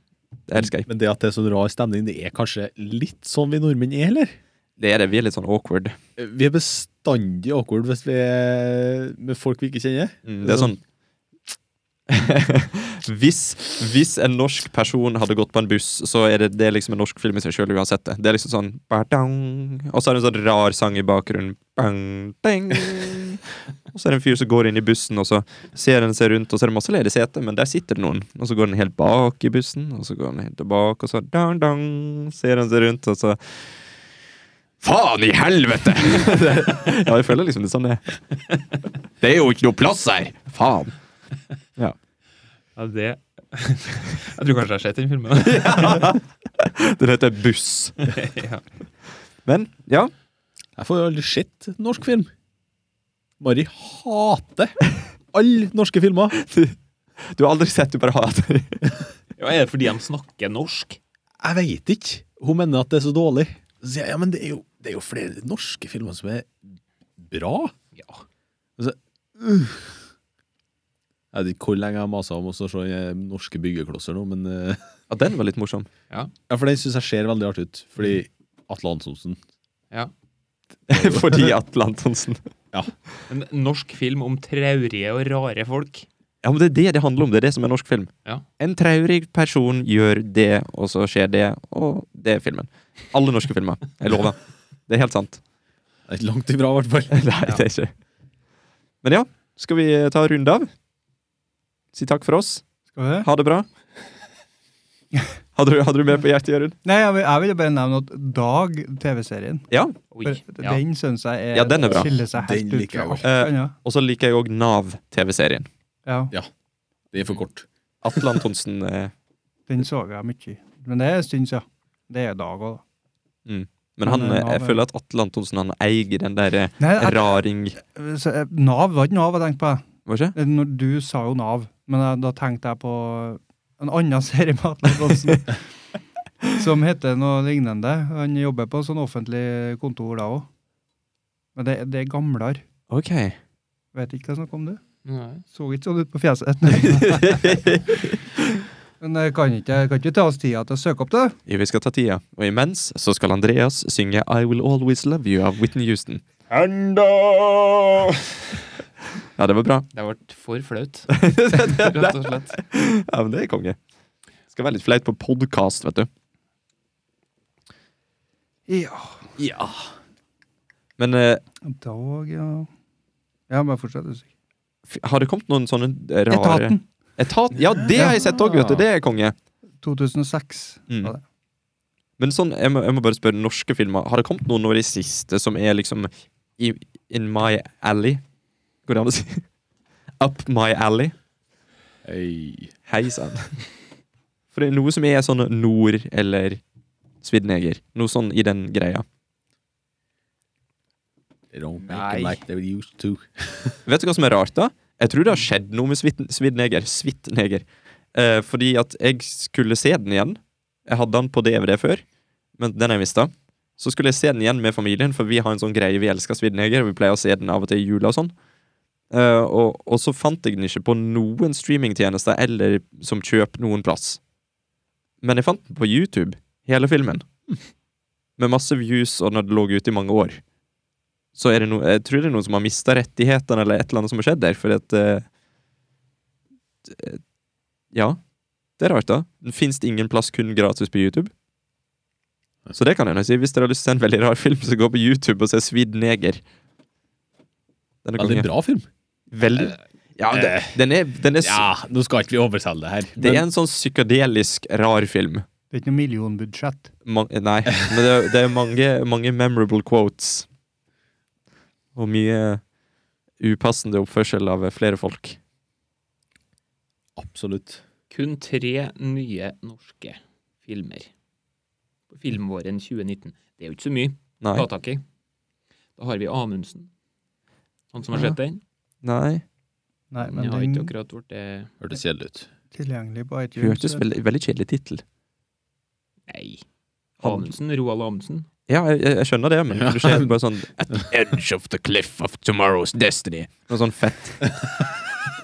Det elsker jeg.
Men det at det er sånn rar stemning, det er kanskje litt sånn vi nordmenn er, eller?
Det er det. Vi er litt sånn awkward.
Vi er bestandig awkward hvis vi er med folk vi ikke kjenner.
Mm, det er sånn hvis, hvis en norsk person hadde gått på en buss, så er det, det er liksom en norsk film i seg sjøl uansett. det. Det er liksom sånn badang, Og så er det en sånn rar sang i bakgrunnen. Bang, bang. Og så er det en fyr som går inn i bussen, og så ser han seg rundt, og så er det masse ledige seter, men der sitter det noen. Og så går han helt bak i bussen, og så går han helt tilbake, og så dang, dang, ser han seg rundt, og så Faen i helvete! ja, jeg føler liksom det er sånn det er. Det er jo ikke noe plass her! Faen.
Ja, det Jeg tror kanskje jeg har sett den filmen.
Den heter Buss.
ja.
Men ja,
Jeg får jo aldri sett norsk film. Mari hater alle norske filmer.
du har aldri sett du bare hater
ja, Er det fordi de snakker norsk?
Jeg veit ikke. Hun mener at det er så dårlig. Så sier jeg, ja, men det er, jo, det er jo flere norske filmer som er bra.
Ja.
Altså, uh. Jeg vet ikke hvor lenge jeg har masa om å se eh, norske byggeklosser nå, men eh,
Ja, den var litt morsom.
Ja, for den syns jeg ser veldig artig ut. Fordi Atle Antonsen
Fordi Atle Antonsen.
En norsk film om traurige og rare folk.
Ja, men det er det det handler om. Det er det som er norsk film.
Ja.
En traurig person gjør det, og så skjer det, og det er filmen. Alle norske filmer. Jeg lover. Det er helt sant.
er ikke langt ifra, i hvert fall.
Nei, det er ikke Men ja, skal vi eh, ta en runde av? Si takk for oss.
Skal vi det?
Ha det bra. Hadde du, hadde du mer på hjertet, Jørund?
Nei, jeg vil, jeg ville bare nevne at Dag, TV-serien,
Ja.
Oi.
for
Ja.
den syns jeg er,
Ja, den er bra.
skiller seg
Den
helt ut
liker jeg
fra alt
også.
Eh,
annet.
Og så liker jeg òg Nav-TV-serien.
Ja,
Det er for kort.
Atle Antonsen. Eh,
den så jeg mye. Men det er en stund siden. Det er Dag òg, da.
Men han,
Men, eh,
jeg
Nav er-
føler at Atle Antonsen han eier den der eh,
Nei, jeg,
raring
så, eh, Nav var ikke Nav jeg tenkte på. jeg.
Hva skjer?
Eh, Når du sa jo Nav, men jeg, da tenkte jeg på en annen serie med Atle Antonsen. som heter noe lignende. Han jobber på sånn offentlig kontor da òg. Men det, det er gamlere.
Ok.
Vet ikke hva jeg snakker om, du.
Nei.
Så ikke sånn ut på fjeset. Men jeg kan ikke, jeg kan ikke ta oss tida til å søke opp det.
Vi skal ta tida. Og imens så skal Andreas synge I Will Always Love You av Whitney Houston. Ja, det var bra.
Det ble for flaut, rett og slett.
Ja, men det er konge. Skal være litt flaut på podkast, vet du.
Ja.
Ja. Men eh,
Dag, ja. Ja, bare fortsett. du, sikkert.
f- har det kommet noen sånne eh, rare
Etaten.
Etat? Ja, det har jeg sett òg, vet du. Det er konge.
2006.
Mm.
var det.
Men sånn, jeg må, jeg må bare spørre norske filmer. Har det kommet noen av de siste som er liksom i, in my alley? Går det an å si? Up my alley?
Hei.
Hei sann. For det er noe som er sånn nord- eller svidneger. Noe sånn i den greia.
They don't make
Nei.
them like they used to.
Vet du hva som er rart, da? Jeg tror det har skjedd noe med Svit- svidneger. Svidneger. Eh, fordi at jeg skulle se den igjen. Jeg hadde den på DVD før, men den har jeg mista. Så skulle jeg se den igjen med familien, for vi har en sånn greie vi elsker Svidneger. Vi pleier å se den av og til i jula og sånn. Eh, og, og så fant jeg den ikke på noen streamingtjenester eller som kjøp noen plass. Men jeg fant den på YouTube, hele filmen. Med masse views, og når det lå ute i mange år. Så er det noe, jeg tror det er noen som har mista rettighetene, eller et eller annet som har skjedd der, fordi at eh, eh, Ja. Det er rart, da. Fins det ingen plass kun gratis på YouTube? Så det kan jeg nå si. Hvis dere har lyst til å se en veldig rar film, så gå på YouTube og se Svidd neger. Den er
Veldig
konge.
bra film.
Veldig Eh, Ja, det, den er, den er s-
nå skal ikke vi overselge det her.
Det er en sånn psykadelisk rar film.
Det er ikke noe millionbudsjett.
Man, nei, men det, er- det er mange, mange memorable quotes. Og mye upassende oppførsel av flere folk.
Absolutt.
Kun tre nye norske filmer på filmvåren 2019. Det er jo ikke så mye å
Nei.
ta tak i. Da har vi Amundsen. Han som har sett den.
nei.
Nei,
Den
men
har ikke
den,
akkurat vært det
Hørtes kjedelig ut.
tilgjengelig på iTunes.
Hørtes veldig, veldig kjedelig tittel.
Nei.
Han-
Amundsen, Roald Amundsen.
Ja, jeg, jeg jeg skjønner det, men du ser bare sånn At the edge of the cliff of tomorrow's destiny. Noe sånn fett.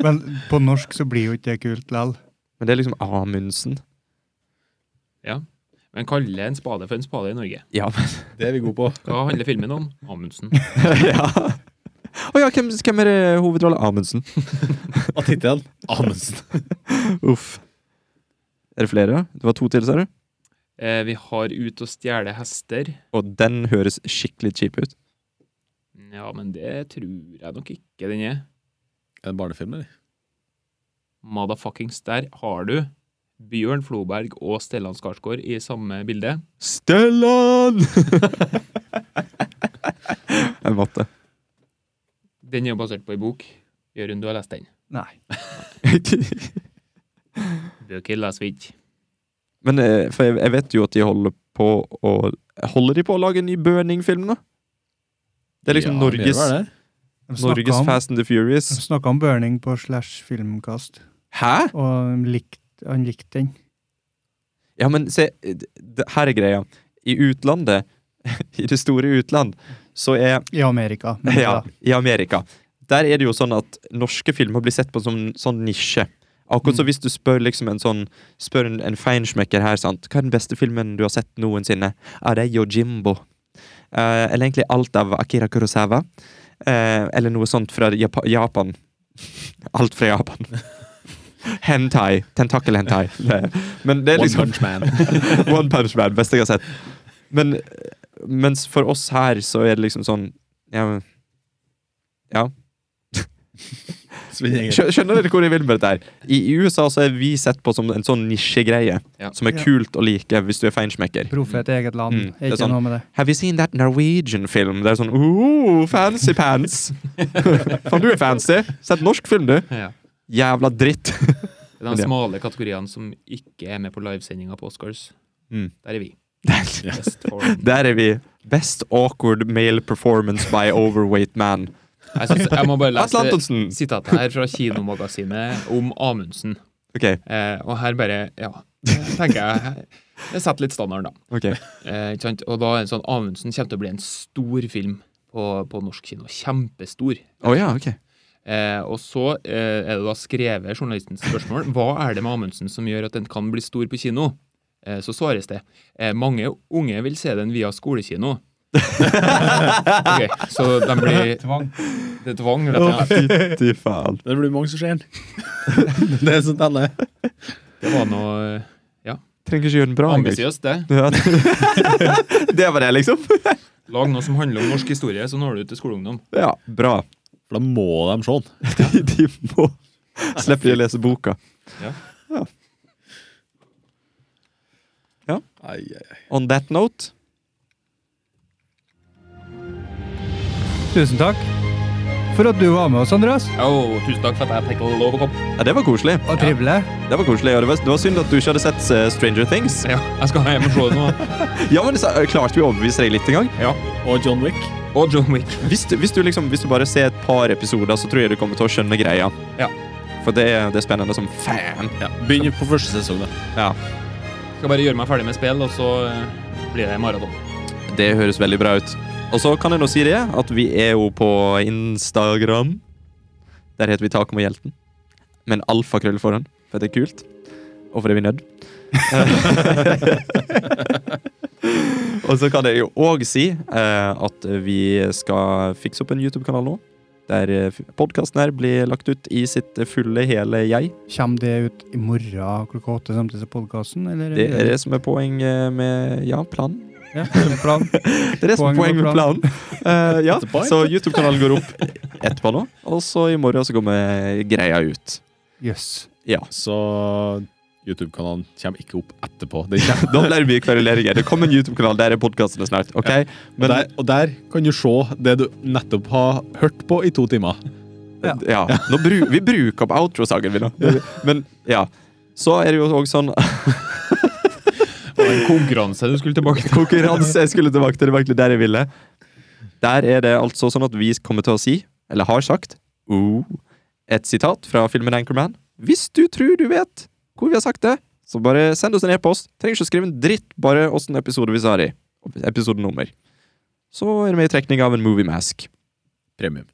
Men på norsk så blir jo ikke det kult lell.
Men det er liksom Amundsen.
Men kaller en spade for en spade i Norge.
Ja, men
Det er vi gode på.
Hva handler filmen om? Amundsen.
ja. Å ja, hvem, hvem er det hovedrolle? Amundsen.
Av tittelen Amundsen.
Uff. Er det flere? Det var to til, ser du.
Eh, vi har Ut og stjele hester.
Og den høres skikkelig cheap ut.
Ja, men det tror jeg nok ikke den er.
Er det en barnefilm, eller?
Motherfuckings, der har du Bjørn Floberg og Stellan Skarsgård i samme bilde.
Stellan! jeg måtte.
Den er jo basert på ei bok. Jørund, du har lest den?
Nei.
Bøker leser vi ikke.
Men eh, for jeg, jeg vet jo at de holder på å Holder de på å lage en ny Burning-film, da? Det er liksom
Ja, det
Norges,
var det.
De snakket
Norges
om,
Fast and the
de
Furious.
snakket om burning på slash filmkast,
Hæ?!
og han likte, han likte den.
Ja, men se, d- d- her er greia. I utlandet, i det store utland, så er
I Amerika. men
Ja,
da.
i Amerika. Der er det jo sånn at norske filmer blir sett på som en sånn nisje. Akkurat så hvis du spør liksom en sånn Spør en, en feinschmecker her, sant. Hva er den beste filmen du har sett noensinne? Ja, det er Yojimbo. Eh, eller egentlig alt av Akira Kurosawa. Eh, eller noe sånt fra Japa Japan. Alt fra Japan. Hentai. Tentakel-hentai. Det- Men det er
One
liksom
Punch Man.
One Punch Man, beste jeg har sett. Men mens for oss her så er det liksom sånn Ja. men- ja.
Svein Gjenger.
Skjø- Skjønner dere hvor jeg vil med dette? her? I i USA så er vi sett på som en sånn nisjegreie
Ja.
som er
Ja.
kult å like hvis du er feinschmecker.
Profet i eget land.
Mm, det er
er ikke
sånn.
noe med det.
Have you seen that Norwegian film? Det er sånn ooh, fancy pants! Faen, du er fancy! Sett norsk film, du!
Ja.
Jævla dritt!
Det er
Men
de
ja.
smale kategoriene som ikke er med på livesendinga på Oscars.
Mm.
Der er vi.
Der,
Best foreign.
der er vi. Best awkward male performance by overweight man.
Jeg, synes, jeg må bare
Atle
lese
Antonsen!
sitatet her fra Kinomagasinet om Amundsen.
Ok,
Eh, og her bare, ja, tenker jeg Jeg setter litt standarden, da.
ok.
Eh, ikke sant? Og da er det sånn Amundsen kommer til å bli en stor film på, på norsk kino. Kjempestor.
Å ja, ok.
Eh, og så eh, er det da skrevet journalistens spørsmål Hva er det med Amundsen som gjør at den kan bli stor på kino? Eh, så svares det eh, mange unge vil se den via skolekino. Ok, så de blir Tvang. Det er tvang, rett og slett.
Fytti faen.
Det blir mange som ser den. Det er sånn teller.
Det var noe
Trenger ikke gjøre den bra. engang.
ambisiøst, det.
Ja. det var det, liksom.
Lag noe som handler om norsk historie, så når du ut til skoleungdom.
Ja, bra.
For da må de se den.
De, de må Slipper de å lese boka.
Ai, ai, ai.
On that note
Tusen takk for at du var med oss, Andreas.
Å, tusen takk for at jeg fikk lov å komme.
Ja, det var koselig.
Og trivelig.
Det var koselig, og det var, det var synd at du ikke hadde sett eh, Stranger Things.
Ja, jeg skal hjem og se det nå.
Ja, men så, eh, Klarte vi å overbevise deg litt engang?
Og John Wick.
Og John Wick.
Hvis, du- hvis, du liksom, hvis du bare ser et par episoder, så tror jeg du kommer til å skjønne greia.
Ja.
For det, er- det er spennende som fan.
Ja. Begynn på første sesong, da.
Skal bare gjøre meg ferdig med spill, og så eh, blir det maraton.
Det høres veldig bra ut. Og så kan jeg nå si det, at vi er jo på Instagram. Der heter vi Takom og Hjelten. Med en alfakrøll foran, for det er kult. Og for det er vi nødt. og så kan jeg jo òg si eh, at vi skal fikse opp en YouTube-kanal nå. Der podkasten her blir lagt ut i sitt fulle, hele jeg.
Kommer det ut i morgen klokka åtte samtidig som podkasten?
Det er det som er poeng eh, med ja, planen.
Ja, det er planen.
Det er det som er
Poeng
poenget
med
med planen. Eh, ja,
Etterpå,
så YouTube-kanalen går opp etterpå nå, og så i morgen så kommer greia ut.
Jøss.
Ja.
Så YouTube-kanalen kommer ikke opp etterpå. Den kommer.
Da blir det mye kveruleringer. Det kommer en YouTube-kanal, der er podkastene snart. ok?
Og
Men,
der, og der kan du se det du nettopp har hørt på i to timer.
ja. Nå bru, vi bruker opp outro-sangen, vi nå. Men ja. Så er det jo òg sånn
Og en konkurranse du skulle tilbake til.
Konkurranse jeg skulle tilbake til, det var egentlig der jeg ville. Der er det altså sånn at vi kommer til å si, uh, eller har sagt, oh, et sitat fra filmen Anchorman. Hvis du tror du vet, hvor vi har sagt det, så bare send oss en e-post. Trenger ikke å skrive en dritt, bare åssen episode vi sa det i. og Episodenummer. Så er det med i trekning av en movie mask.
Premium.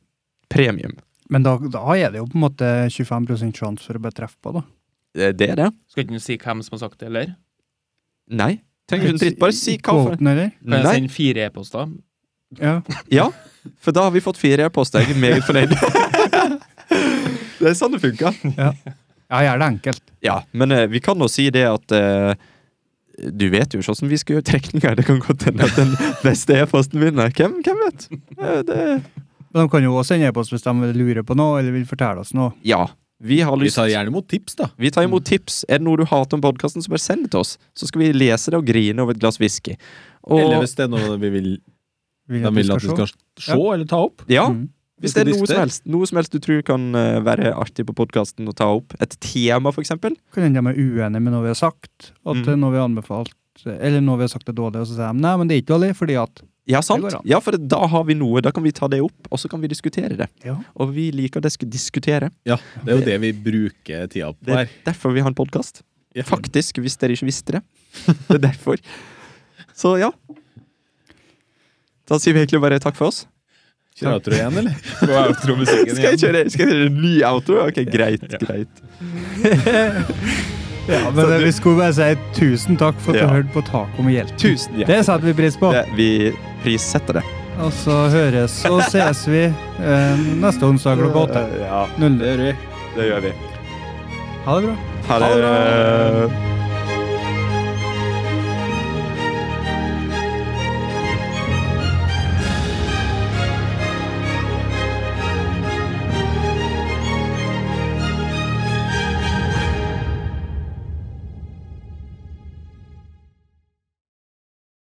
Premium.
Men da, da er det jo på en måte 25 sjanse for å bli treff på, da.
Eh, Det det er det.
Skal ikke du si hvem som har sagt det, eller?
Nei. Trenger ikke en dritt, bare si hva for
Kvoten, eller?
Kan jeg
Nei.
sende fire e-poster?
Ja.
Ja, for da har vi fått fire e-poster. Jeg er meget fornøyd. det er sånn det funker.
ja, gjør det enkelt.
Ja, men eh, vi kan jo si det at eh, Du vet jo ikke åssen vi skal gjøre trekninger. Det kan godt hende at den neste e-posten vinner. Hvem, hvem vet? Eh, Det,
Men de kan jo også sende e-post hvis de lurer på noe, eller vil fortelle oss noe.
ja. Vi har
Vi
lyst
tar gjerne imot tips, da.
Vi tar imot tips. Er det noe du hater om podkasten, så bare send det til oss. Så skal vi lese det og grine over et glass whisky.
Eller
Og
hvis det er noe vi vil,
Vil
de
at vi
vil at vi skal se eller ta opp.
ja,
Mm.
hvis
vi
det er noe
skal
som helst, noe som helst du tror kan eh, være artig på podkasten å ta opp, et tema, for eksempel.
Kan hende de er uenige med noe vi har sagt, at
Mm.
det er noe vi har anbefalt, eller noe vi har sagt er dårlig, og så sier de nei, men det er ikke dårlig, fordi at
Ja, sant.
går an.
Ja, for da har vi noe. Da kan vi ta det opp, og så kan vi diskutere det.
Ja.
Og vi liker å disk- diskutere.
Ja, Det er jo det vi bruker tida på
Det er
her.
derfor vi har en podkast.
Ja.
Faktisk, hvis dere ikke visste det. Det er derfor. Så ja. Da sier vi egentlig bare takk for oss.
Kjører outro igjen, eller?
Skal jeg outro musikken
Skal jeg
igjen?
kjøre, skal jeg kjøre en ny outro? Ok, greit. greit.
Ja, men vi skulle bare si tusen takk for at
Ja.
du hørte på Taco med hjelp.
Tusen hjertelig
Det setter vi pris på.
Det, vi prissetter det.
Og så høres og ses vi eh, neste onsdag klokka åtte.
Ja,
Null.
gjør vi.
det gjør vi.
Ha det bra.
Ha det.